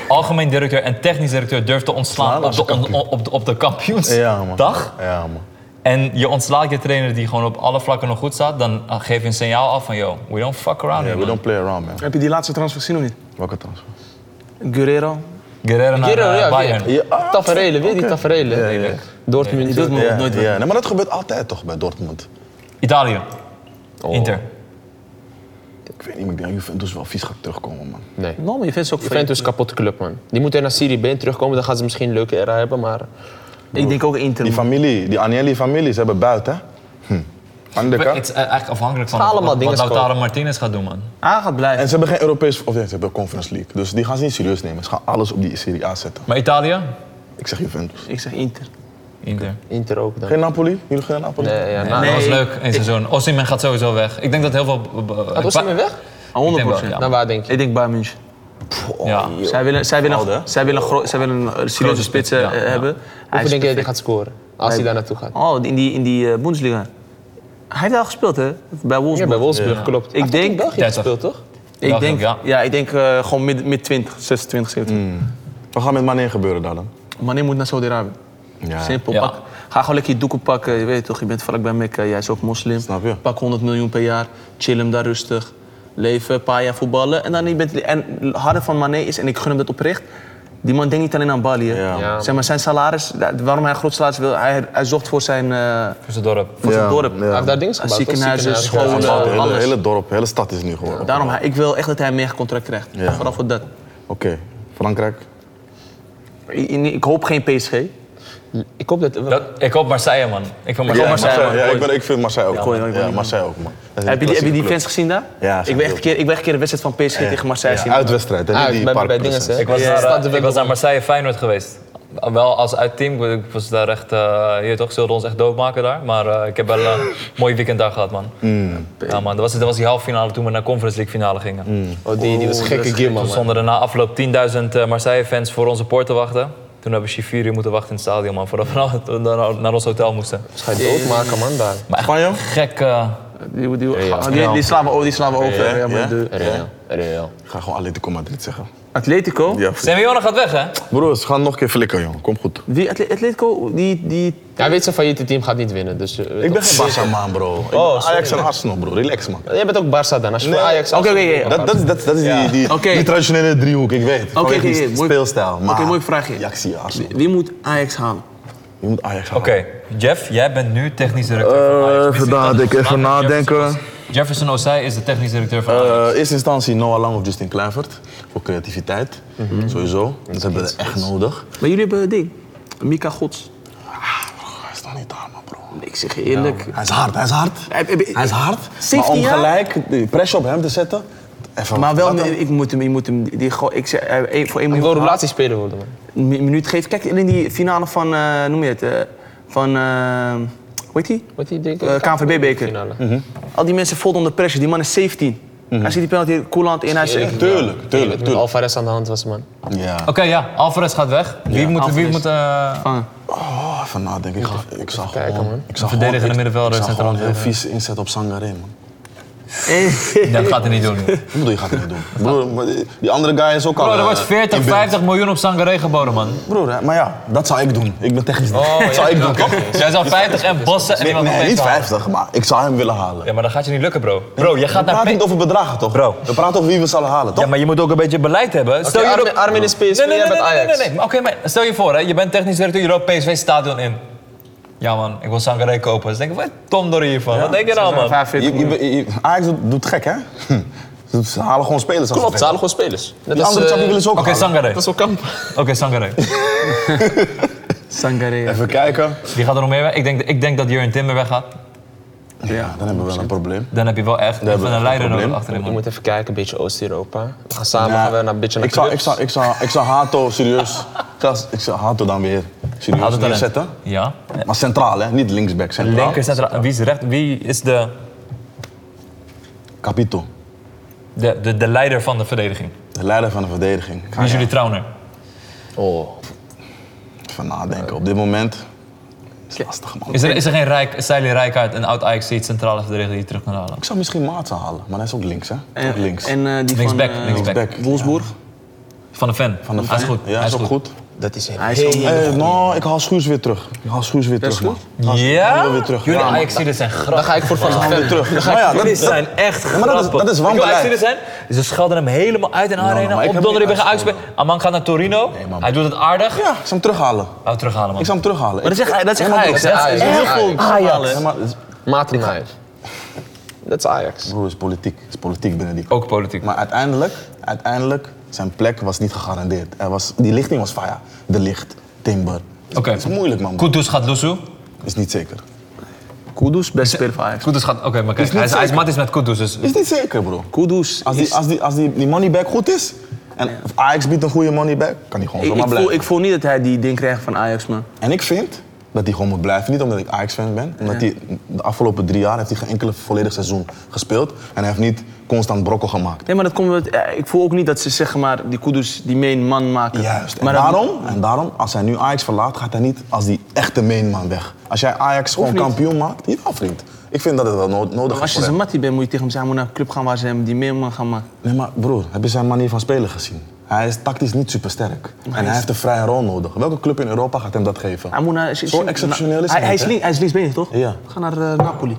algemeen directeur en technisch directeur durft te ontslaan op
Als
de, on-
kampioen.
op de, op de
Ja, man.
kampioensdag.
Ja, man.
En je ontslaat je trainer die gewoon op alle vlakken nog goed staat. Dan eh, geef je een signaal af van, yo, we don't fuck around
Yeah,
here,
we
man.
don't play around, man.
Heb je die laatste transfer gezien of niet?
Welke transfer?
Guerrero.
Guerrero naar
Guerrero,
eh,
ja,
Bayern.
weer.
ah,
Taferelen, weer die
oké.
taferelen.
Ja, ja.
Dortmund.
Dortmund.
Ja,
Nooit
ja.
weg.
Nee, maar dat gebeurt altijd toch bij Dortmund.
Italië.
Oh.
Inter.
Ik weet niet, maar ik denk dat Juventus wel vies gaat terugkomen, man.
Nee.
No, Nou, maar je vindt ze ook vreemd.
Juventus kapotte club, man. Die moeten naar Serie B terugkomen, dan gaan ze misschien een leuke era hebben, maar...
Ik denk ook Inter.
Die
man.
familie, die Agnelli-familie, ze hebben buiten, hè? Hm. Aan de
Het
kant.
is eh, eigenlijk afhankelijk van
Ga
wat,
allemaal
wat
dingen
Lautaro Martinez gaat doen, man.
Hij gaat blijven.
En ze hebben geen Europees, of nee, ze hebben Conference League. Dus die gaan ze niet serieus nemen. Ze gaan alles op die Serie A zetten.
Maar Italië?
Ik zeg Juventus.
Ik zeg Inter.
Inter.
Inter ook dan.
Geen Napoli? Jullie geen Napoli?
Nee, ja, nou, na-
Dat was
Nee.
leuk in het seizoen. Osimhen gaat sowieso weg. Ik denk dat heel veel...
Gaat Osimhen weg?
100
Ik denk wel,
Naar waar denk je?
Ik denk Bayern München.
Ja.
Oh,
Zij willen, zij willen,
Oude, hè?
zij willen, gro- zij willen een eh, serieuze spits eh,
spits, ja, ja.
hebben. Hij
Hoeveel
is
denk je dat hij
perfect.
gaat scoren? Als hij daar naartoe gaat.
Oh, in die, in die eh, Bundesliga. Hij heeft al gespeeld, hè? Bij Wolfsburg.
Ja, bij Wolfsburg, klopt. Hij heeft
denk-
ook in België
30.
gespeeld, toch?
Ik
Dacht
denk,
ik, ja.
ja. ik denk eh, gewoon mid, mid 20, 26, 27.
Wat gaat met Mane gebeuren daar dan?
Mané moet naar Saudi-Arabië.
Ja.
Simpel.
Ja.
Pak, ga gewoon lekker je doeken pakken. Je weet toch, je bent vlak bij Mekka, jij is ook moslim.
Snap je.
Pak 100 miljoen per jaar, chill hem daar rustig. Leven, een paar jaar voetballen. En dan je bent, en het harde van Mané is, en ik gun hem dat oprecht, die man denkt niet alleen aan Bali. hè.
Ja.
Ja.
Zeg maar, zijn salaris, da- waarom hij een groot salaris wil, hij, hij zocht voor zijn, eh,
Voor zijn dorp.
voor zijn
Ja,
dorp.
ja.
Hij heeft daar dingen gebouwd, toch?
Ziekenhuizen,
Ja,
scholen,
het hele,
eh, alles.
hele dorp, hele stad is nu geworden.
Daarom, hij- ik wil echt dat hij een mega contract krijgt.
Ja.
Vooral voor dat.
Oké, Frankrijk.
Ik, ik hoop geen PSG.
Ik hoop dat...
Dat, ik hoop Marseille, man. Ik hoop Marseille.
Ja,
Marseille, man.
Ja, ik, ben, ik vind Marseille ook.
Ja,
man.
ik ben- ik ben
ja,
niet-
Marseille ook, man. Dat is
Heb je,
een
die, heb je die
klassieke
fans gezien daar?
Ja,
ik, ben echt
zeker.
een keer, ik ben echt een keer een wedstrijd van PSG
club.
tegen Marseille
Ja,
zien.
Uitwedstrijd, hè?
Uit,
niet die
bij- bij
parkproces.
dingen, hè.
Ik was,
Ja,
naar,
staat er
eh,
wel
ik was
op.
naar Marseille Feyenoord geweest. Wel als uitteam, ik was daar echt, eh je weet toch, ze wilden ons echt doodmaken daar. Maar eh, ik heb wel een mooi weekend daar gehad, man.
Mm.
Ja, man. Dat was, dat was die halve finale toen we naar Conference League finale gingen.
Oh, die, die was een gekke
Toen
game, man.
stonden er na afloop 10.000 eh, Marseille-fans voor onze poort te wachten. Toen hebben we vier uur moeten wachten in het stadion, man. Voordat we naar- naar, naar ons hotel moesten.
Ze gaan je doodmaken, man, daar.
Maar echt
Spanje?
gek. eh,
Die, die, Ah, die, die slaan we over. Die slaan we over. Ja, maar
Ja?
de-
Real. Real.
Ik ga gewoon Atletico Madrid zeggen.
Atletico?
Ja.
Simeone gaat weg, hè?
Broers, gaan nog een keer flikken, jongen. Kom goed.
Die Atle- Atletico, die, die...
Hij weet zijn failliete team gaat niet winnen, dus... eh, weet
Ik ben
toch.
geen Barca man, bro.
Oh,
Ik ben Ajax en Arsenal, bro. Relax, man.
Jij bent ook Barça dan, als je voor Ajax...
Oké, oké, oké.
Dat, dat, dat, dat is die, die,
Oké.
die traditionele driehoek, ik weet. Oké,
oké, oké, mooi-
speelstijl. Maar
oké, mooi vraagje.
Ja, ik zie Arsenal.
Wie moet Ajax halen?
Je moet Ajax halen.
Oké, Jeff, jij bent nu technisch directeur van Ajax. Misschien dat het vandaag een Champions League was. Jefferson Osei is de technisch directeur van Ajax.
Eh eerste instantie Noah Lang of Justin Kluivert. Voor creativiteit, sowieso. Dat hebben we echt nodig.
Maar jullie hebben een ding. Mika Gods.
Hij is nog niet daar, man, bro.
Ik zeg je eerlijk.
Hij is hard, hij is hard.
Hij- hij-
Hij is hard. Maar
17
om
jaar?
gelijk de pressure op hem te zetten. Even
Maar wel,
laten-
ik moet hem, ik moet hem die, go- ik zeg, eh, één- voor één
Hij
minuut.
wil relatiespeler worden, man.
Een minuut geven. Kijk, in die finale van, eh, noem je het, eh, van, eh, hoe heet die?
Wat die denk ik?
Eh, KNVB-beker.
Finale.
Al die mensen vol onder pressure. Die man is 17. Hij ziet die penalty Koeland in. Hij zegt,
Tuurlijk, tuurlijk, tuurlijk.
Met Alvarez aan de hand was, man.
Ja.
Oké, ja, Alvarez gaat weg. Wie moet, wie
Alvarez.
moet eh,
Ah.
Oh, even nadenken. Ik, ga- ik zag
kijken,
gewoon...
man.
Ik zag
Verdedigende
gewoon- ik-
middenvelder,
ik zag
centraal
gewoon een heel
verdediger.
vies inzet op Sangaré, man.
dat gaat hij niet doen.
Ik bedoel, je gaat het niet doen. Broer, maar die- die andere guy is ook al...
Bro, er
eh,
wordt 40,
in beeld.
50 miljoen op Sangaré geboden, man.
Broer, hè, maar ja, dat zou ik doen. Ik ben technisch
Oh,
dat zou ik doen, toch?
Jij zou 50 en bossen en
Nee,
iemand
nee,
opeens
niet
halen.
50, maar ik zou hem willen halen.
Ja, maar dat gaat je niet lukken, bro. Bro, je
We
gaat naar...
praten niet
Pe-
over bedragen, toch?
Bro.
We praten over wie we zullen halen, toch?
Ja, maar je moet ook een beetje beleid hebben. Stel je
Armin, Armin is PSV,
Nee, nee,
jij
nee,
bent
nee, nee,
Ajax.
nee, nee. Maar Oké, maar stel je voor, hè, je bent technisch directeur, je loopt PSV stadion in. Ja man, ik wil Sangaré kopen. Ze denken, wat dom door hiervan. wat denk je nou man?
Je- je- je- Ajax doet, doet gek, hè? Ze- Ze halen gewoon spelers. af.
Klopt, ze halen gewoon spelers. Net
Die
als,
andere
eh,
chappie willen ze ook
Oké,
halen.
Sangaré.
Dat is wel kamp.
Oké, Sangaré.
Sangare.
Even kijken.
Die gaat er nog meer weg. Ik denk, ik denk dat Jurgen Timber weggaat.
Ja, dan hebben we wel een probleem.
Dan heb je wel echt
hebben
even
we
een
een
leider
probleem.
nodig achterin
Je
man.
moet even kijken, een beetje Oost-Europa. We gaan samen
Ja,
gaan we naar een beetje naar
ik, zou, ik,
clubs.
zou, ik, zou, ik zou Hato serieus... gast, ik zou Hato dan weer serieus
Hato talent.
neerzetten.
Ja.
Maar centraal, hè? Niet linksback, centraal.
Linker, centraal. En Wie is recht? Wie is de,
Capito,
de, de, de leider van de verdediging?
de leider van de verdediging. Ik ga
Wie is jullie trouwner?
Oh,
even nadenken. Op dit moment is lastig, man.
Is er, is er geen Rijk, Seile Rijkaard, een oud Ajax die centrale verdediger die je terug kan halen?
Ik zou misschien Maatsen halen, maar hij is ook links, hè?
En,
ook links.
en eh, die van...
Linksback,
eh,
linksback.
Linksback.
Wolfsburg.
Van de fan.
Van de
Hij is
Fijn.
goed.
Ja, is ook goed.
dat is
Hij is
heel...
Eh, nou, ik haal Schuurs weer terug. Ik haal Schuurs weer terug, man.
Ja?
Weer terug.
Jullie
Ja, man.
ajax zijn
Dan
grappig.
ga ik voor Van de
Weer
Ven.
terug. Maar ja, dat
Jullie
is...
zijn echt grappig.
maar dat is- dat is wanbeleid.
Ajax-Zielen zijn, ze schelden hem helemaal uit in
nou,
arena.
maar ik
op
heb
donderdag
niet
bij Ajax. Amang gaat naar Torino.
man.
Hij doet het aardig.
Ja, ik zou hem terughalen.
Hou terughalen, man.
Ik zou hem terughalen.
Maar dat is echt, dat is echt
Helemaal
Ajax, hè?
Dat is Ajax.
Heel
Ja,
veel
Ajax.
Ajax.
Ja, maar het is-
Maarten Nijs. Dat is Ajax.
broer, het is politiek. Het is politiek binnen die
Ook politiek.
Maar uiteindelijk, uiteindelijk, zijn plek was niet gegarandeerd. Er was, die lichting was faya. De licht, timber.
Oké.
Het is moeilijk, man.
Kudus gaat Lusu.
Is niet zeker.
Kudus, beste speler van Ajax.
Kudus gaat... Oké, maar kijk,
Is niet
hij is, hij is
zeker.
matties met Kudus. Dus
Is niet zeker, bro.
Kudus
Als
is...
die, als die, als die, die moneyback goed is en Ajax biedt een goede moneyback, kan hij gewoon
Ik,
zomaar
ik voel,
blijven.
ik voel niet dat hij die ding krijgt van Ajax, man.
En ik vind dat hij gewoon moet blijven. Niet omdat ik Ajax-fan ben. Omdat hij de afgelopen drie jaar heeft hij geen enkele volledig seizoen gespeeld. En hij heeft niet constant brokkel gemaakt.
Nee, maar dat komt... omdat- eh, Ik voel ook niet dat ze, zeg maar, die Kudus die main man maken.
Juist. En,
Maar dat-
daarom, en daarom, als hij nu Ajax verlaat, gaat hij niet als die echte mainman weg. Als jij Ajax gewoon
niet.
kampioen maakt, jawel vriend. Ik vind dat het wel nood- nodig
Maar
is
Als je
voor
zijn
hem.
mattie bent, moet je tegen hem zeggen, hij moet naar een club gaan waar ze hem die main man gaan maken.
Nee, maar broer, heb je zijn manier van spelen gezien? Hij is tactisch niet supersterk. En hij heeft een vrije rol nodig. Welke club in Europa gaat hem dat geven?
Hij moet naar...
Zo exceptioneel is
hij
hij
Hij
niet,
is,
hè?
link, hij is linksbenig, toch?
Ja.
Ga naar eh, Napoli.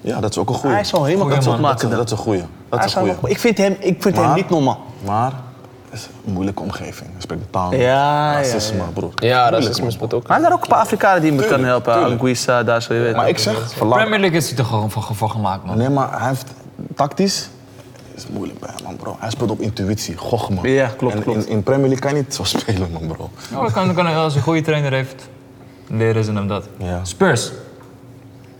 Ja, dat is ook een goeie.
Hij zal helemaal
Goeie
kapot
man.
dat, is,
maken.
dat is een goeie.
Hij
Dat is een
zou
goeie.
nog- ik vind hem, ik vind hem
Maar-
niet normaal.
Maar het is een moeilijke omgeving. Hij spreekt de taal. niet.
Ja, ja,
racisme, broer.
Ja,
Moeilijk,
racisme
man.
speelt ook.
Maar hij had daar ook een paar Afrikanen die hem kunnen
Tuurlijk,
helpen.
tuurlijk.
Anguissa, daar zo, je weet.
Maar ik zeg, verlaat.
Premier League is hij toch gewoon voor, voor gemaakt, man.
Nee, maar hij heeft tactisch. is moeilijk bij hem, man, bro. Hij speelt op intuïtie, goch, man.
Ja, klopt,
En
klopt.
In, in Premier League kan je niet zo spelen, man, bro.
Ja, maar kan, kan, als hij een goede trainer heeft, leren ze hem dat.
Ja.
Spurs.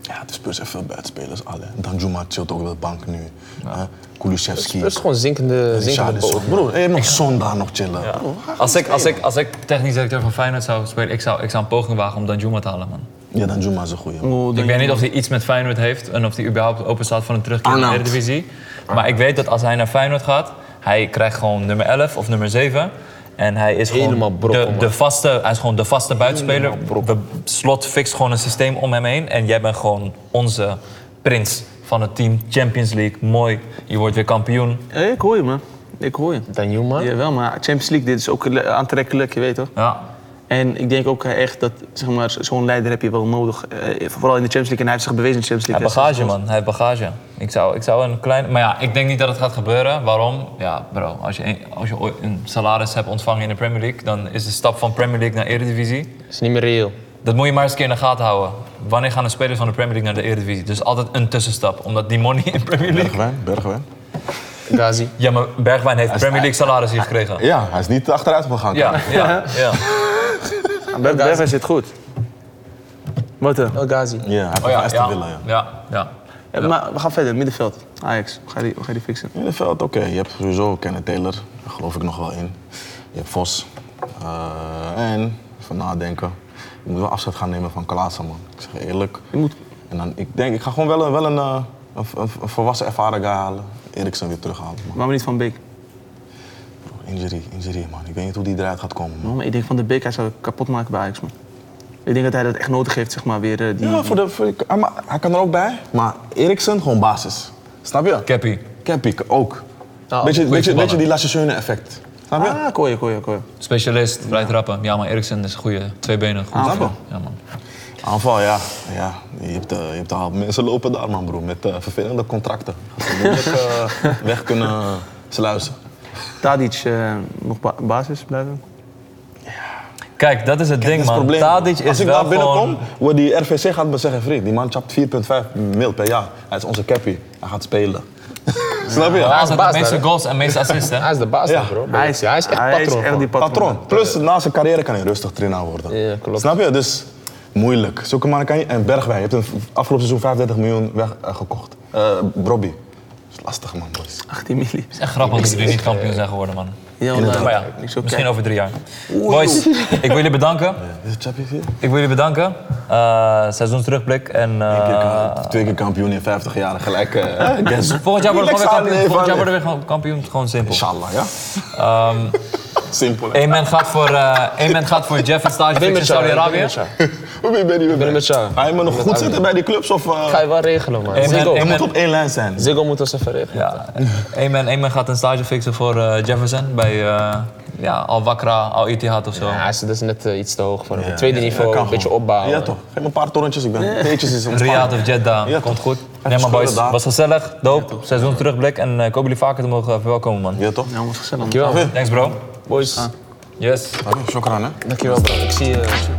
Ja, de Spurs heeft veel buitenspelers, alle. Danjuma chillt ook op de bank nu. Eh, Kulusevski.
Dat is gewoon zinkende, zinkende
Richarlison.
boot.
Bro, je nog Sonda nog chillen. Bro,
Als ik, als, ik, als ik technisch directeur van Feyenoord zou spelen, ik zou, ik zou een poging wagen om Danjuma te halen, man.
Ja, Danjuma is een goeie. man.
ik weet niet of hij iets met Feyenoord heeft en of hij überhaupt open staat voor een terugkeer in de
Arnoud.
Eredivisie. Maar ik weet dat als hij naar Feyenoord gaat, hij krijgt gewoon nummer 11 of nummer 7. En hij is
Helemaal
gewoon
brokkel,
de,
man.
de vaste, hij is gewoon de vaste buitenspeler. We slot fixt gewoon een systeem om hem heen. En jij bent gewoon onze prins van het team. Champions League, mooi. Je wordt weer kampioen.
Hé, ik hoor je, man. Ik hoor je.
Danjuma.
Jawel, maar Champions League, dit is ook le- aantrekkelijk, je weet toch?
Ja.
En ik denk ook echt dat zeg maar, zo'n leider heb je wel nodig. eh, vooral in de Champions League. En hij heeft zich bewezen in de Champions
Hij
League.
heeft bagage, man. Hij heeft bagage. Ik zou, ik zou een klein... Maar ja, ik denk niet dat het gaat gebeuren. Waarom? Ja, bro. Als je, een- als je ooit een salaris hebt ontvangen in de Premier League... dan is de stap van Premier League naar Eredivisie...
is niet meer reëel.
Dat moet je maar eens een keer in de gaten houden. Wanneer gaan de spelers van de Premier League naar de Eredivisie? Dus altijd een tussenstap, omdat die money in Premier League...
Bergwijn, Bergwijn.
Gazi.
Ja, maar Bergwijn heeft Premier League salaris hier gekregen.
Ja, hij is niet achteruit gegaan.
Ja, ja, ja.
Bergwijn zit goed. Wat eh?
El Ghazi.
Ja, hij heeft
Oh
van
ja,
Aston
ja,
Villa, ja.
ja, ja.
Ja, Maar we gaan verder, middenveld. Ajax, hoe ga je die, hoe ga je die fixen?
Middenveld, oké. Je hebt sowieso Kenneth Taylor, daar geloof ik nog wel in. Je hebt Vos. Eh, en, even nadenken. Je moet wel afzet gaan nemen van Klaassen, man. Ik zeg je eerlijk.
Je moet
En dan, ik denk, ik ga gewoon wel een, wel een, eh, een, een, een volwassen ervaren guy halen. Eriksen weer terughalen, man.
Maar we niet van Beek.
Injury, injury, man. Ik weet niet hoe die eruit gaat komen, man.
Man, ik denk van de Beek, hij zou kapot maken bij Ajax, man. Ik denk dat hij dat echt nodig heeft, zeg maar, weer eh, die...
Ja, voor de, voor de- ah, maar hij kan er ook bij. Maar Eriksen, gewoon basis. Snap je?
Cappy.
Kepik ook. beetje,
goeie
beetje, beetje
voetballer.
die Lasse effect. Snap je?
Ah, kooien, kooien, kooien.
Specialist, rijdt rappen. Ja, maar Eriksen is een goede tweebenen. Goede
Aanval.
speler. Ja, man.
Aanval, ja. ja. Je hebt, eh, je hebt al mensen lopen daar, man, broer. Met eh, vervelende contracten. Dat ze moeilijk eh, weg kunnen sluizen.
Tadic eh, nog ba- basis blijven.
Kijk, dat is het
Dat
ding,
is
man.
het probleem.
Tadic is
Als ik
wel
daar binnenkom,
gewoon...
wordt die RVC gaat me zeggen, vriend, die man chapt 4,5 mil per jaar. Hij is onze cappy. Hij gaat spelen. Snap je?
Hij
is
is de
baas
meeste
daar, hè?
goals en meeste assists, hè?
Hij is de baas
Ja.
daar, bro. Hij is, hij is echt
hij
patroon.
Is echt die
gewoon.
patroon.
Patroon. Plus, na zijn carrière kan hij rustig trainer worden.
Ja, klopt.
Snap je? Dus moeilijk. Zulke mannen kan je... En Bergwijn, je hebt een afgelopen seizoen 35 miljoen weggekocht. Eh Robbie. Dat is lastig, man, boys.
18 miljoen.
Het is echt grappig dat jullie niet kampioen zijn geworden, man.
Ja,
Inderdaad.
Maar Oh ja, misschien over drie jaar. Boys, ik wil jullie bedanken.
Is het Chappie hier?
Ik wil jullie bedanken. Eh seizoensterugblik en... eh,
Ah.
Twee keer kampioen in 50 jaar gelijk. eh, guess.
Volgend jaar worden we
Relax,
gewoon weer kampioen.
Ali,
Volgend
even
jaar
Ali.
worden we weer gewoon kampioen. Gewoon simpel.
Inshallah, ja?
Ehm,
Simpel. hè?
Eén man gaat voor, eh één man gaat voor Jeff en stage fix in Saudi-Arabië.
Hoe ben je- ben je weer
eh, ben het
bij?
met jou.
Ga je me nog goed zitten bij die clubs of... eh,
Ga je wel regelen, man.
Amen,
Ziggo.
Je
amen.
moet op één lijn zijn.
Ziggo moet ons even regelen.
Ja, één man, één man gaat een stage fixen voor eh, Jefferson bij eh, ja, Al Wakra, Al Ittihad of zo.
Ja, hij is dus net eh, iets te hoog voor hem.
Ja,
Tweede
ja,
niveau,
dat kan
een beetje
gewoon.
opbouwen.
Ja, toch. Geef me een paar torentjes, ik ben... Teetjes is
Riyadh
ontspannen.
of Jeddah,
Ja,
komt
toch.
goed.
Even
Nee maar boys,
schudden daar.
was gezellig, dope, seizoen terugblik en eh, ik hoop jullie vaker te mogen verwelkomen man.
Ja, toch?
Ja, was gezellig.
Dankjewel,
Thanks bro.
boys.
Yes.
Shokran, hè?
Dankjewel, bro. Ik zie je.